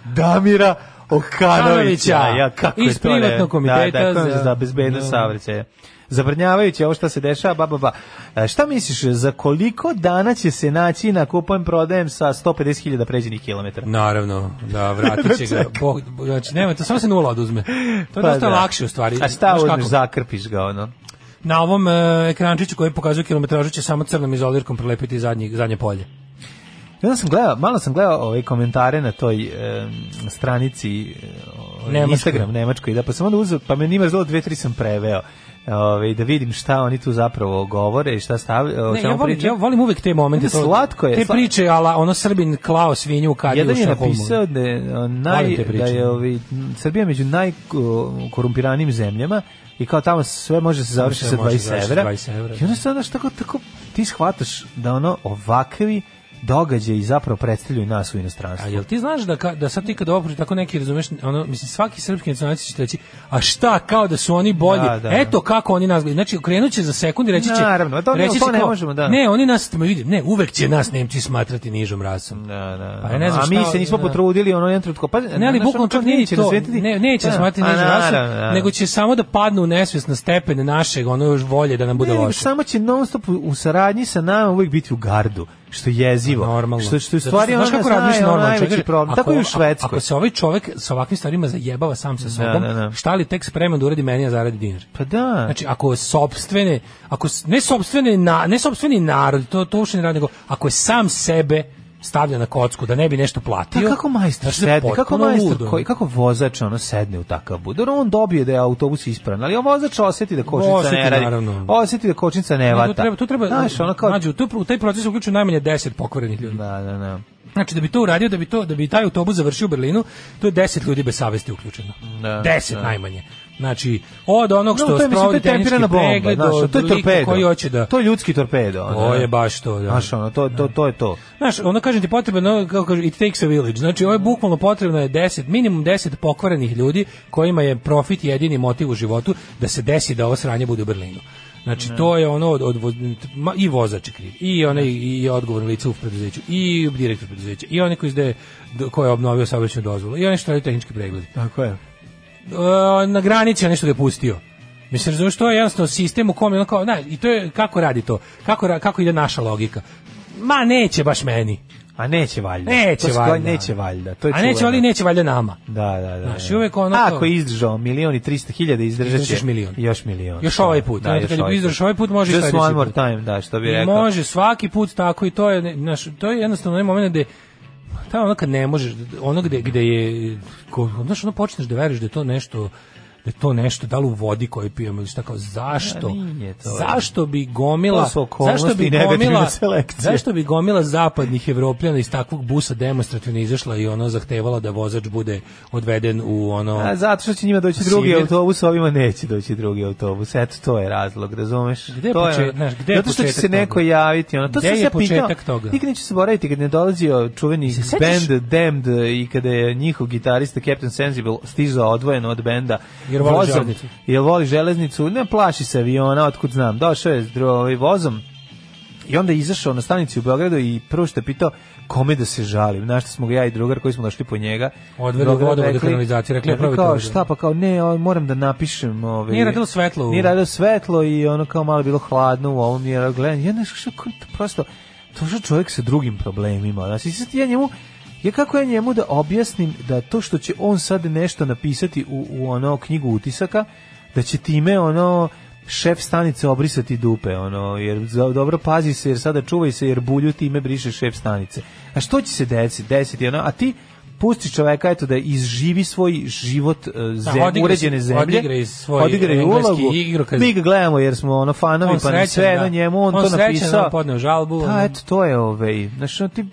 S5: Damira Okanovića.
S6: Okanovića.
S5: Ja, kako
S6: Iz
S5: je to, ne?
S6: privatnog komiteta
S5: da, da,
S6: za-
S5: za, za bezbednost
S6: Da.
S5: saobraćaja. Zabrinjavajuće ovo šta se dešava, ba, ba, ba. E, Šta misliš, za koliko dana će se naći na kupujem prodajem sa 150.000 pređenih kilometara?
S6: Naravno, da vratit
S5: <laughs>
S6: će ga. Bog, znači, nema, to samo se nula oduzme. To je dosta lakše u stvari.
S5: Pa A šta
S6: Znaš kako?
S5: uzmeš, zakrpiš ga, ono?
S6: Na ovom e, ekrančiću koji pokazuje kilometražu će samo crnom izolirkom prelepiti zadnji, zadnje polje.
S5: I onda sam gledao, malo sam gledao ove komentare na toj em, stranici e,
S6: Nemačkoj.
S5: Instagram nemačkoj, da pa sam onda uzeo, pa me nima zelo dve, tri sam preveo. Ove, da vidim šta oni tu zapravo govore i šta stavljaju, o
S6: Ne, ja,
S5: čemu
S6: volim, ja
S5: pričaju.
S6: volim uvek te momente. to-
S5: Slatko je,
S6: Te
S5: sla-
S6: priče, ala ono Srbin klao svinju u kadiju.
S5: Jedan je
S6: u Štokholmu.
S5: napisao da je, o,
S6: Volim
S5: naj,
S6: te priče.
S5: da je ovi, m, Srbija među najkorumpiranim zemljama i kao tamo sve može se završiti
S6: sve
S5: sa
S6: može
S5: 20
S6: završiti
S5: evra.
S6: 20 evra,
S5: I onda se onda tako, tako ti shvataš da ono ovakvi događaji zapravo predstavljaju nas u
S6: A
S5: inostranstvu.
S6: jel ti znaš da, ka- da sad ti kada ovo pročitaš tako neki razumeš, ono, mislim, svaki srpski nacionalisti će ti reći, a šta, kao da su oni bolji,
S5: Da, da.
S6: eto kako oni nas gledaju. Znači, okrenut će za sekund i reći će...
S5: Naravno, to ne-
S6: reći
S5: to
S6: će
S5: ne možemo, da.
S6: Ne, oni nas, me vidi, ne, uvek će nas Nemci smatrati nižom rasom.
S5: Da, da.
S6: Pa ja ne znam
S5: a mi
S6: šta-
S5: se nismo
S6: da.
S5: potrudili ono jedan trenutko. Pa,
S6: Ne, ali
S5: znaš, ono,
S6: bukvalno čak nije
S5: neće
S6: to,
S5: rasvetiti-
S6: ne, neće
S5: Da.
S6: nas smatrati
S5: A,
S6: nižom
S5: naravno,
S6: rasom,
S5: naravno.
S6: nego će samo da padnu u nesvjesno stepene našeg, ono još volje da nam bude
S5: Ne, nego
S6: loše.
S5: samo će non stop u- u saradnji sa nama uvijek biti u gardu, što je jezivo.
S6: Pa, Normalno.
S5: Što, što je u
S6: Zato
S5: stvari
S6: što,
S5: ono
S6: znaš kako
S5: znaje,
S6: radiš
S5: ono
S6: normalno,
S5: najveći
S6: čovječe?
S5: problem.
S6: Ako-
S5: Tako je u
S6: ako-
S5: Švedskoj.
S6: Ako se ovaj čovek sa ovakvim stvarima zajebava sam sa sobom,
S5: da, da.
S6: šta li tek spreman da uradi meni, a zaradi dinar?
S5: Pa da.
S6: Znači ako sopstvene, ako s- ne sopstvene na, ne sopstveni narod, to to uopšte ne radi, nego ako je sam sebe stavlja na kocku da ne bi nešto
S5: Pa
S6: platio.
S5: kako majstor
S6: Znači, to je
S5: sedne, kako
S6: potpuno
S5: majstor
S6: ludo.
S5: koji, kako vozač ono sedne u takav budor, on dobije da je autobus ispran, ali on vozač osjeti da kočnica
S6: Osjeti,
S5: ne radi,
S6: naravno.
S5: osjeti da kočnica ne vata.
S6: Tu treba, tu treba,
S5: Znaš, ono kao,
S6: Mlađo, tu, u taj proces uključuje najmanje 10 pokvarenih ljudi.
S5: da, da, da.
S6: Znači da bi to uradio, da bi to da bi taj autobus završio u Berlinu, to je 10 ljudi bez savesti uključeno.
S5: Da,
S6: 10 najmanje. Znači od onog što
S5: No, to je,
S6: sprovodi
S5: mislim, to je
S6: tehnički
S5: tempirana bomba,
S6: pregled,
S5: znaš, ono,
S6: do,
S5: to je
S6: do lika
S5: torpedo.
S6: koji hoće da
S5: To je ljudski torpedo. ono.
S6: To je baš to, da.
S5: Znaš, ono, to, to, to je to.
S6: Znaš, ono kažem ti potrebno, ono, kako kažu, it takes a village. Znači, ovo je bukvalno potrebno je 10, minimum 10 pokvarenih ljudi kojima je profit jedini motiv u životu da se desi da ovo sranje bude u Berlinu. Znači, to je ono od, od voz- ma, i vozač je kriv, i onaj i odgovorno lice u preduzeću, i direktor preduzeća, i onaj koji izdaje, do- ko je obnovio saobraćajnu dozvolu, i onaj što radi tehnički pregled.
S5: Tako je.
S6: E, na granici nešto ga je pustio. Mislim, razumiješ, to je jednostavno sistem u kom je ono kao, na, i to je, kako radi to? Kako, ra- kako ide naša logika? Ma neće baš meni.
S5: A neće valjda.
S6: Neće
S5: To se-
S6: valjda.
S5: Neće valjda. To je
S6: A neće
S5: čuveno.
S6: ali neće valjda nama.
S5: Da, da, da.
S6: Znaš,
S5: da.
S6: i uvek ono kao-
S5: Ako je izdržao milion i 300 hiljada, izdržat će...
S6: Izdržaš milion.
S5: Još milion.
S6: Još ovaj put.
S5: Da,
S6: Ono,
S5: još
S6: kad
S5: ovaj
S6: izdržaš ovaj put, može i
S5: Just
S6: sledeći
S5: one more
S6: put.
S5: time, da, što bi
S6: I
S5: rekao.
S6: može svaki put tako i to je, ne- znaš, to je jednostavno onaj moment gde taj ono kad ne možeš, ono gde, gde je, ko, znaš, ono počneš da veruješ da je to nešto da je to nešto, da li u vodi koju pijemo ili šta kao, zašto?
S5: A nije to.
S6: zašto bi gomila,
S5: To su okolnosti
S6: zašto bi
S5: i negativna
S6: gomila,
S5: selekcija.
S6: zašto bi gomila zapadnih evropljana iz takvog busa demonstrativno izašla i ono zahtevala da vozač bude odveden u ono...
S5: A zato što će njima doći drugi
S6: Sibir.
S5: autobus, a ovima neće doći drugi autobus. Eto, to je razlog, razumeš?
S6: Gde je
S5: to
S6: počet- znaš, gde je
S5: Zato što će
S6: početak
S5: se neko
S6: toga?
S5: javiti. Ono. To
S6: Gde
S5: sam se
S6: je
S5: ja pitao.
S6: početak toga?
S5: Nikad neću se boraviti kad ne dolazio čuveni
S6: sećaš?
S5: band Damned i kada je njihov gitarista Captain Sensible stizao odvojen od benda.
S6: Jer voli železnicu.
S5: Jer voli železnicu. Ne plaši se aviona, otkud znam. Došao je s dro- ovaj, vozom I onda je izašao na stanici u Beogradu i prvo što je pitao kome da se žalim. Znaš što smo ga ja i drugar koji smo došli po njega.
S6: Odveli
S5: Beograd
S6: vodovod do kanalizacije, rekli,
S5: rekli
S6: "Probajte
S5: kao,
S6: vodovod."
S5: šta pa kao ne, o, moram da napišem, ovaj.
S6: Nije radilo svetlo u-
S5: Nije radilo svetlo i ono kao malo je bilo hladno u ovom jer gledam, ja nešto što kao to prosto to što čovjek sa drugim problemima. Znači, sad ja njemu Ja kako ja njemu da objasnim da to što će on sad nešto napisati u, u ono knjigu utisaka, da će time ono šef stanice obrisati dupe, ono, jer za- dobro pazi se, jer sada čuvaj se, jer bulju time briše šef stanice. A što će se desiti? Desiti, ono, a ti pusti čoveka eto da izživi svoj život e,
S6: Da,
S5: zem,
S6: odigra
S5: uređene
S6: se-
S5: zemlje.
S6: odigra i svoj
S5: Odigra i
S6: engleski
S5: ulogu.
S6: igrokaz.
S5: Mi ga gledamo jer smo ono fanovi,
S6: On
S5: pa nam
S6: srećan,
S5: sve
S6: da.
S5: na njemu, on,
S6: On
S5: to
S6: srećan,
S5: napisao.
S6: on podneo žalbu, on-
S5: Da, eto, to je ovaj. Znaš, ono ti...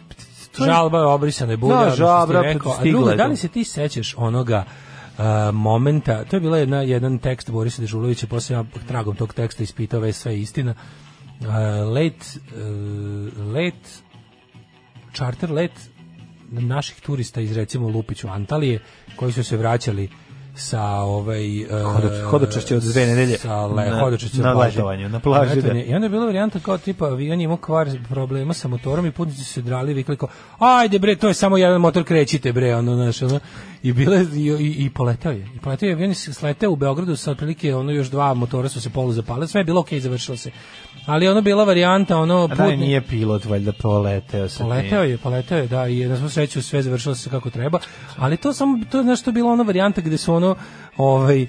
S5: To je-
S6: Žalba je obrisana i bulja,
S5: Da,
S6: ono što si
S5: žabra,
S6: rekao. A
S5: stigla
S6: drugo,
S5: je
S6: da
S5: to.
S6: li se ti sećaš onoga a, momenta, to je bila jedna, jedan tekst Borisa Dežulovića, posle ja tragom tog teksta ispitao ve sve je istina. A, let, e, let, charter let naših turista iz recimo Lupiću Antalije, koji su se vraćali sa ovaj e,
S5: Hodo- hodočašće od dve nedelje.
S6: sa le,
S5: Na-
S6: hodočašće
S5: na
S6: od plaže.
S5: letovanju, na plaži,
S6: Letovanje.
S5: da.
S6: I onda je bila varijanta kao tipa avion je imao kvar problema sa motorom i putnici su se drali i vikli kao ajde bre, to je samo jedan motor, krećite bre, ono, znaš, ono. I, bile, i, i, i poletao je. I poletao je, avion je sleteo u Beogradu sa otprilike, ono, još dva motora su se polu zapale, sve je bilo okej, završilo se. Ali je ono bila varijanta, ono,
S5: A da,
S6: putni-
S5: nije pilot, valjda, poleteo sa tim.
S6: Poleteo je, poleteo je, da, i na svu sreću sve završilo se kako treba, ali to samo, to je nešto bilo ona varijanta gde su ono, ovaj,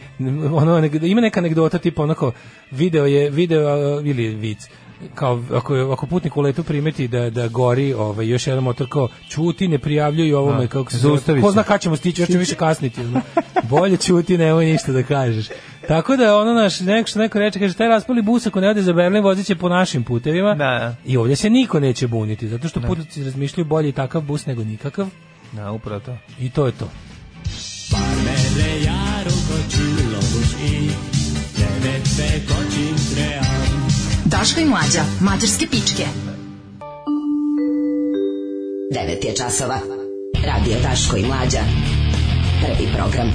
S6: ono, neg- ima neka anegdota, tipa onako, video je, video, a, ili je vic, kao ako, je- ako putnik u letu primeti da da gori ovaj još jedan motor kao ćuti ne prijavljuj ovome
S5: Da,
S6: kako se
S5: zaustavi
S6: ko
S5: se.
S6: zna kad ćemo stići još ćemo više kasniti ono. bolje ćuti nemoj ništa da kažeš tako da ono naš neko što neko reče kaže taj raspali bus ako ne ode za Berlin voziće po našim putevima
S5: Da.
S6: i ovdje se niko neće buniti, zato što putnici razmišljaju bolje i takav bus nego nikakav.
S5: Da, upravo to.
S6: I to je to.
S4: Daško i mlađa, mađarske
S7: 9
S4: pičke.
S7: je časova. Radio Daško i Mlađa. Prvi program.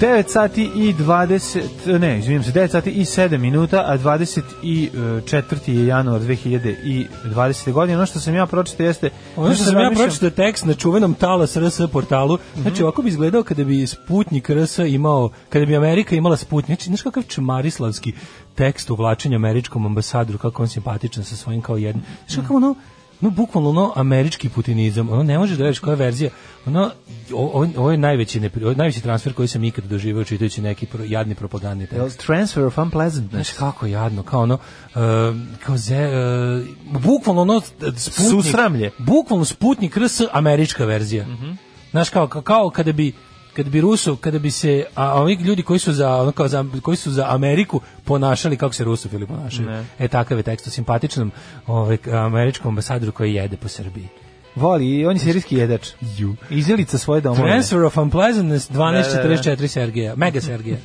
S5: 9 sati i 20, ne, izvinim se, 9 sati i 7 minuta, a 24. je januar 2020. godine. Ono što sam ja pročito jeste...
S6: Ono što sam ja
S5: razmišljam-
S6: pročitao tekst na čuvenom Talas RS portalu, znači ovako bi izgledao kada bi Sputnik RS imao, kada bi Amerika imala Sputnik, znači znaš kakav čmarislavski tekst uvlačenja američkom ambasadoru, kako on simpatičan sa svojim kao jednim, znaš kakav ono, no bukvalno ono američki putinizam, ono ne možeš da veruješ koja je verzija, ono, o- ovo, ovo je najveći, nepri- ovo je najveći transfer koji sam ikad doživio čitajući neki pro, jadni propagandni tekst.
S5: Transfer of unpleasantness.
S6: Znaš kako je jadno, kao ono, e, kao ze, e, bukvalno ono, sputnik,
S5: Susramlje. Mhm.
S6: bukvalno sputnik RS američka verzija. Znaš kao, kao, kao kada bi kada bi Ruso, kada bi se a ovi ljudi koji su za ono kao za koji su za Ameriku ponašali kako se Rusofili ponašaju. E takav je tekst o simpatičnom ovaj američkom ambasadoru koji jede po Srbiji.
S5: Voli, on je serijski jedač.
S6: Ju.
S5: Izjelica svoje domovine.
S6: Transfer of unpleasantness 1244
S5: Da,
S6: Sergeja, mega
S5: <laughs>
S6: Sergeja.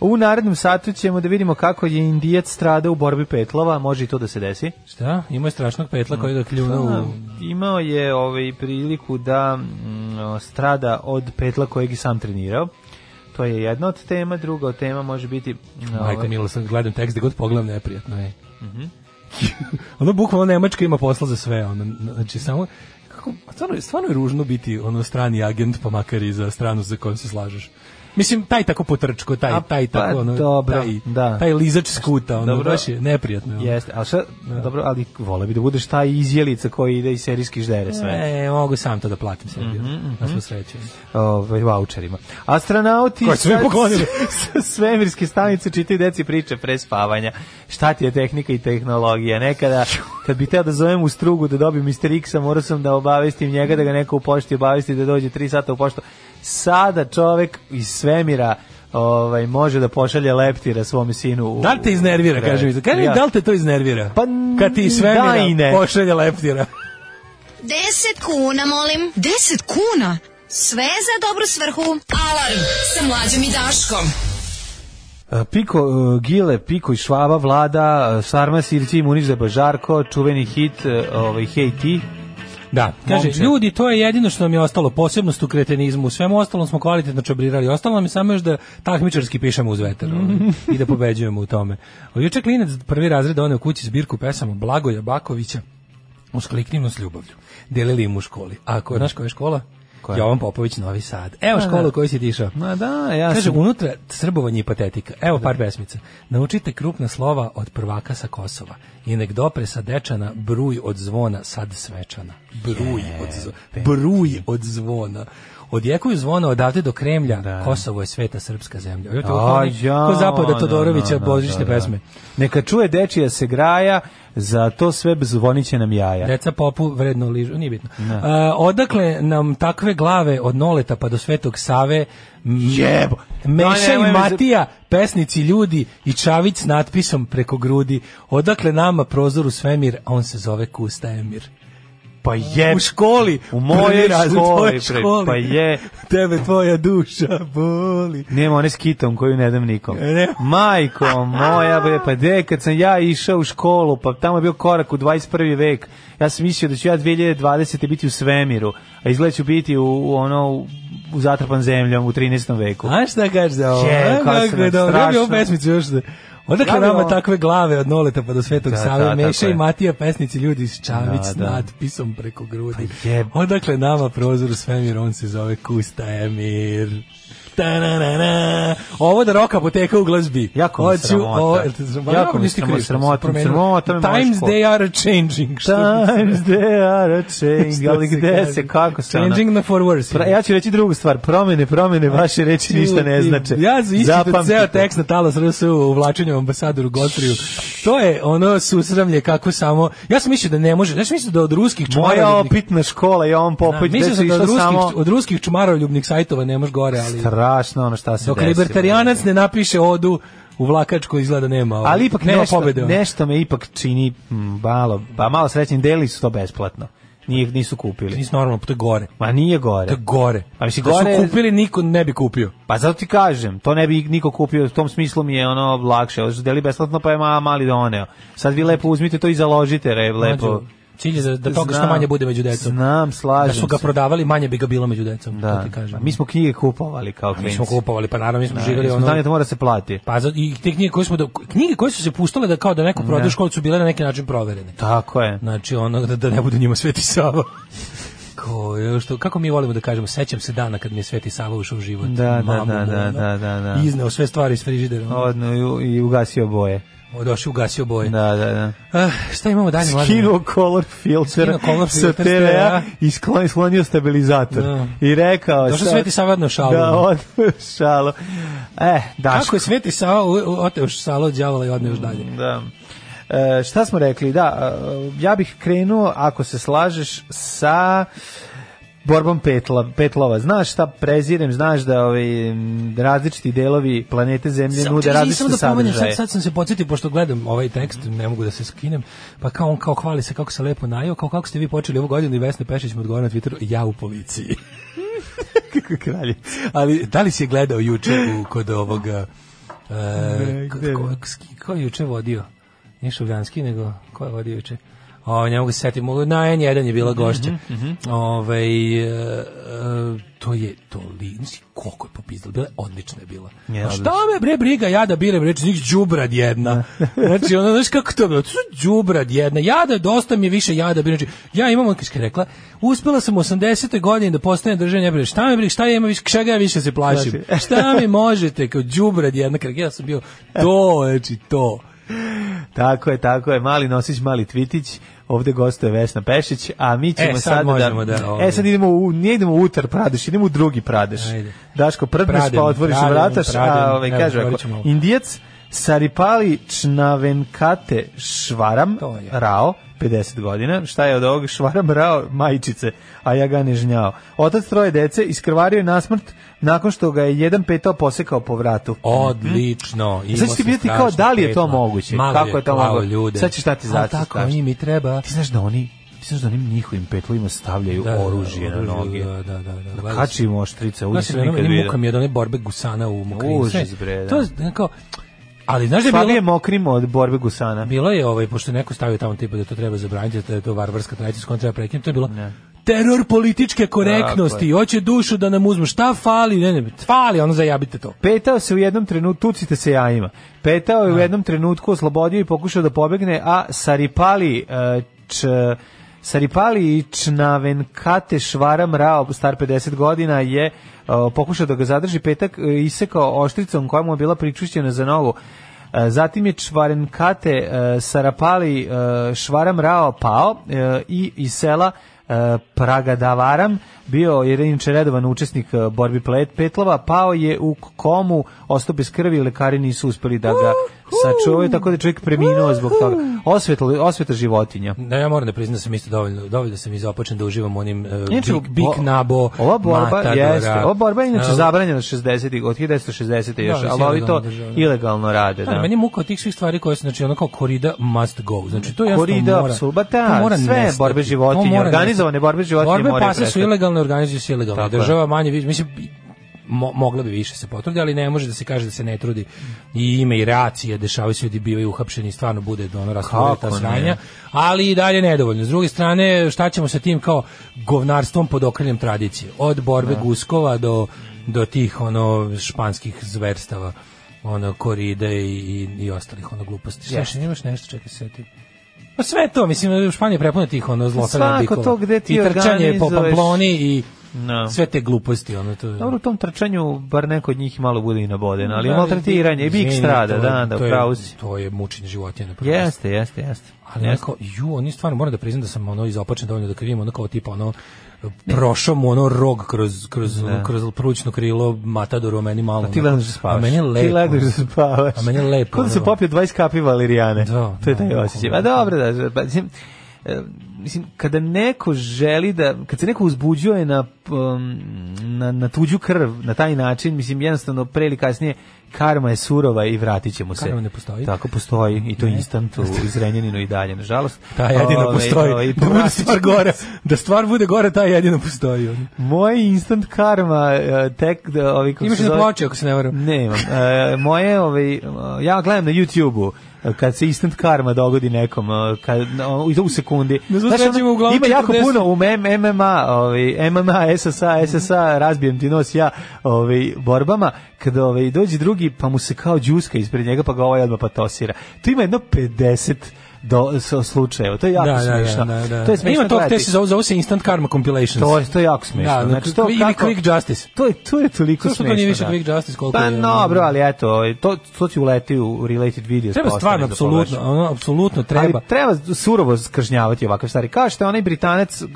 S5: U narednom satu ćemo da vidimo kako je Indijac strada u borbi petlova, može i to da se desi.
S6: Šta? Ima je strašnog petla koji ga kljuna
S5: A,
S6: u
S5: imao je ovaj priliku da mm, strada od petla kojeg je sam trenirao. To je jedna od tema, druga od tema može biti... mm,
S6: Majko
S5: ovaj, Mhm.
S6: Milo, sad gledam tekst gde god pogledam neprijatno je. <laughs> ono bukvalno Nemačka ima posla za sve, ono, znači samo kako, stvarno, je- stvarno je ružno biti ono strani agent, pa makar i za stranu za kojom se slažeš. Mislim, taj tako potrčko, taj,
S5: A,
S6: taj
S5: pa
S6: tako, ono,
S5: dobro,
S6: taj,
S5: da.
S6: taj lizač skuta, ono,
S5: Dobro.
S6: baš je neprijatno. je ono.
S5: Jeste, ali šta, dobro, ali vole bi da budeš ta izjelica koji ide i serijski ždere sve.
S6: E, mogu sam to da platim sebi, ono,
S5: Mhm,
S6: na svu sreću.
S5: ovaj vaučerima. Astronauti
S6: Koje su mi
S5: sa- <laughs>
S6: poklonili.
S5: sa svemirske stanice čitaju deci priče pre spavanja. Šta ti je tehnika i tehnologija? Nekada kad bi teo da zovem u strugu da dobijem Mr. X-a, morao sam da obavestim njega da ga neko u pošti obavesti da dođe 3 sata u poštu. Sada čovek iz svemira ovaj može da pošalje leptira svom sinu. u-
S6: Da li te iznervira,
S5: u-
S6: kaže mi to? Kaži mi,
S5: Ja.
S6: da li te to iznervira?
S5: Pa n-
S6: Kad ti sve
S5: da i ne.
S6: pošalje leptira.
S4: 10 kuna, molim. 10 kuna? Sve za dobru svrhu.
S7: Alarm sa mlađom i Daškom.
S5: E, Piko e, Gile, Piko i Švaba vlada, e, Sarma Sirci i Muniz Bažarko, čuveni hit e, ovaj Hey Ti.
S6: Da, kaže,
S5: Momče.
S6: ljudi, to je jedino što nam je ostalo, posebnost u kretenizmu, u svemu ostalom smo kvalitetno čabrirali, ostalo nam je samo još da takmičarski pišemo uz vetar ono, i da pobeđujemo u tome. Juče klinec prvi razred one u kući zbirku pesama Blagoja Bakovića, uskliknimo s ljubavlju. Delili im u školi. A ko, znaš koja je škola?
S5: Koja?
S6: Jovan Popović, Novi Sad. Evo škola u kojoj si ti išao.
S5: Ma da, ja
S6: Kaže,
S5: sam...
S6: unutra srbovanje i patetika. Evo par pesmica. Naučite krupna slova od prvaka sa Kosova. I nek dopre sa dečana bruj od zvona sad svečana. Bruj, od, zv- bruj od zvona. Od jekuju zvona odavde do Kremlja, Kosovo je sveta srpska zemlja. Ovo je to kao oni- ko zapada Todorovića božićne pesme.
S5: Neka čuje dečija se graja, za to sve zvoniće nam jaja.
S6: Deca popu vredno ližu, nije bitno. E, odakle nam takve glave od Noleta pa do Svetog Save m-
S5: Jebo.
S6: Meša
S5: Aj, nemoj
S6: i
S5: me za-
S6: Matija, pesnici ljudi i Čavić s natpisom preko grudi. Odakle nama prozor u svemir, a on se zove Kusta Emir.
S5: Pa je...
S6: U školi,
S5: U mojoj
S6: prvi razred, u tvojoj
S5: školi, pre-
S6: školi.
S5: pa je.
S6: Tebe tvoja duša boli.
S5: Nema one s kitom koju ne dam nikom.
S6: E, ne.
S5: Majko moja, bre, pa de, kad sam ja išao u školu, pa tamo je bio korak u 21. vek, ja sam mislio da ću ja 2020. biti u svemiru, a izgled ću biti u, u ono, u, u zatrpan zemljom u 13. veku.
S6: A šta kažeš za ovo?
S5: Je,
S6: Je,
S5: kako su
S6: kako je
S5: nam
S6: dobro. Ja bi ovu
S5: strašno.
S6: pesmicu još da... Odakle
S5: Ja bi
S6: nama
S5: ovo-
S6: takve glave od Noleta pa do Svetog
S5: Da,
S6: Save,
S5: da, tako
S6: Meša i
S5: je.
S6: Matija, pesnici ljudi iz Čavić
S5: Da,
S6: s
S5: da.
S6: natpisom preko grudi.
S5: Pa jeb-
S6: Odakle nama prozor u svemir, on se zove Kusta Emir. Ta-na-na-na. Ovo da roka apoteka u glazbi.
S5: Jako mi je
S6: Hoću-
S5: sramota.
S6: o- jel te sramota?
S5: Jako
S6: Jako
S5: mi
S6: mi
S5: je
S6: si
S5: sramota,
S6: kriv,
S5: sramota,
S6: promenio.
S5: sramota me može
S6: Times
S5: ko-
S6: they are changing. što bi-
S5: Times they are a change,
S6: <laughs> što
S5: ali
S6: se
S5: gde
S6: kaže.
S5: se, kako se ono-
S6: Changing na for worse.
S5: Pra- ja ću reći drugu stvar, promene, promene, vaše reči ništa ne znače.
S6: Ja ispitam
S5: Zapamtite.
S6: ceo tekst na Talas RS u uvlačenju ambasadoru Gotriju. To je ono susramlje kako samo... Ja sam mislio da ne može... Ja sam mislio da od ruskih
S5: Moja
S6: čumaroljubnih...
S5: opitna škola, ja on popođe,
S6: Mislio sam
S5: gde se
S6: da od
S5: išlo
S6: ruskih,
S5: samo...
S6: od ruskih čumaroljubnih sajtova ne može gore, ali...
S5: Strašno ono šta se
S6: Dok
S5: desi.
S6: libertarijanac ne napiše odu u vlakačko izgleda nema. ovaj,
S5: ali ipak
S6: nema
S5: nešto,
S6: pobede. ono.
S5: nešto me ipak čini mm, malo, pa malo srećnim deli su to besplatno. Nije, nisu kupili.
S6: Nisu normalno, pa to je gore.
S5: Ma nije
S6: To
S5: gore.
S6: je gore.
S5: Pa mislim,
S6: Da su
S5: gore-
S6: kupili, niko ne bi kupio.
S5: Pa zato ti kažem, to ne bi niko kupio, u tom smislu mi je ono lakše. Ovo su deli besplatno pa je ma, mali doneo. Sad vi lepo uzmite to i založite, re, lepo.
S6: Mlađo, Znači, Cilj je da, da toga što
S5: Znam.
S6: manje bude među decom.
S5: Znam, slažem
S6: Da su ga
S5: se.
S6: prodavali, manje bi ga bilo među decom. to
S5: Da,
S6: ti kažem.
S5: Pa mi smo knjige kupovali kao
S6: Mi
S5: klinci.
S6: smo kupovali, pa naravno mi smo živjeli
S5: Jer smo
S6: ono...
S5: znali da to mora se plati.
S6: Pa za- i te knjige koje smo da, knjige koje su se puštale da kao da neko prodaje u školi su bile na neki način proverene.
S5: Tako je.
S6: Znači ono da, da ne bude njima Sveti
S5: <laughs>
S6: Sava. Ko, je, što, kako mi volimo da kažemo, sećam se dana kad mi je Sveti Sava ušao u život.
S5: Da, da,
S6: Mamu,
S5: da, da,
S6: ono,
S5: da, da, da.
S6: Izneo sve stvari iz frižidera. ono.
S5: Odno i, i ugasio boje.
S6: Došao ugasio boje.
S5: Da, da, da.
S6: Ah, šta imamo dalje? mladine?
S5: Skinuo color filter,
S6: Skinuo color
S5: sa
S6: filter,
S5: TV-a
S6: da.
S5: i sklonio, sklonio stabilizator.
S6: Da.
S5: I rekao...
S6: Došao
S5: sad-
S6: Sveti Sava odneo šalu.
S5: Da, od šalo. Eh, Daško.
S6: Kako je Sveti Sava u- u- oteo šalo od đavola i odneo još dalje?
S5: Da. E, šta smo rekli? Da, e, ja bih krenuo, ako se slažeš, sa borbom petla, petlova. Znaš šta prezirem, znaš da ovaj, m, različiti delovi planete Zemlje
S6: Samo-
S5: nude
S6: čekaj,
S5: različite
S6: samo da pomenem,
S5: sadržaje.
S6: sad, sad sam se podsjetio, pošto gledam ovaj tekst, ne mogu da se skinem, pa kao on kao hvali se kako se lepo najeo, kao kako ste vi počeli ovu godinu i Vesna Pešić mu odgovara na Twitteru, ja u policiji. <laughs>
S5: Kako je kralje.
S6: Ali da li si je gledao juče u, kod ovoga... E,
S5: Ne,
S6: ko,
S5: gde
S6: ko,
S5: ne?
S6: ski- ko je juče vodio? Nije Šuljanski, nego ko je vodio juče? O, ne mogu se setiti, mogu- na N1 je
S5: Mhm,
S6: bila gošća. Ovaj, e, e, to je to li, nisi koliko je popizdala, bila je- odlična je bila.
S5: Je,
S6: A šta
S5: odlična.
S6: me bre briga, ja da birem, reći njih đubrad jedna. Znači, ona, znaš kako to je bilo, đubrad jedna, ja da dosta mi je više ja da birem. Znači, ja imam, kako je rekla, uspela sam u 80. godine da postane državna ja šta me briga, šta ja imam više, čega ja više se plašim. šta mi možete, kao đubrad jedna, kako ja sam bio, to, znači, to.
S5: Tako je, tako je. Mali nosić, mali tvitić. Ovde gostuje Vesna Pešić, a mi ćemo
S6: E, sad
S5: sad,
S6: možemo
S5: da...
S6: da, ovaj.
S5: E, sad idemo u, ne idemo u utar Pradeš, idemo u drugi Pradeš.
S6: Ajde.
S5: Daško, prdneš
S6: Pradem,
S5: pa otvoriš
S6: pradem,
S5: vrataš,
S6: pradem.
S5: a ovaj,
S6: Evo,
S5: kaže
S6: otvorit
S5: ovako,
S6: ćemo ovo.
S5: Indijac Saripali Čnavenkate Švaram
S6: To je.
S5: Rao, 50 godina, šta je od ovog Švaram Rao majčice, a ja ga ne žnjao. Otac troje dece iskrvario je nasmrt nakon što ga je jedan petao posekao po vratu.
S6: Odlično. imao
S5: Sad ću ti
S6: sam
S5: pitati kao
S6: strašno
S5: da li je to
S6: tretman.
S5: moguće,
S6: Malo
S5: kako je to
S6: klao
S5: moguće.
S6: Ljude.
S5: Sad ćeš šta ti
S6: Ali
S5: znači,
S6: Tako,
S5: strašno.
S6: njih mi treba.
S5: Ti znaš da oni ti znaš da onim njihovim petlovima stavljaju
S6: Da, da,
S5: oružje na noge.
S6: Da, da, da. da,
S5: Da kačimo oštrice, ovo
S6: Ja
S5: se
S6: se
S5: nikad
S6: nikad
S5: vidio.
S6: Muka mi ono, je od one borbe gusana u Mokrinsku.
S5: Užas, bre, da.
S6: To je nekao... Ali znaš da je
S5: Slabije
S6: bilo...
S5: Pa mokrimo od borbe gusana.
S6: Bilo je ovaj, pošto je neko stavio tamo tipa da to treba zabraniti, da je to varvarska tradicija s kojom treba prekinuti, to je bilo teror političke korektnosti,
S5: Tako je.
S6: hoće dušu da nam uzmu, šta fali, ne, ne, fali, ono zajabite to.
S5: Petao se u jednom trenutku, tucite se jajima. Petao je u jednom trenutku, oslobodio i pokušao da pobegne, a Saripali e, č, Saripali Čnavenkate Švaram Rao, star 50 godina, je e, pokušao da ga zadrži petak, e, isekao oštricom koja mu je bila pričušćena za nogu. E, Zatim je Čvarenkate e, Sarapali e, Švaram Rao pao e, i iz sela e, Pragadavaram bio je inače redovan učesnik e, borbi plet, petlova, pao je u komu, ostao bez krvi, lekari nisu uspeli da ga sačuvaju, tako da je čovjek preminuo zbog toga. Osvetla, osveta životinja.
S6: Da, ja moram da priznam da sam isto dovoljno, dovoljno sam izopačen da uživam u onim uh,
S5: Inače,
S6: bik, bik
S5: o-
S6: nabo,
S5: ova borba
S6: matadora.
S5: jeste, ova borba je inače
S6: E,
S5: zabranjena od 60-ih, od 1960 još,
S6: Da, Pa
S5: ali ovi to
S6: ilegalno država, da.
S5: ilegalno rade.
S6: Da.
S5: Da.
S6: Meni je muka od tih svih stvari koje su, znači, ono kao korida must go. Znači, to jasno
S5: Korida,
S6: mora.
S5: apsolutno, ba da,
S6: to mora
S5: sve
S6: nestati.
S5: borbe životinja,
S6: To mora nestati.
S5: organizovane borbe životinja
S6: Borbe
S5: moraju
S6: pasa su
S5: prestati.
S6: ilegalne, organizuju se ilegalno.
S5: Tako je.
S6: Država manje, više, mislim, mo- mogla bi više se potrudi, ali ne može da se kaže da se ne trudi. I ime i reacije, dešavaju se ljudi bivaju uhapšeni, stvarno bude ono rastorija ta
S5: Kako ne?
S6: sranja, ali i dalje nedovoljno. S druge strane, šta ćemo sa tim kao govnarstvom pod okriljem tradicije? Od borbe guskova do, do tih ono španskih zverstava ono koride i, i, i ostalih ono gluposti. Yes. Šta, imaš nešto, čekaj se setim. Pa sve to, mislim, u Španiji je prepuno tih ono zlostavljena
S5: Svako
S6: bikova.
S5: to gde ti
S6: I trčanje po
S5: organizuješ.
S6: Pamploni i
S5: No.
S6: sve te gluposti, ono to je.
S5: Dobro, u tom trčanju bar neko od njih malo bude i naboden, ali
S6: Da,
S5: je maltretiranje, i bik
S6: izvini,
S5: strada,
S6: to-
S5: da, da,
S6: to je-
S5: pravo si.
S6: To je mučenje životinja na prvom mestu.
S5: Jeste, jeste, jeste.
S6: Ali
S5: Jeste.
S6: onako, ju, oni stvarno, moram da priznam da sam ono izopačen dovoljno da kad vidim ono kao tipa ono, prošao mu ono rog kroz, kroz, ono, kroz pručno krilo matadoru, a meni malo.
S5: A ti
S6: ono-
S5: legneš da spavaš.
S6: A meni je lepo.
S5: Ti legneš da spavaš.
S6: A meni je lepo,
S5: Kod da se
S6: ono.
S5: popio 20 kapi valerijane.
S6: Da,
S5: to
S6: da,
S5: je taj
S6: bukvalno.
S5: osjećaj. Pa dobro, da, pa, mislim, e, mislim, kada neko želi da, kad se neko uzbuđuje na, um, na, na tuđu krv, na taj način, mislim, jednostavno, pre ili kasnije, karma je surova i vratit ćemo se.
S6: Karma ne postoji.
S5: Tako postoji, i
S6: <laughs>
S5: to instant u Zrenjaninu i dalje, nažalost.
S6: Ta jedino
S5: Ove,
S6: postoji.
S5: ove,
S6: da
S5: i
S6: bude
S5: povratit
S6: stvar
S5: ćemo
S6: gore. Da stvar bude gore, ta jedino postoji. ono.
S5: Moje instant karma e, tek da ovi kako
S6: Imaš
S5: se
S6: i na
S5: zove-
S6: ploči, ako se ne varam.
S5: Nemam. E, moje ovaj e, ja gledam na YouTubeu e, kad se instant karma dogodi nekom e, kad o, i to u sekundi.
S6: Ne znam,
S5: ono,
S6: srećemo uglavnom
S5: ima jako
S6: 40.
S5: puno u M- MMA, ovaj MMA, SSA, SSA, razbijem ti nos ja, ovaj borbama, kada pa ovaj dođe drugi pa mu se kao đuska ispred njega pa ga ovaj odmah patosira. Tu ima jedno 50 do, s- slučajeva. To je jako
S6: da,
S5: smiješno.
S6: Da, da, da. E,
S5: To je
S6: Ima
S5: smiješno
S6: to, te
S5: gledati.
S6: se zove, zove se Instant Karma Compilations.
S5: To je, to je jako smiješno.
S6: Da,
S5: znači, to
S6: ili Quick Justice.
S5: To je, to je toliko
S6: Sve što to
S5: smiješno.
S6: nije više
S5: da.
S6: Quick Justice, koliko
S5: Pa
S6: je, ono-
S5: dobro, ali eto, ovaj, to, to ti uleti u related video.
S6: Treba stvarno, apsolutno, ono, apsolutno treba.
S5: pa Ali treba surovo kažnjavati ovakve stvari. Kao što je onaj Britanac uh,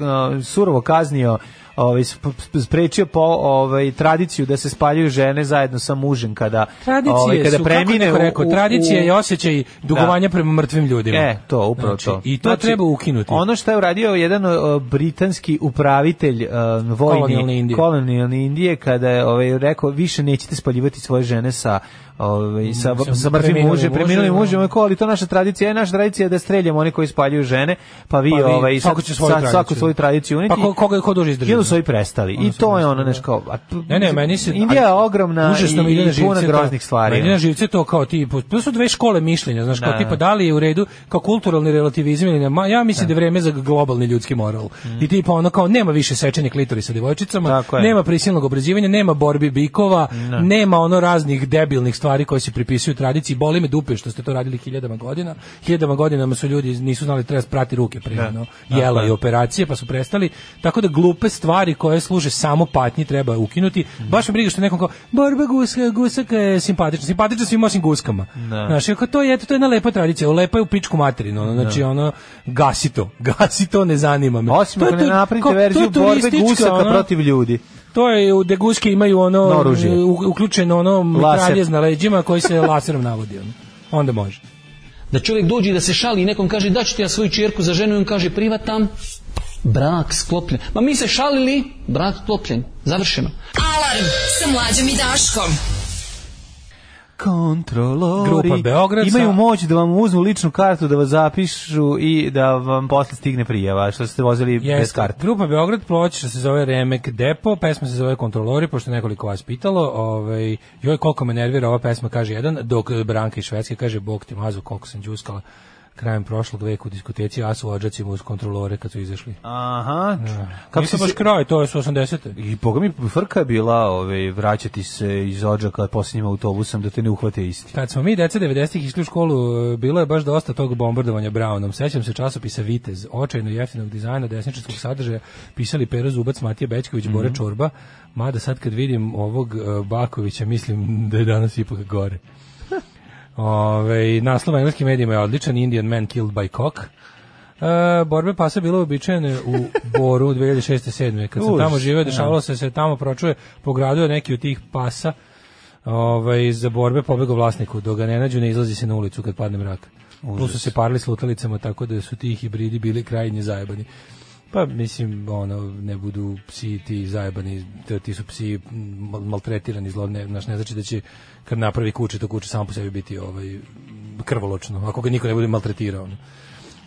S5: surovo kaznio ovaj sp- sp- sprečio po ovaj tradiciju da se spaljuju žene zajedno sa mužem kada
S6: Tradicije
S5: ovaj, kada
S6: su, kako je
S5: premine
S6: neko
S5: u-
S6: rekao,
S5: u-
S6: tradicija
S5: u-
S6: je osjećaj dugovanja prema mrtvim ljudima.
S5: E, to, upravo
S6: Znači,
S5: to.
S6: I to treba ukinuti.
S5: Ono što je uradio jedan o, britanski upravitelj o, vojni
S6: Kolonijalne Indije.
S5: kolonijalne Indije, kada je ovaj, rekao više nećete spaljivati svoje žene sa ovaj, sa,
S6: Sa
S5: sa mrtvim
S6: preminulim
S5: mužem, preminulim
S6: mužem,
S5: mužem, rekao, ali to je naša tradicija, je naša tradicija je da streljamo oni koji spaljuju žene, pa vi,
S6: Pa vi,
S5: ovaj, sad-
S6: svako će svoju
S5: sad
S6: tradiciju.
S5: svako svoju tradiciju uniti.
S6: Pa ko- koga- ko duže izdrži,
S5: I onda su
S6: da.
S5: ovi prestali.
S6: Onda
S5: I
S6: su
S5: to je
S6: prestali,
S5: ono
S6: da.
S5: nešto kao... a tu-
S6: Ne, ne, meni se...
S5: Indija je ogromna i,
S6: užasno mi ide na
S5: i puna
S6: živce to.
S5: groznih stvari. ono.
S6: Meni ide na živce to kao ti, to su dve škole mišljenja, znaš, kao
S5: Da.
S6: tipa da li je u redu kao kulturalni relativizam ili ne. Ma, ja mislim da je vreme za globalni ljudski moral. I tipa ono kao nema više sečenja klitorisa sa devojčicama,
S5: Mm. Tako je.
S6: nema prisilnog obrađivanja, nema borbi bikova, nema ono raznih debilnih stvari koje se pripisuju tradiciji. Boli me dupe što ste to radili hiljadama godina. Hiljadama godinama su ljudi nisu znali da treba prati ruke prije, ono, jela i operacije, pa su prestali. Tako da glupe stvari koje služe samo patnji treba ukinuti. Baš me briga što je nekom kao borba guska, gusaka je simpatična. Simpatična svim osim guskama. Znaš, ako to je, to je jedna lepa tradicija. Lepa je u pičku materinu. Ono, znači, ono, gasi to. <laughs> Gasi to, ne zanima me.
S5: Osim
S6: To je
S5: ako ne
S6: tu- kao- to
S5: napravite
S6: je
S5: verziju borbe
S6: turistička,
S5: gusaka
S6: ono-
S5: protiv ljudi.
S6: to je u Deguske imaju ono
S5: Oružje.
S6: u- uključeno ono
S5: Laser.
S6: mitraljez na leđima koji se laserom navodi. ono. Onda može.
S9: Da čovjek dođe i da se šali i nekom kaže da ću ti ja svoju čerku za ženu i on kaže privatam. Brak sklopljen. Ma mi se šalili, brak sklopljen. Završeno.
S4: Alarm sa mlađom i Daškom.
S5: kontrolori
S6: Grupa Beograd sa-
S5: imaju moć da vam uzmu ličnu kartu da vas zapišu i da vam posle stigne prijava što ste vozili bez
S6: Jeste.
S5: karte
S6: Grupa Beograd ploča se zove Remek Depo, pesma se zove Kontrolori, pošto je nekoliko vas pitalo, ovaj, joj koliko me nervira ova pesma, kaže jedan, dok Branka iz Švedske kaže, bog ti mazu, koliko sam džuskala krajem prošlog veka u diskoteci, a su ođacima uz kontrolore kad su izašli.
S5: aha
S6: Kako se
S5: si
S6: baš
S5: se-
S6: kraj, to je su 80.
S5: i boga mi frka je bila ovaj, vraćati se iz odžaka posljednjim autobusom da te ne uhvate isti
S6: Kad smo mi deca 90-ih išli u školu, e, bilo je baš dosta tog bombardovanja Brownom. Sećam se časopisa Vitez, očajno jeftinog dizajna, desničarskog sadržaja, pisali Pero Zubac, Matija Bećković, Bore Čorba, mada sad kad vidim ovog e, Bakovića, mislim <laughs> da je danas ipak gore. Ove, naslov na engleskim medijima je odličan, Indian man killed by cock. E, borbe pasa bilo uobičajene u Boru <laughs> 2006-2007. Kad sam
S5: Užas,
S6: tamo živeo, dešavalo se da se tamo pročuje po gradu je neki od tih pasa ovaj, za borbe pobegao vlasniku. Dok ga ne nađu, ne izlazi se na ulicu kad padne mrak. Plus su se parili s lutalicama, tako da su ti hibridi bili krajnje zajebani. Pa mislim, ono, ne budu psi ti zajebani, t- ti su psi m, maltretirani, zlo, ne, znaš, ne znači da će kad napravi kuće, to kuće samo po sebi biti ovaj, krvoločno, ako ga niko ne bude maltretirao. ono.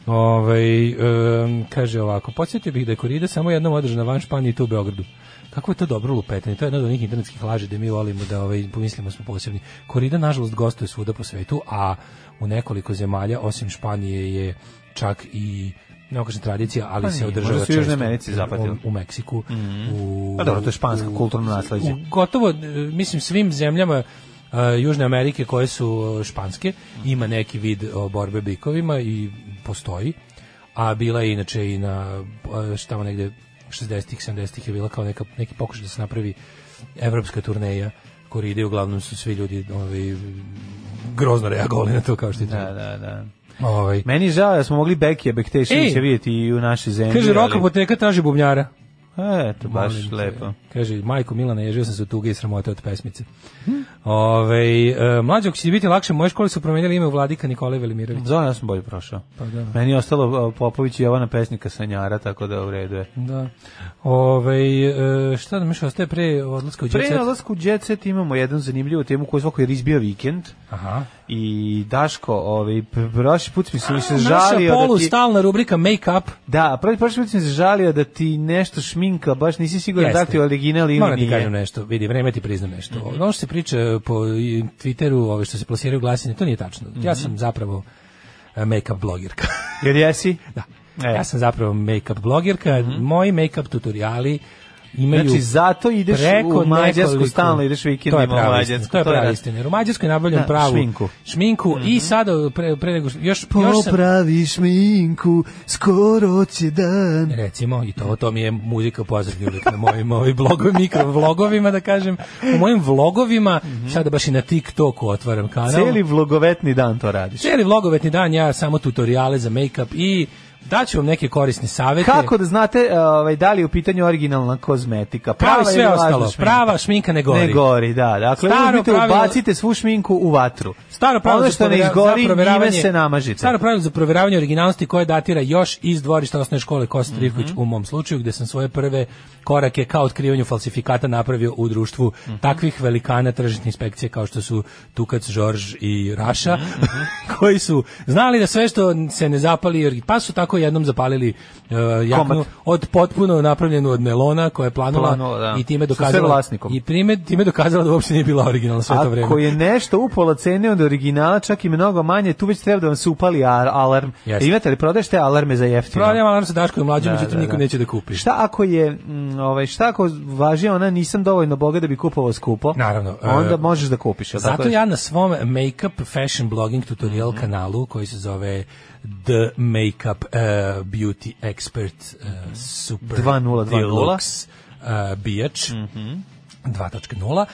S6: Ovaj em, kaže ovako, podsjetio bih da je korida samo jednom održana van Španije i tu u Beogradu. Kako je to dobro lupetanje, to je jedna od onih internetskih laži da mi volimo da ovaj, pomislimo smo posebni. Korida, nažalost, gostuje svuda po svetu, a u nekoliko zemalja, osim Španije, je čak i ne kažem tradicija, ali
S5: Pa
S6: se
S5: nije,
S6: održava
S5: možda su u Južnoj
S6: često.
S5: Americi zapatili.
S6: U, u Meksiku. u,
S5: Pa dobro, to je špansko kulturno nasleđe.
S6: u gotovo, e, mislim, svim zemljama e, Južne Amerike koje su e, španske, ima neki vid e, borbe bikovima i postoji. A bila je inače i na e, šta tamo negde 60-ih, 70-ih je bila kao neka, neki pokušaj da se napravi evropska turneja koji ide, uglavnom su svi ljudi ovaj, grozno reagovali na to kao što i
S5: da,
S6: treba.
S5: da, da.
S6: Ovaj.
S5: Meni je žao da smo mogli Bekija Bekteševića
S6: Ej!
S5: vidjeti i u našoj zemlji.
S6: Kaže,
S5: ali-
S6: roka poteka traži bubnjara.
S5: Eto, baš
S6: Molim te.
S5: lepo.
S6: Kaže, majko Milana, ježio sam se od tuge i sramote od pesmice. Ove, e, mlađo, ako će ti biti lakše, moje škole su promenjali ime u vladika Nikolaj Velimirović.
S5: Zove, ja sam bolje prošao.
S6: Pa da.
S5: Meni je ostalo e, Popović i Jovana pesnika Sanjara, tako da u redu je.
S6: Da. Ove, e, šta nam još ostaje pre odlaska u
S5: Pre
S6: djecet?
S5: nalasku u Jet Set imamo jednu zanimljivu temu koju svako je izbio vikend
S6: Aha.
S5: i Daško, ovaj, pr- prošli put mi se mi se
S6: Naša
S5: žalio da
S6: polu
S5: ti...
S6: stalna rubrika Make-up.
S5: Da, prošli, prošli put mi se žalio da ti nešto šminka, baš nisi siguran da
S6: Jeste.
S5: li ti je original ili
S6: Moram ti
S5: nije. Mhm.
S6: kažem nešto, vidi, vreme ti priznam nešto. Ono što se priča po i, Twitteru, ove što se plasiraju glasine, to nije tačno. Ja
S5: Mhm.
S6: sam zapravo e, make-up blogirka.
S5: Jer jesi?
S6: Da.
S5: E. Mhm.
S6: Ja sam zapravo make-up blogirka. Moji make-up tutoriali imaju
S5: Znači, zato ideš
S6: preko
S5: u Mađarsku
S6: nekoliko-
S5: stalno, ideš vikendima
S6: To je prava
S5: u
S6: istina,
S5: Mađarsku,
S6: To je
S5: to je
S6: prava
S5: raz-
S6: istina. Jer u Mađarskoj nabavljam
S5: Da,
S6: pravu
S5: šminku. Mhm.
S6: šminku i sada pre, pre nego što- još još sam
S5: Popravi šminku, skoro će dan.
S6: recimo i to to mi je muzika pozadnje uvijek na mojim ovim blogovima mikrovlogovima da kažem u mojim vlogovima
S5: Mhm.
S6: sada baš i na TikToku otvaram kanal
S5: Celi vlogovetni dan to radiš.
S6: Cijeli vlogovetni dan ja samo tutoriale za make-up i daću vam neke korisne savete.
S5: Kako da znate ovaj, da li je u pitanju originalna kozmetika?
S6: Kao i sve
S5: ili lažna
S6: ostalo.
S5: šminka?
S6: Prava šminka ne gori.
S5: Ne gori, da. Dakle,
S6: Staro
S5: uzmite,
S6: pravilo-
S5: ubacite svu šminku u vatru.
S6: Staro pravilo
S5: Ono
S6: za
S5: što ne
S6: provera- za
S5: izgori, njime
S6: proveravanje-
S5: se namažite.
S6: Staro pravilo za proveravanje originalnosti koje datira još iz dvorišta osnovne škole Kosta Trivković
S5: Mhm.
S6: u mom slučaju gde sam svoje prve korake ka otkrivanju falsifikata napravio u društvu
S5: Mhm.
S6: takvih velikana tržne inspekcije kao što su Tukac, Žorž i Raša
S5: Mhm,
S6: <laughs> koji su znali da sve što se ne zapali ori- pa su tako jednom zapalili uh, jaknu
S5: Komad.
S6: od potpuno napravljenu od melona koja je planula,
S5: Planula, da.
S6: i time
S5: Sa sve
S6: dokazala
S5: vlasnikom.
S6: i prime, time dokazala da uopšte nije bila originalna sve to vreme.
S5: Ako je nešto upola cene od originala, čak i mnogo manje, tu već treba da vam se upali ar- alarm.
S6: Jeste.
S5: Imate li prodaješ te alarme za jeftino?
S6: Prodajem alarm sa Daškom mlađim, međutim niko neće da kupi.
S5: Šta ako je, mm, ovaj, šta ako važi ona nisam dovoljno boga da bi kupovao skupo?
S6: Naravno, e,
S5: Onda možeš da kupiš. jel tako
S6: Zato Mhm.
S5: je?
S6: ja na svom make-up fashion blogging tutorial kanalu koji se zove The Makeup uh, Beauty Expert uh, Super
S5: 2.0, 2.0.
S6: Deluxe uh, Bijač 2.0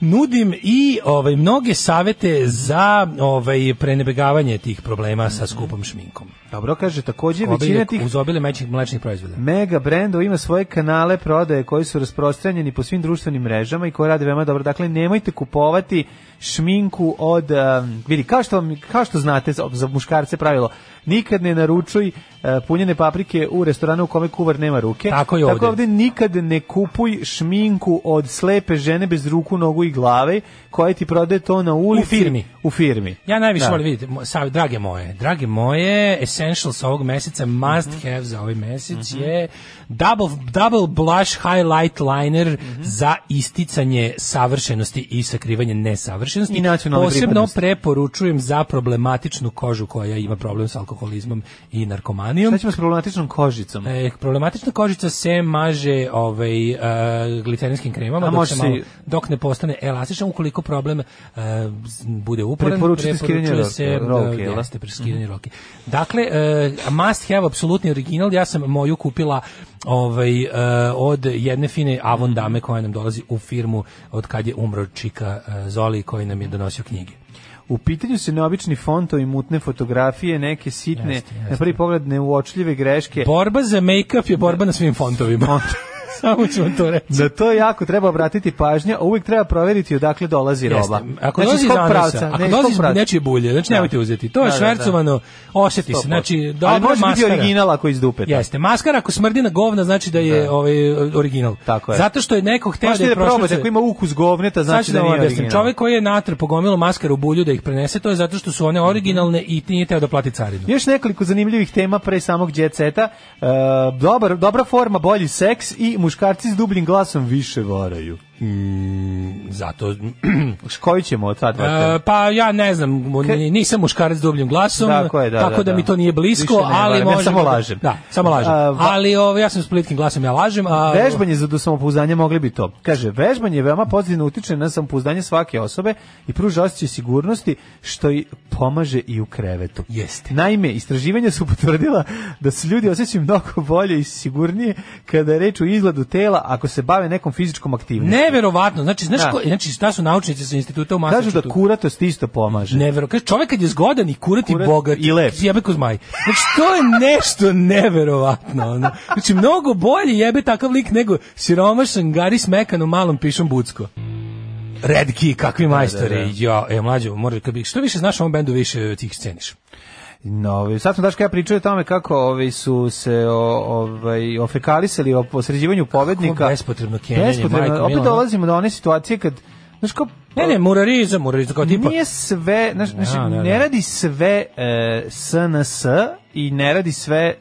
S6: nudim i ovaj mnoge savete za ovaj prenebegavanje tih problema sa skupom šminkom.
S5: Dobro kaže, takođe većina
S6: Obilje,
S5: tih
S6: uz obilje mećih mlečnih proizvoda.
S5: mega brendova ima svoje kanale prodaje koji su rasprostranjeni po svim društvenim mrežama i koji rade veoma dobro. Dakle, nemojte kupovati šminku od, um, vidi, kao što, vam- kao što znate za, za muškarce pravilo, nikad ne naručuj uh, punjene paprike u restoranu u kome kuvar nema ruke.
S6: Tako i ovde.
S5: Tako ovde nikad ne kupuj šminku od slepe žene bez ruku, nogu i glave koja ti prodaje to na ulici.
S6: firmi.
S5: U firmi.
S6: Ja najviše
S5: Da.
S6: volim vidite, mo- sav, drage moje, drage moje, essentials ovog meseca, must
S5: Mhm.
S6: have za ovaj mesec je double, double blush highlight liner
S5: Mhm.
S6: za isticanje savršenosti i sakrivanje nesavršenosti.
S5: I nacionalne
S6: Posebno
S5: pripadnosti.
S6: preporučujem za problematičnu kožu koja ima problem s alkoholizmom i narkomanijom.
S5: Šta ćemo s problematičnom kožicom?
S6: E, problematična kožica se maže ovaj e, gliterinskim kremama
S5: A
S6: dok,
S5: može
S6: se
S5: se i-
S6: malo, dok ne postane elastičan ukoliko problem e, z- bude uporan
S5: Preporučite skidanje ro-
S6: se
S5: rolke, jel?
S6: da, jeste preskidanje roke. Dakle e, must have apsolutni original ja sam moju kupila ovaj e, od jedne fine Avon dame koja nam dolazi u firmu od kad je umro čika e, Zoli koji nam je donosio knjige.
S5: U pitanju su neobični fontovi, mutne fotografije, neke sitne, na prvi pogled neuočljive greške.
S6: Borba za make-up je borba na svim fontovima. <laughs> Samo ću vam to reći.
S5: Za to jako treba obratiti pažnja, a uvijek treba proveriti odakle dolazi
S6: Jeste.
S5: roba.
S6: Ako
S5: Znači,
S6: dolazi
S5: iz
S6: iz
S5: kog
S6: anusa,
S5: pravca, ne,
S6: ako
S5: iz
S6: dolazi
S5: kog
S6: iz
S5: pravca.
S6: nečije bulje, znači
S5: Da.
S6: nemojte uzeti. To je
S5: Da, da, da.
S6: švercovano, osjeti se.
S5: 100%.
S6: Znači, dobra
S5: Ali može biti
S6: maskara.
S5: original ako je iz dupeta.
S6: Jeste, maskara ako smrdi na govna znači da je ovaj original.
S5: Tako je.
S6: Zato što je neko hteo da
S5: Možete
S6: je
S5: da probate,
S6: prošvercuje-
S5: ako ima ukus govneta,
S6: Sad
S5: znači
S6: ću
S5: da
S6: da vam
S5: nije
S6: objasnim.
S5: original.
S6: Čovek koji je natr pogomilo maskaru u bulju da ih prenese, to je zato što su one originalne i nije teo da plati carinu.
S5: Još nekoliko zanimljivih tema pre samog jet seta. E, dobar, dobra forma, bolji seks i muškarci s dubljim glasom više varaju. Mm,
S6: Zato,
S5: Koju ćemo od sad?
S6: E, pa ja ne znam, mu- ni- nisam muškarac s dubljim glasom,
S5: Tako je, da,
S6: tako
S5: da,
S6: da,
S5: da.
S6: mi to nije blisko,
S5: Više ne
S6: ali
S5: varam, ja
S6: možemo...
S5: samo
S6: da-
S5: lažem.
S6: Da, samo lažem.
S5: A, va-
S6: ali ovo, ja sam s plitkim glasom, ja lažem. A,
S5: Vežbanje za do samopouzdanja mogli bi to. Kaže, vežbanje veoma pozitivno utiče na samopouzdanje svake osobe i pruža osjećaj sigurnosti što i pomaže i u krevetu.
S6: Jeste.
S5: Naime, istraživanja su <laughs> potvrdila da se ljudi osjećaju mnogo bolje i sigurnije kada je reč o izgledu tela ako se bave nekom fizičkom aktivnosti.
S6: Neverovatno, znači, znaš,
S5: Da.
S6: ko, znači šta su naučnici sa instituta u
S5: Kažu da
S6: Massachusettsu?
S5: kuratost isto pomaže.
S6: Nevero, kaže čovjek kad je zgodan i kurat i
S5: Kurat
S6: bogat
S5: i lep.
S6: Jebe ko zmaj. Znači to je nešto neverovatno. Ono. Znači mnogo bolje jebe takav lik nego siromašan Gari Smekan u malom pišom Bucko. Redki, kakvi majstori. Ja, e, mlađo, mora, kad bi, što više znaš o ovom bendu, više tih sceniš.
S5: No, ovaj, sad smo Daška ja pričao o tome kako ovaj, su se o, ovaj, ofekalisali o posređivanju povednika.
S6: Kako bespotrebno kenjanje, majko mila,
S5: opet
S6: ono.
S5: dolazimo do one situacije kad Znaš kao,
S6: Ne, ne, murarizam, murarizam, kao tipa,
S5: Nije sve, znaš, znaš,
S6: Da, da,
S5: ne
S6: da.
S5: radi sve e, SNS i ne radi sve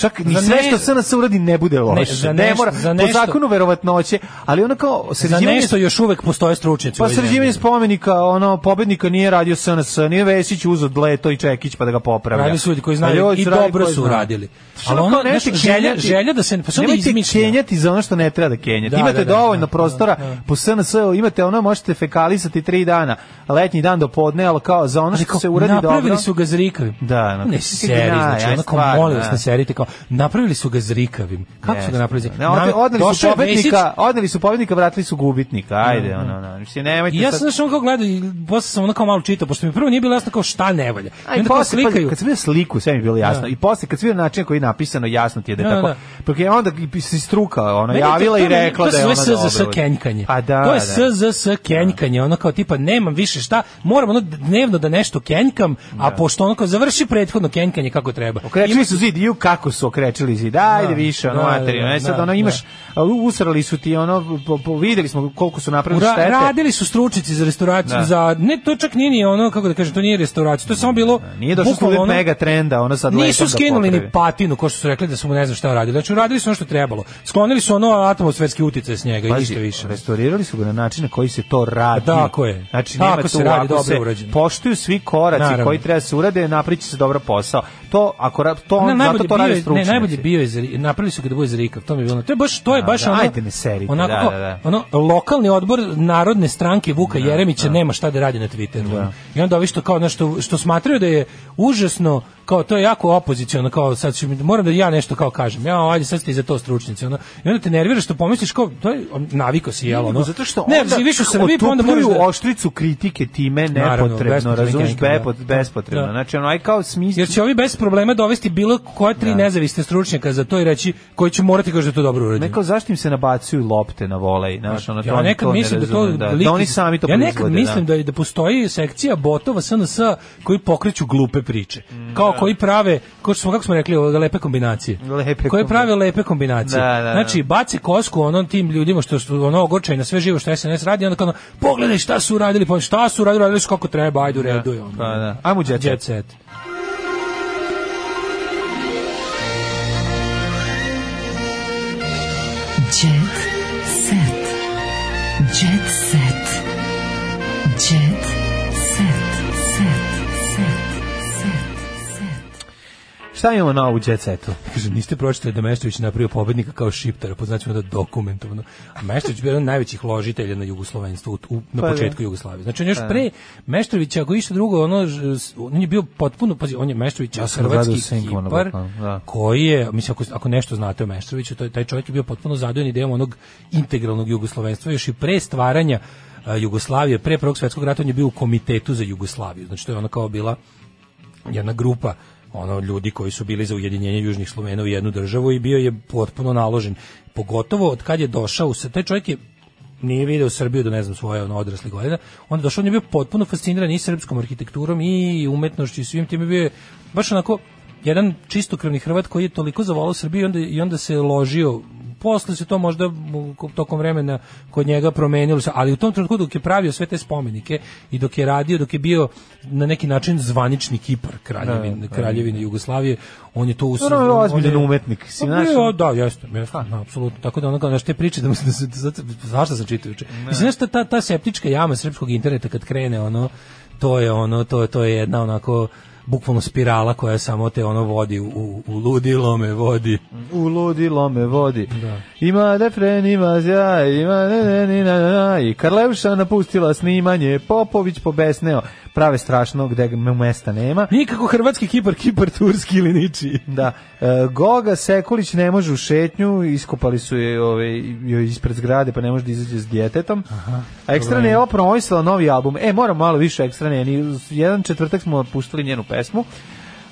S5: čak ni
S6: Za
S5: sve
S6: ne-
S5: što SNS uradi ne bude loše.
S6: Ne, za
S5: ne
S6: neš-
S5: mora,
S6: za nešto-
S5: po zakonu verovatnoće, ali ono kao
S6: Za
S5: sređivanje
S6: nešto još uvek postoje stručnjaci. u
S5: Pa
S6: ovoj
S5: sređivanje
S6: zemlji.
S5: spomenika, ono, pobednika nije radio SNS, nije Vesić uzeo Dleto i Čekić pa da ga popravlja.
S6: Radili su ljudi koji
S5: Ali
S6: znaju
S5: ovo
S6: i
S5: radili
S6: dobro
S5: koji
S6: su
S5: znaju.
S6: radili.
S5: Što
S6: Ali
S5: ono
S6: ono,
S5: kao
S6: znaš,
S5: nemojte
S6: želja,
S5: kenjati-
S6: želja da se... Pa se onda
S5: nemojte
S6: izmišlja.
S5: kenjati za ono što ne treba da kenjati.
S6: Da,
S5: imate
S6: da, da,
S5: dovoljno
S6: da,
S5: prostora,
S6: da, da.
S5: po SNS imate ono, možete fekalisati tri dana, letnji dan do podne, ali kao za ono
S6: Ali
S5: što
S6: kao,
S5: se uradi dobro.
S6: napravili su ga zrikavim.
S5: Da, no.
S6: ne seri,
S5: Da,
S6: znači
S5: aj,
S6: onako
S5: stvarno,
S6: molim vas
S5: da.
S6: ne serite kao napravili su ga zrikavim. Kako su
S5: Jeste,
S6: ga napravili?
S5: da.
S6: zrikavim?
S5: Ne, od-
S6: Na-
S5: odneli su
S6: došao je
S5: pobednika,
S6: Vesić-
S5: odneli su pobednika, vratili su gubitnika. Ajde, ono, ono. Mislim, nemojte
S6: I ja sam
S5: sad-
S6: znaš ono kao gledao i posle sam ono kao malo čitao, pošto mi prvo nije bilo jasno kao šta ne valja. I
S5: Aj,
S6: onda kao
S5: posle, pa,
S6: slikaju.
S5: kad sam vidio sliku, sve mi je bilo jasno.
S6: Da.
S5: I posle, kad sam vidio način koji je napisano, jasno ti je da je
S6: Da,
S5: tako.
S6: da.
S5: Pa je onda i se struka ona,
S6: Meni je to-
S5: javila
S6: to
S5: i
S6: meni-
S5: rekla da je ona
S6: To se zove SZS
S5: dobra.
S6: kenjkanje.
S5: A da,
S6: to je
S5: da.
S6: SZS kenjkanje, ono kao tipa nemam više šta, moram ono dnevno da nešto kenjkam, a pošto ono kao završi prethodno kenjkanje kako treba.
S5: Okrečili su zid, ju kako su okrečili zid, ajde
S6: Da,
S5: više, ono
S6: da,
S5: materijalno.
S6: da,
S5: E sad,
S6: da,
S5: ono, imaš, a, u- usrali su ti, ono, po, po, videli smo koliko su napravili
S6: Ra-
S5: štete.
S6: radili su stručici za restauraciju
S5: Da.
S6: za ne to čak nije ni ono kako da kažem to nije restauracija to je samo bilo
S5: Nije došlo
S6: bukvalno
S5: student
S6: ono-
S5: mega trenda, ono sad letom
S6: Nisu
S5: da
S6: skinuli ni pa-
S5: popravi.
S6: patinu, ko što su rekli da su mu ne znam šta radili. Znači, uradili su ono što trebalo. Sklonili su ono atmosferski uticaj s njega i
S5: Pazi,
S6: ništa više.
S5: Restaurirali su ga na način na koji se to radi.
S6: Tako je.
S5: Znači,
S6: Tako
S5: nema tu,
S6: se radi,
S5: ako
S6: dobro
S5: se
S6: urađeno.
S5: Poštuju svi koraci
S6: Naravno.
S5: koji treba se urade, napriči se dobro posao. To, ako ra-
S6: Ne,
S5: to, Pa on, zato
S6: najbolje
S5: to
S6: bio,
S5: radi
S6: je- ne,
S5: stručnjaci.
S6: najbolje bio je zri- napravili su ga da bude zrikav. To mi je bilo. To je baš to je
S5: Da,
S6: baš
S5: da,
S6: ono.
S5: ajde me serite,
S6: onako
S5: da,
S6: kao,
S5: da, da.
S6: Ono lokalni odbor Narodne stranke Vuka Jeremića nema šta da radi na Twitteru. I onda ovi što kao nešto što smatraju da je užasno kao to je jako opoziciono kao sad ću, moram da ja nešto kao kažem. Ja ajde sad ste i za to stručnjaci. Ono. I onda te nerviraš što pomisliš kao to je naviko si jel ono.
S5: Zato što
S6: ne,
S5: onda
S6: živiš u Srbiji pa onda moraš
S5: otupljuju
S6: da
S5: oštricu kritike time
S6: Naravno,
S5: nepotrebno,
S6: bespotrebno
S5: razumiješ,
S6: kenjka, da.
S5: bepot- bespotrebno.
S6: Da.
S5: Znači, ono, aj kao smisli...
S6: Jer će ovi bez problema dovesti bilo koja tri nezavisne stručnjaka za to i reći koji će morati kao da je to dobro urađeno.
S5: Neko zašto im se nabacuju lopte na volej, znaš, ono, to,
S6: Ja
S5: oni
S6: nekad
S5: to ne
S6: mislim da to
S5: razume, da,
S6: liki-
S5: da oni sami to
S6: Ja nekad
S5: proizvode,
S6: mislim da je- da postoji sekcija botova SNS koji pokreću glupe priče.
S5: Mm,
S6: Kao koji prave, kao što smo kako smo rekli, ove lepe kombinacije.
S5: Lepe
S6: koji prave lepe kombinacije.
S5: Da, da, da.
S6: Znači bace kosku onom tim ljudima što su ono ogorčeni na sve živo što SNS radi, onda kao ono, pogledaj šta su uradili, pa šta su uradili, radili su kako treba, ajde u redu je ono.
S5: Pa da. Ajmo u Jet Set.
S6: Jet Set.
S4: Jet set. Jet set. Jet set. Set.
S5: Šta imamo novo u Jet Setu?
S6: Kaže, niste pročitali da Meštović napravio pobednika kao šiptara, poznaćemo da dokumentovano. A Meštović je bio jedan od najvećih ložitelja na jugoslovenstvu u, na
S5: Pa da.
S6: početku Jugoslavije. Znači, on još pre Meštovića, ako išta drugo, ono, ž- s- on je bio potpuno, pazi, on je Meštović
S5: Ja sam gledao
S6: hrvatski
S5: Sinkona
S6: kipar,
S5: bukvalno, da.
S6: koji je, mislim, ako, ako nešto znate o Meštroviću, to je, taj čovjek je bio potpuno zadojen idejom onog integralnog jugoslovenstva, još i pre stvaranja a, Jugoslavije, pre Prvog svjetskog rata, on je bio u komitetu za Jugoslaviju. Znači, to je ona kao bila jedna grupa ono ljudi koji su bili za ujedinjenje južnih Slovena u jednu državu i bio je potpuno naložen. Pogotovo od kad je došao, se taj čovjek je nije video Srbiju do ne znam svoje ono odrasle godina. Onda je došao, on je bio potpuno fasciniran i srpskom arhitekturom i umetnošću i svim tim bio je baš onako jedan čistokrvni Hrvat koji je toliko zavolao Srbiju i onda, i onda se ložio posle se to možda mu tokom vremena kod njega promenilo se, ali u tom trenutku dok je pravio sve te spomenike i dok je radio, dok je bio na neki način zvanični Kipar kraljevine, kraljevine Jugoslavije, on je to us-
S5: Ono je
S6: on- on
S5: ozbiljan
S6: je-
S5: umetnik, si,
S6: Pa
S5: znaš,
S6: bio,
S5: ono-
S6: da, jeste, jeste, no, apsolutno. Tako da ono kao, znaš, te priče, da mu se, da se, da se- znaš šta sam čitao juče. Mislim, znaš, ta- ta, ta septička jama srpskog interneta kad krene, ono, to je ono, to, to je jedna onako, bukvalno spirala koja samo te ono vodi u, u, u ludilo me vodi.
S5: Uludilo me vodi. Ima refren, ima zjaj, ima ne, ne, ne, na, na, na. I Karlevša napustila snimanje, Popović pobesneo. Prave strašno gde ga- mu mesta nema.
S6: Nikako hrvatski Kipar, Kipar turski ili ničiji.
S5: <laughs> Da, e, Goga Sekulić ne može u šetnju, iskopali su je ove, joj ispred zgrade, pa ne može da izađe s djetetom. A Ekstra ne je opromovisala novi album. E, moram malo više Ekstra ne. ni- Jedan četvrtak smo puštali njenu pesmu.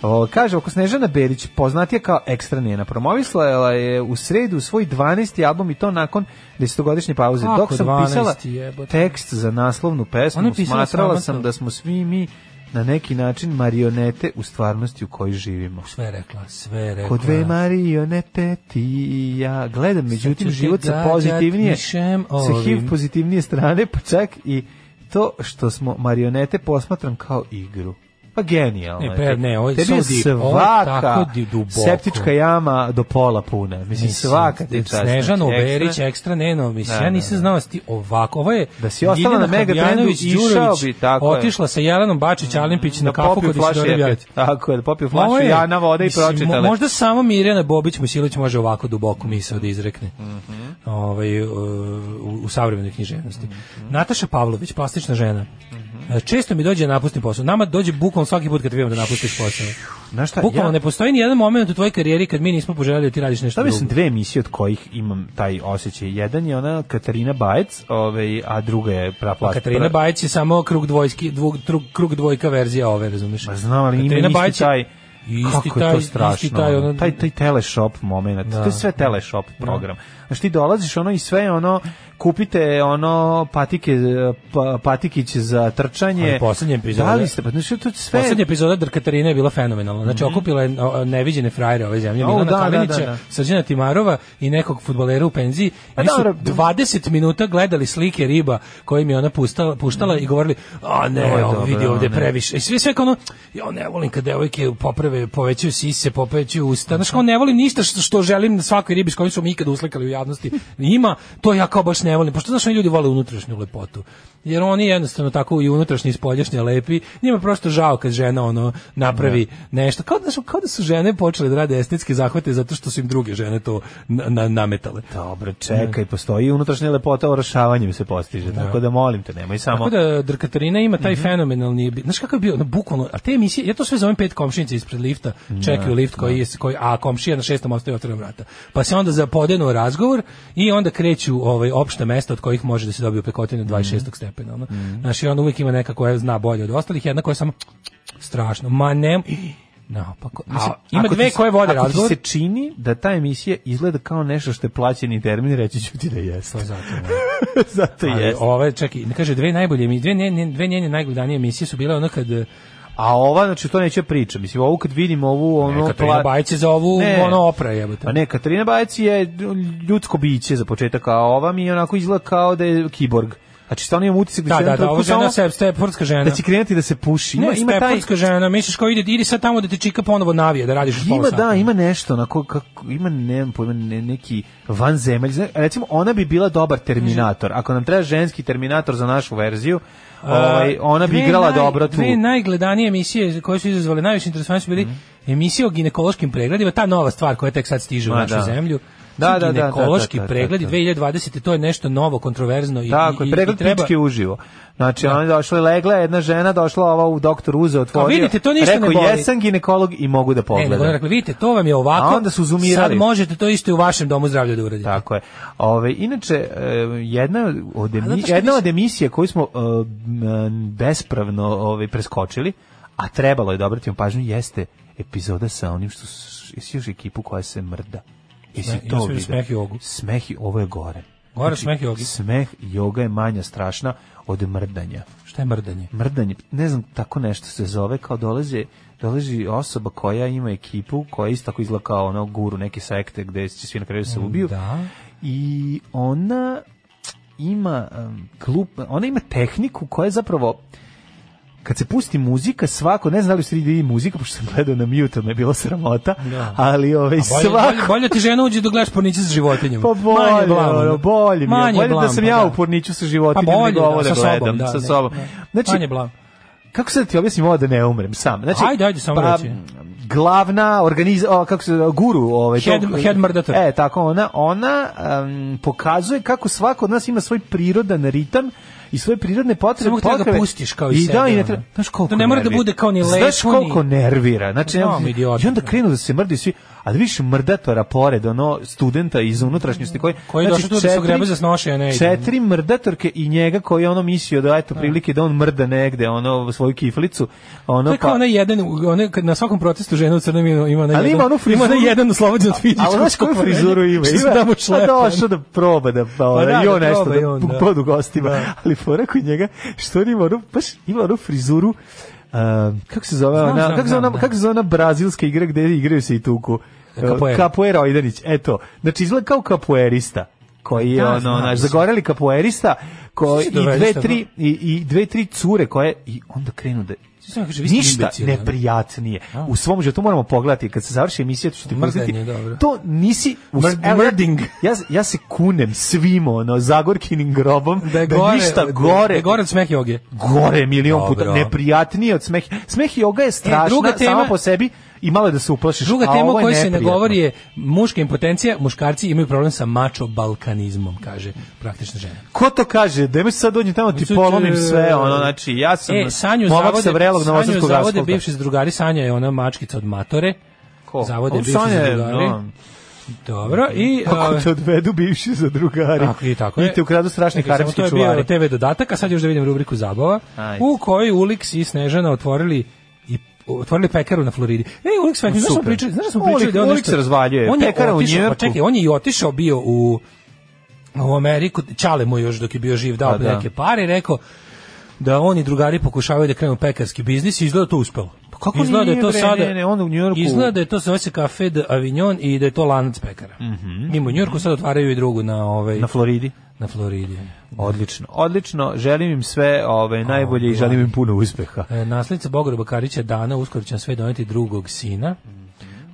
S5: O, kaže, ako Snežana Berić, poznatija kao Ekstra Nena, promovisla je u sredu svoj 12. album i to nakon desetogodišnje pauze.
S6: Kako
S5: Dok sam
S6: 12.,
S5: pisala
S6: jebote?
S5: tekst za naslovnu
S6: Ona je
S5: pesmu,
S6: pisala
S5: smatrala
S6: sramotno.
S5: sam da smo svi mi na neki način marionete u stvarnosti u kojoj živimo.
S6: Sve je rekla, sve je rekla.
S5: Ko dve marionete ti i ja gledam međutim
S6: ću ti
S5: život sa
S6: gađat
S5: pozitivnije
S6: mišem
S5: sa HIV
S6: ovim.
S5: pozitivnije strane pa čak i to što smo marionete posmatram kao igru Pa genijalno.
S6: Ne, pre- ne, ovo je
S5: Tebi
S6: samo
S5: je
S6: div- ovo je
S5: svaka
S6: tako di- duboko.
S5: septička jama do pola puna. Mislim, svaka ti čast.
S6: Snežana
S5: Znači, ekstra.
S6: Oberić, ekstra Neno, mislim,
S5: Da,
S6: ja
S5: da,
S6: nisam znao da si ti ovako, ovo je
S5: Da si ostala na Mega Trendu,
S6: Habijanović,
S5: išao
S6: Đurović,
S5: bi, tako je. Mm,
S6: otišla sa Jelenom Bačić, Alimpić na
S5: Da
S6: kafu
S5: popio
S6: kod
S5: flašu
S6: Isidore
S5: jaka.
S6: Bjelić.
S5: Tako je, da popio
S6: Ovo
S5: flašu
S6: je,
S5: jana, voda i
S6: mislim,
S5: pročitala.
S6: mo- Možda samo Mirjana Bobić Mojsilović može ovako duboku misao da izrekne.
S5: Mhm.
S6: ovaj, uh, u, u savremenoj književnosti. Nataša Pavlović, plastična žena.
S5: Mhm.
S6: E, Često mi dođe da napustim posao. Nama dođe bukvalno svaki put kad trebamo da napustiš posao.
S5: Znaš šta,
S6: Pa Bukvalno
S5: ja-
S6: ne postoji ni jedan moment u tvojoj karijeri kad mi nismo poželjeli da ti radiš nešto
S5: Šta
S6: drugo.
S5: mislim dve emisije od kojih imam taj osjećaj. Jedan je ona Katarina Bajec, ovaj, a druga je pra
S6: Pa
S5: plas-
S6: Katarina
S5: pra-
S6: Bajić je samo krug dvojski, dvog, trug, krug dvojka verzija ove, razumeš?
S5: Ma Pa znam, ali ima
S6: Katarina
S5: isti
S6: Bajić je-
S5: taj
S6: isti
S5: kako
S6: taj,
S5: je to strašno.
S6: Isti taj, ono,
S5: taj, taj teleshop moment. To je sve teleshop program. Znaš, ti dolaziš ono i sve je ono, kupite ono patike, e, pa, patikiće za trčanje.
S6: Ali poslednje epizode-
S5: Da li ste, pa znaš, to je sve...
S6: Poslednja epizoda Dr. Katarina je bila fenomenalna. Znači, okupila je o, o, neviđene frajere ove zemlje.
S5: O,
S6: Milana
S5: Mhm. da, da,
S6: Kamenića,
S5: da, da.
S6: Srđana Timarova i nekog futbolera u penziji.
S5: Pa
S6: Oni su
S5: dobro.
S6: 20 minuta gledali slike riba koje im je ona puštala, puštala i govorili, a ne,
S5: Ovo je
S6: ovo
S5: dobro,
S6: vidi
S5: ovo
S6: ovde
S5: ne."
S6: previše. I svi sve kao ono, ja ne volim kad devojke poprave, povećaju sise, povećaju usta. Znaš, kao ne volim ništa što, što želim na svakoj ribi s kojom su mi ikada uslikali u javnosti. Ima, to ja kao baš ne volim. Pošto znaš, oni ljudi vole unutrašnju lepotu. Jer oni jednostavno tako i unutrašnji i spoljašnji lepi. Njima je prosto žao kad žena ono napravi nešto. Kao da, su, kao da su žene počele da rade estetske zahvate zato što su im druge žene to na, na- nametale.
S5: Dobro, čekaj, postoji unutrašnja lepota, orašavanjem se postiže, tako da molim te, nemoj samo...
S6: Tako da Dr. Katarina ima
S5: Mhm.
S6: taj fenomenalni, znaš kako je bio, ono, bukvalno, a te emisije, ja to sve zovem pet komšinica ispred lifta, čekaju lift koji je, koji, a komšija na šestom ostaje otvorena vrata. Pa se onda zapodenuo razgovor i onda kreću ovaj, opšta mesta od kojih može da se dobije pekotine 26.
S5: Mhm.
S6: stepena. Ono. Znaš, i onda uvijek ima neka koja zna bolje od ostalih, jedna koja je samo strašno, ma ne, naopako. Mislim, ima
S5: ako
S6: dve
S5: ti se-
S6: koje vode
S5: ako
S6: razgovor.
S5: ti se čini da ta emisija izgleda kao nešto što je plaćeni termin, reći ću ti da
S6: <laughs>
S5: jeste.
S6: Pa zato, ono.
S5: Zato
S6: Ali
S5: jeste.
S6: ove, čekaj, kaže, dve najbolje emisije, dve, njene- dve njene najgledanije emisije su bile ono kad eh,
S5: A ova, znači, to neće priča. Mislim, ovu kad vidim ovu, ono...
S6: E, Katarina
S5: pla-
S6: Bajić je za ovu
S5: Ne.
S6: ono opra jebote.
S5: Pa ne, Katarina Bajec je ljudsko biće za početak, a ova mi onako izgleda kao da je kiborg. Znači, stvarno imam utisak da,
S6: Da,
S5: će
S6: da,
S5: jedan
S6: da, ovo
S5: trenutku
S6: žena
S5: samo-
S6: se stepfordska žena.
S5: da će krenuti da se puši.
S6: ne,
S5: Ima, ima taj,
S6: stepfordska žena, misliš kao ide, idi sad tamo da te čika ponovo navije, da radiš još
S5: Ima
S6: pola sata.
S5: da, ima nešto onako kako ima nemam pojma ne, neki vanzemelj. Zna- Recimo ona bi bila dobar terminator. Ako nam treba ženski terminator za našu verziju, ovaj ona bi
S6: Dve
S5: igrala
S6: naj-
S5: dobro tu. Mhm.
S6: Dve najgledanije emisije koje su izazvale najviše interesovanje su bili emisije o ginekološkim pregledima, ta nova stvar koja tek sad stiže u
S5: Ma,
S6: našu
S5: da.
S6: zemlju.
S5: Da,
S6: Ti
S5: da, da,
S6: ginekološki
S5: da, da, da, da,
S6: pregledi
S5: da.
S6: 2020. to je nešto novo, kontroverzno i,
S5: Tako
S6: i,
S5: je,
S6: i,
S5: pregled
S6: i treba...
S5: pičke uživo. Znači, ona je došla i legla, jedna žena došla, ova u doktor uze otvorio.
S6: vidite, to ništa ne
S5: rekao,
S6: boli.
S5: jesam ginekolog i mogu da
S6: Ne, E, nego
S5: pogledam.
S6: ona rekla, vidite, to vam je ovako,
S5: A onda su zoomirali.
S6: sad možete to isto i u vašem domu zdravlja da uradite.
S5: Tako je. Ove, inače, e, jedna od,
S6: A zato
S5: emi,
S6: što
S5: jedna
S6: mi-
S5: od emisija koju smo e, m, bespravno ove, preskočili, a trebalo je da obratimo pažnju, jeste epizoda sa onim što s- jesi još ekipu koja se mrda. Jesi
S6: Sme- ja sam
S5: to
S6: vidio
S5: vidio?
S6: Smeh Jogu.
S5: Smeh i- ovo je gore. Znači,
S6: Gore Smeh Jogi.
S5: Smeh joga je manja strašna od mrdanja
S6: Šta je mrdanje?
S5: mrdanje, ne znam, tako nešto se zove, kao dolaze, dolazi osoba koja ima ekipu, koja isto tako izgleda kao ono guru neke sekte gde će svi na kraju se ubiju.
S6: Mm, Da.
S5: I ona ima um, klub, ona ima tehniku koja je zapravo kad se pusti muzika, svako, ne znam da li ste vidjeli muzika, pošto sam gledao na mute, me je bilo sramota, ali ovaj,
S6: Bolje,
S5: svako...
S6: bolje, bolje ti žena uđe da gledaš pornice sa životinjama.
S5: Pa bolje,
S6: Manje blama,
S5: ono,
S6: da.
S5: bolje mi je.
S6: Manje
S5: Bolje da
S6: blama,
S5: sam
S6: pa
S5: ja
S6: da.
S5: u porniću sa životinjama
S6: Pa bolje,
S5: nego
S6: da,
S5: ovo da
S6: sa sobom,
S5: gledam,
S6: da,
S5: sa
S6: ne,
S5: sobom.
S6: ne.
S5: Znači,
S6: Manje blama.
S5: kako sad da ti objasnim ovo da ne umrem sam? Znači,
S6: Ajde, ajde, samo reci.
S5: Glavna organiz... o, kako se zove, guru ovaj
S6: Head-
S5: tog-
S6: head murdator.
S5: E, tako ona, ona em, pokazuje kako svako od nas ima svoj prirodan ritam i svoje prirodne potrebe.
S6: Samo treba ga
S5: potrebe.
S6: pustiš kao i
S5: I
S6: sebe,
S5: da, i ne
S6: ono.
S5: treba, znaš koliko
S6: To ne mora da
S5: nervira.
S6: bude kao ni
S5: Znaš
S6: lepo, ni-
S5: koliko nervira. Znači,
S6: Znam,
S5: ja-
S6: idioti,
S5: I onda
S6: da.
S5: krenu da se mrdi svi, a da više mrdatora pored, ono, studenta iz unutrašnjosti koji znači,
S6: Koji je došao tu da se ogrebe za snoše, a ne ide.
S5: Četiri mrdatorke i njega koji je ono mislio da eto prilike da on mrda negde, ono svoju kiflicu,
S6: To
S5: ono
S6: je kao
S5: pa
S6: onaj jedan, onaj, kad na svakom protestu žena u crnom ima, ima onaj
S5: Ali
S6: jedan,
S5: ima onu frizuru.
S6: onaj jedan oslobođen od fizičkog
S5: A znaš koju
S6: pokvarenja,
S5: frizuru
S6: <laughs>
S5: ima?
S6: Što se
S5: Ima-
S6: da mu
S5: Pa
S6: šlepa.
S5: došao da proba da, pa, ono,
S6: da,
S5: i on
S6: da
S5: nešto
S6: proba i
S5: da,
S6: on,
S5: <laughs>
S6: da.
S5: podu gostima. Ali fora kod njega, što on ima onu, baš ima onu frizuru, um, kako se zove
S6: Znam,
S5: ona,
S6: znam,
S5: kako, se zove
S6: znam,
S5: ona
S6: da.
S5: kako se zove ona brazilska igra gde igraju se i tuku? E,
S6: Capoeira.
S5: Capoeira Ojdanić, eto. Znači izgleda kao kapoerista koji je
S6: Da,
S5: ono,
S6: znam.
S5: naš, zagoreli kapoerista ko, i
S6: Što se dovedeš
S5: dve,
S6: tamo?
S5: tri, i, i dve, tri cure koje, i onda krenu da
S6: Sam kaže, vi ste
S5: ništa
S6: imbecili, ono.
S5: neprijatnije. U svom životu moramo pogledati kad se završi emisija to ću ti
S6: Mrdenje,
S5: pustiti.
S6: dobro.
S5: To nisi u
S6: Mrd-
S5: evo,
S6: mrding.
S5: Ja ja se kunem svim ono Zagorkinim grobom da, je ništa
S6: Da
S5: gore.
S6: je gore od smeh joge.
S5: gore milion puta
S6: Dobro. E,
S5: neprijatnije od smeh. Smeh joga je strašna
S6: druga
S5: sama
S6: tema-
S5: po sebi i malo je da se uplašiš.
S6: Druga
S5: a
S6: tema
S5: ovo
S6: o
S5: je
S6: kojoj se ne
S5: neprijatno.
S6: govori je muška impotencija, muškarci imaju problem sa mačo balkanizmom, kaže praktična žena.
S5: Ko to kaže? Da imaš sad dođem tamo ti
S6: Mislim,
S5: polomim
S6: e,
S5: sve, ono, znači, ja sam
S6: E, Sanju
S5: momak
S6: zavode,
S5: sa vrelog
S6: Sanju
S5: novosadskog
S6: zavode
S5: asfalta.
S6: bivši drugari, Sanja je ona mačkica od matore.
S5: Ko?
S6: Zavode
S5: On
S6: bivši
S5: Sanja je,
S6: drugari.
S5: no.
S6: Dobro, i...
S5: Kako
S6: a,
S5: te odvedu bivši za drugari.
S6: Tako je, tako je.
S5: I te ukradu strašni
S6: Čekaj, samo
S5: haremski
S6: To je bio
S5: E, čuvari.
S6: TV dodatak, a sad još da vidim rubriku zabava,
S5: Ajde.
S6: u kojoj Uliks i Snežana otvorili i otvorili pekaru na Floridi. Ne, Uliks, Snežana, znaš da smo
S5: Super.
S6: pričali, znaš da smo
S5: Uliks-
S6: pričali da on
S5: Uliks
S6: nešto-
S5: razvaljuje.
S6: on je
S5: Pekara u
S6: otišao-
S5: Njujorku.
S6: pa Čekaj, on je i otišao bio u u Ameriku, Čale mu još dok je bio živ dao
S5: Pa da.
S6: neke pare i rekao da oni drugari pokušavaju da krenu pekarski biznis i izgleda to uspelo. Pa kako izgleda da je
S5: nije,
S6: to
S5: bre,
S6: sada?
S5: ne, ne, on u Njujorku-
S6: Izgleda da je to zove se Cafe de Avignon i da je to lanac pekara. Mimo u Njujorku sad otvaraju i drugu na ovaj
S5: Mhm. Na Floridi.
S6: na Floridi.
S5: Odlično, odlično. Želim im sve ove, najbolje i želim im puno uspeha.
S6: E, naslednica Bogorba Karića Dana uskoro će nam sve doneti drugog sina.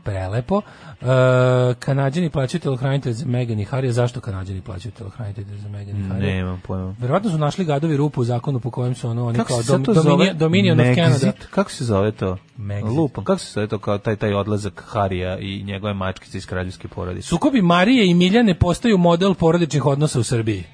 S6: Prelepo. E, kanadjani plaćaju telohranitelj za Megan i Harry. Zašto kanadjani plaćaju telohranitelj za Megan i Harry?
S5: Nemam pojma.
S6: Verovatno su našli gadovi rupu u zakonu po kojem su ono, oni
S5: Kako
S6: kao
S5: se sad
S6: dom-
S5: to
S6: domini-
S5: zove?
S6: Dominion of Canada.
S5: Megxit? Kako se zove to?
S6: Megxit.
S5: Lupam. Kako se zove to kao taj, taj odlazak Harija i njegove mačkice iz kraljevske porodice?
S6: Sukobi Marije i Miljane postaju model porodičnih odnosa u Srbiji.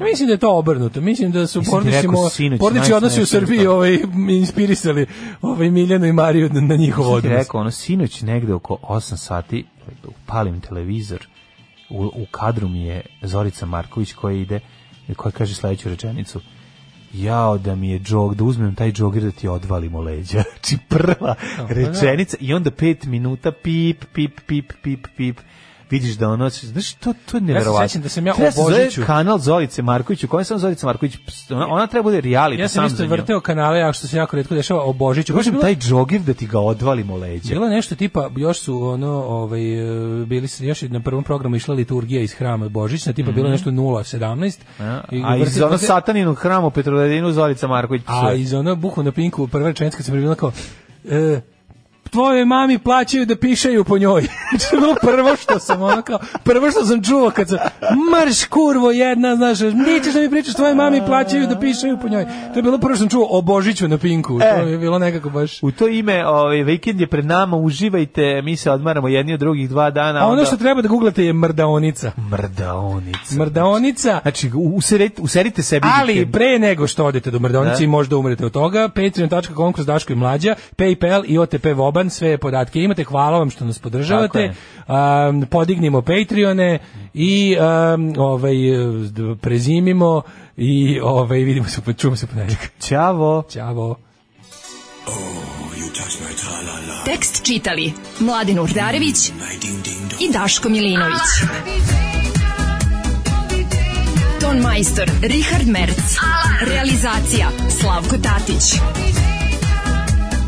S6: Ja mislim da je to obrnuto. Mislim da su
S5: Mislim ti
S6: porodični,
S5: rekao
S6: mo-
S5: sinoć,
S6: porodični odnosi u
S5: najsmešnije
S6: Srbiji
S5: što-
S6: ovaj, inspirisali ovaj Miljanu i Mariju na, na njihov
S5: Ovo ti
S6: odnos.
S5: rekao, ono, sinoć negde oko 8 sati upalim televizor, u, u kadru mi je Zorica Marković koja ide, koja kaže sledeću rečenicu, jao da mi je džog, da uzmem taj džogir da ti odvalim u leđa. <laughs> Znači prva
S6: pa
S5: rečenica i onda pet minuta pip, pip, pip, pip, pip. Vidiš da ono, znaš, to, to je nevjerovatno.
S6: sećam da sam ja
S5: Treba
S6: o
S5: se zove
S6: Božiću-
S5: kanal Zorice Marković, u kojem sam Zorica Marković, ps- ona, ona treba bude reality,
S6: Ja sam
S5: sam
S6: isto
S5: za nju.
S6: vrteo kanale, a što se jako redko dešava, o Božiću. Baš je
S5: Uzmem
S6: bilo-
S5: taj džogir da ti ga odvalim u leđa.
S6: Bilo je nešto tipa, još su ono, ovaj, e, bili se, još je na prvom programu išla liturgija iz hrama Božićna, tipa bilo je nešto 0.17.
S5: Mhm. A,
S6: I
S5: a iz
S6: vrti-
S5: ono
S6: vrti-
S5: sataninog hrama u Petrovaradinu Zorica Marković
S6: A
S5: psuje.
S6: iz ono buhu na pinku, prva rečenica kad sam prebila kao, e, tvoje mami plaćaju da pišaju po njoj. <laughs> Znači, to je bilo prvo što sam ono kao, prvo što sam čuo kad sam, marš kurvo jedna, znaš, nećeš da mi pričaš, tvoje mami plaćaju da pišaju po njoj. To je bilo prvo što sam čuo o Božiću na pinku,
S5: E.
S6: to je bilo nekako baš...
S5: U to ime, ovaj, vikend je pred nama, uživajte, mi se odmaramo jedni od drugih dva dana.
S6: A ono
S5: onda-
S6: što treba da googlate je
S5: <laughs>
S6: mrdaonica.
S5: Mrdaonica.
S6: Mrdaonica,
S5: Znači, u- userite, userite sebi
S6: ali
S5: vikend.
S6: pre nego što odete do mrdaonice
S5: Da.
S6: i možda umrete od toga, patreon.com kroz Daško i Mlađa, Paypal i OTP Voban, sve podatke imate, hvala vam što nas
S5: Tako
S6: podržavate,
S5: je.
S6: um, podignimo Patreone i um, ovaj, d- prezimimo i ovaj, vidimo se, po- čujemo se ponedjeljak.
S5: Ćavo.
S6: Ćavo.
S4: Tekst čitali Mladin Urdarević i Daško Milinović. Ton majstor Richard Merc. Realizacija Slavko Tatić.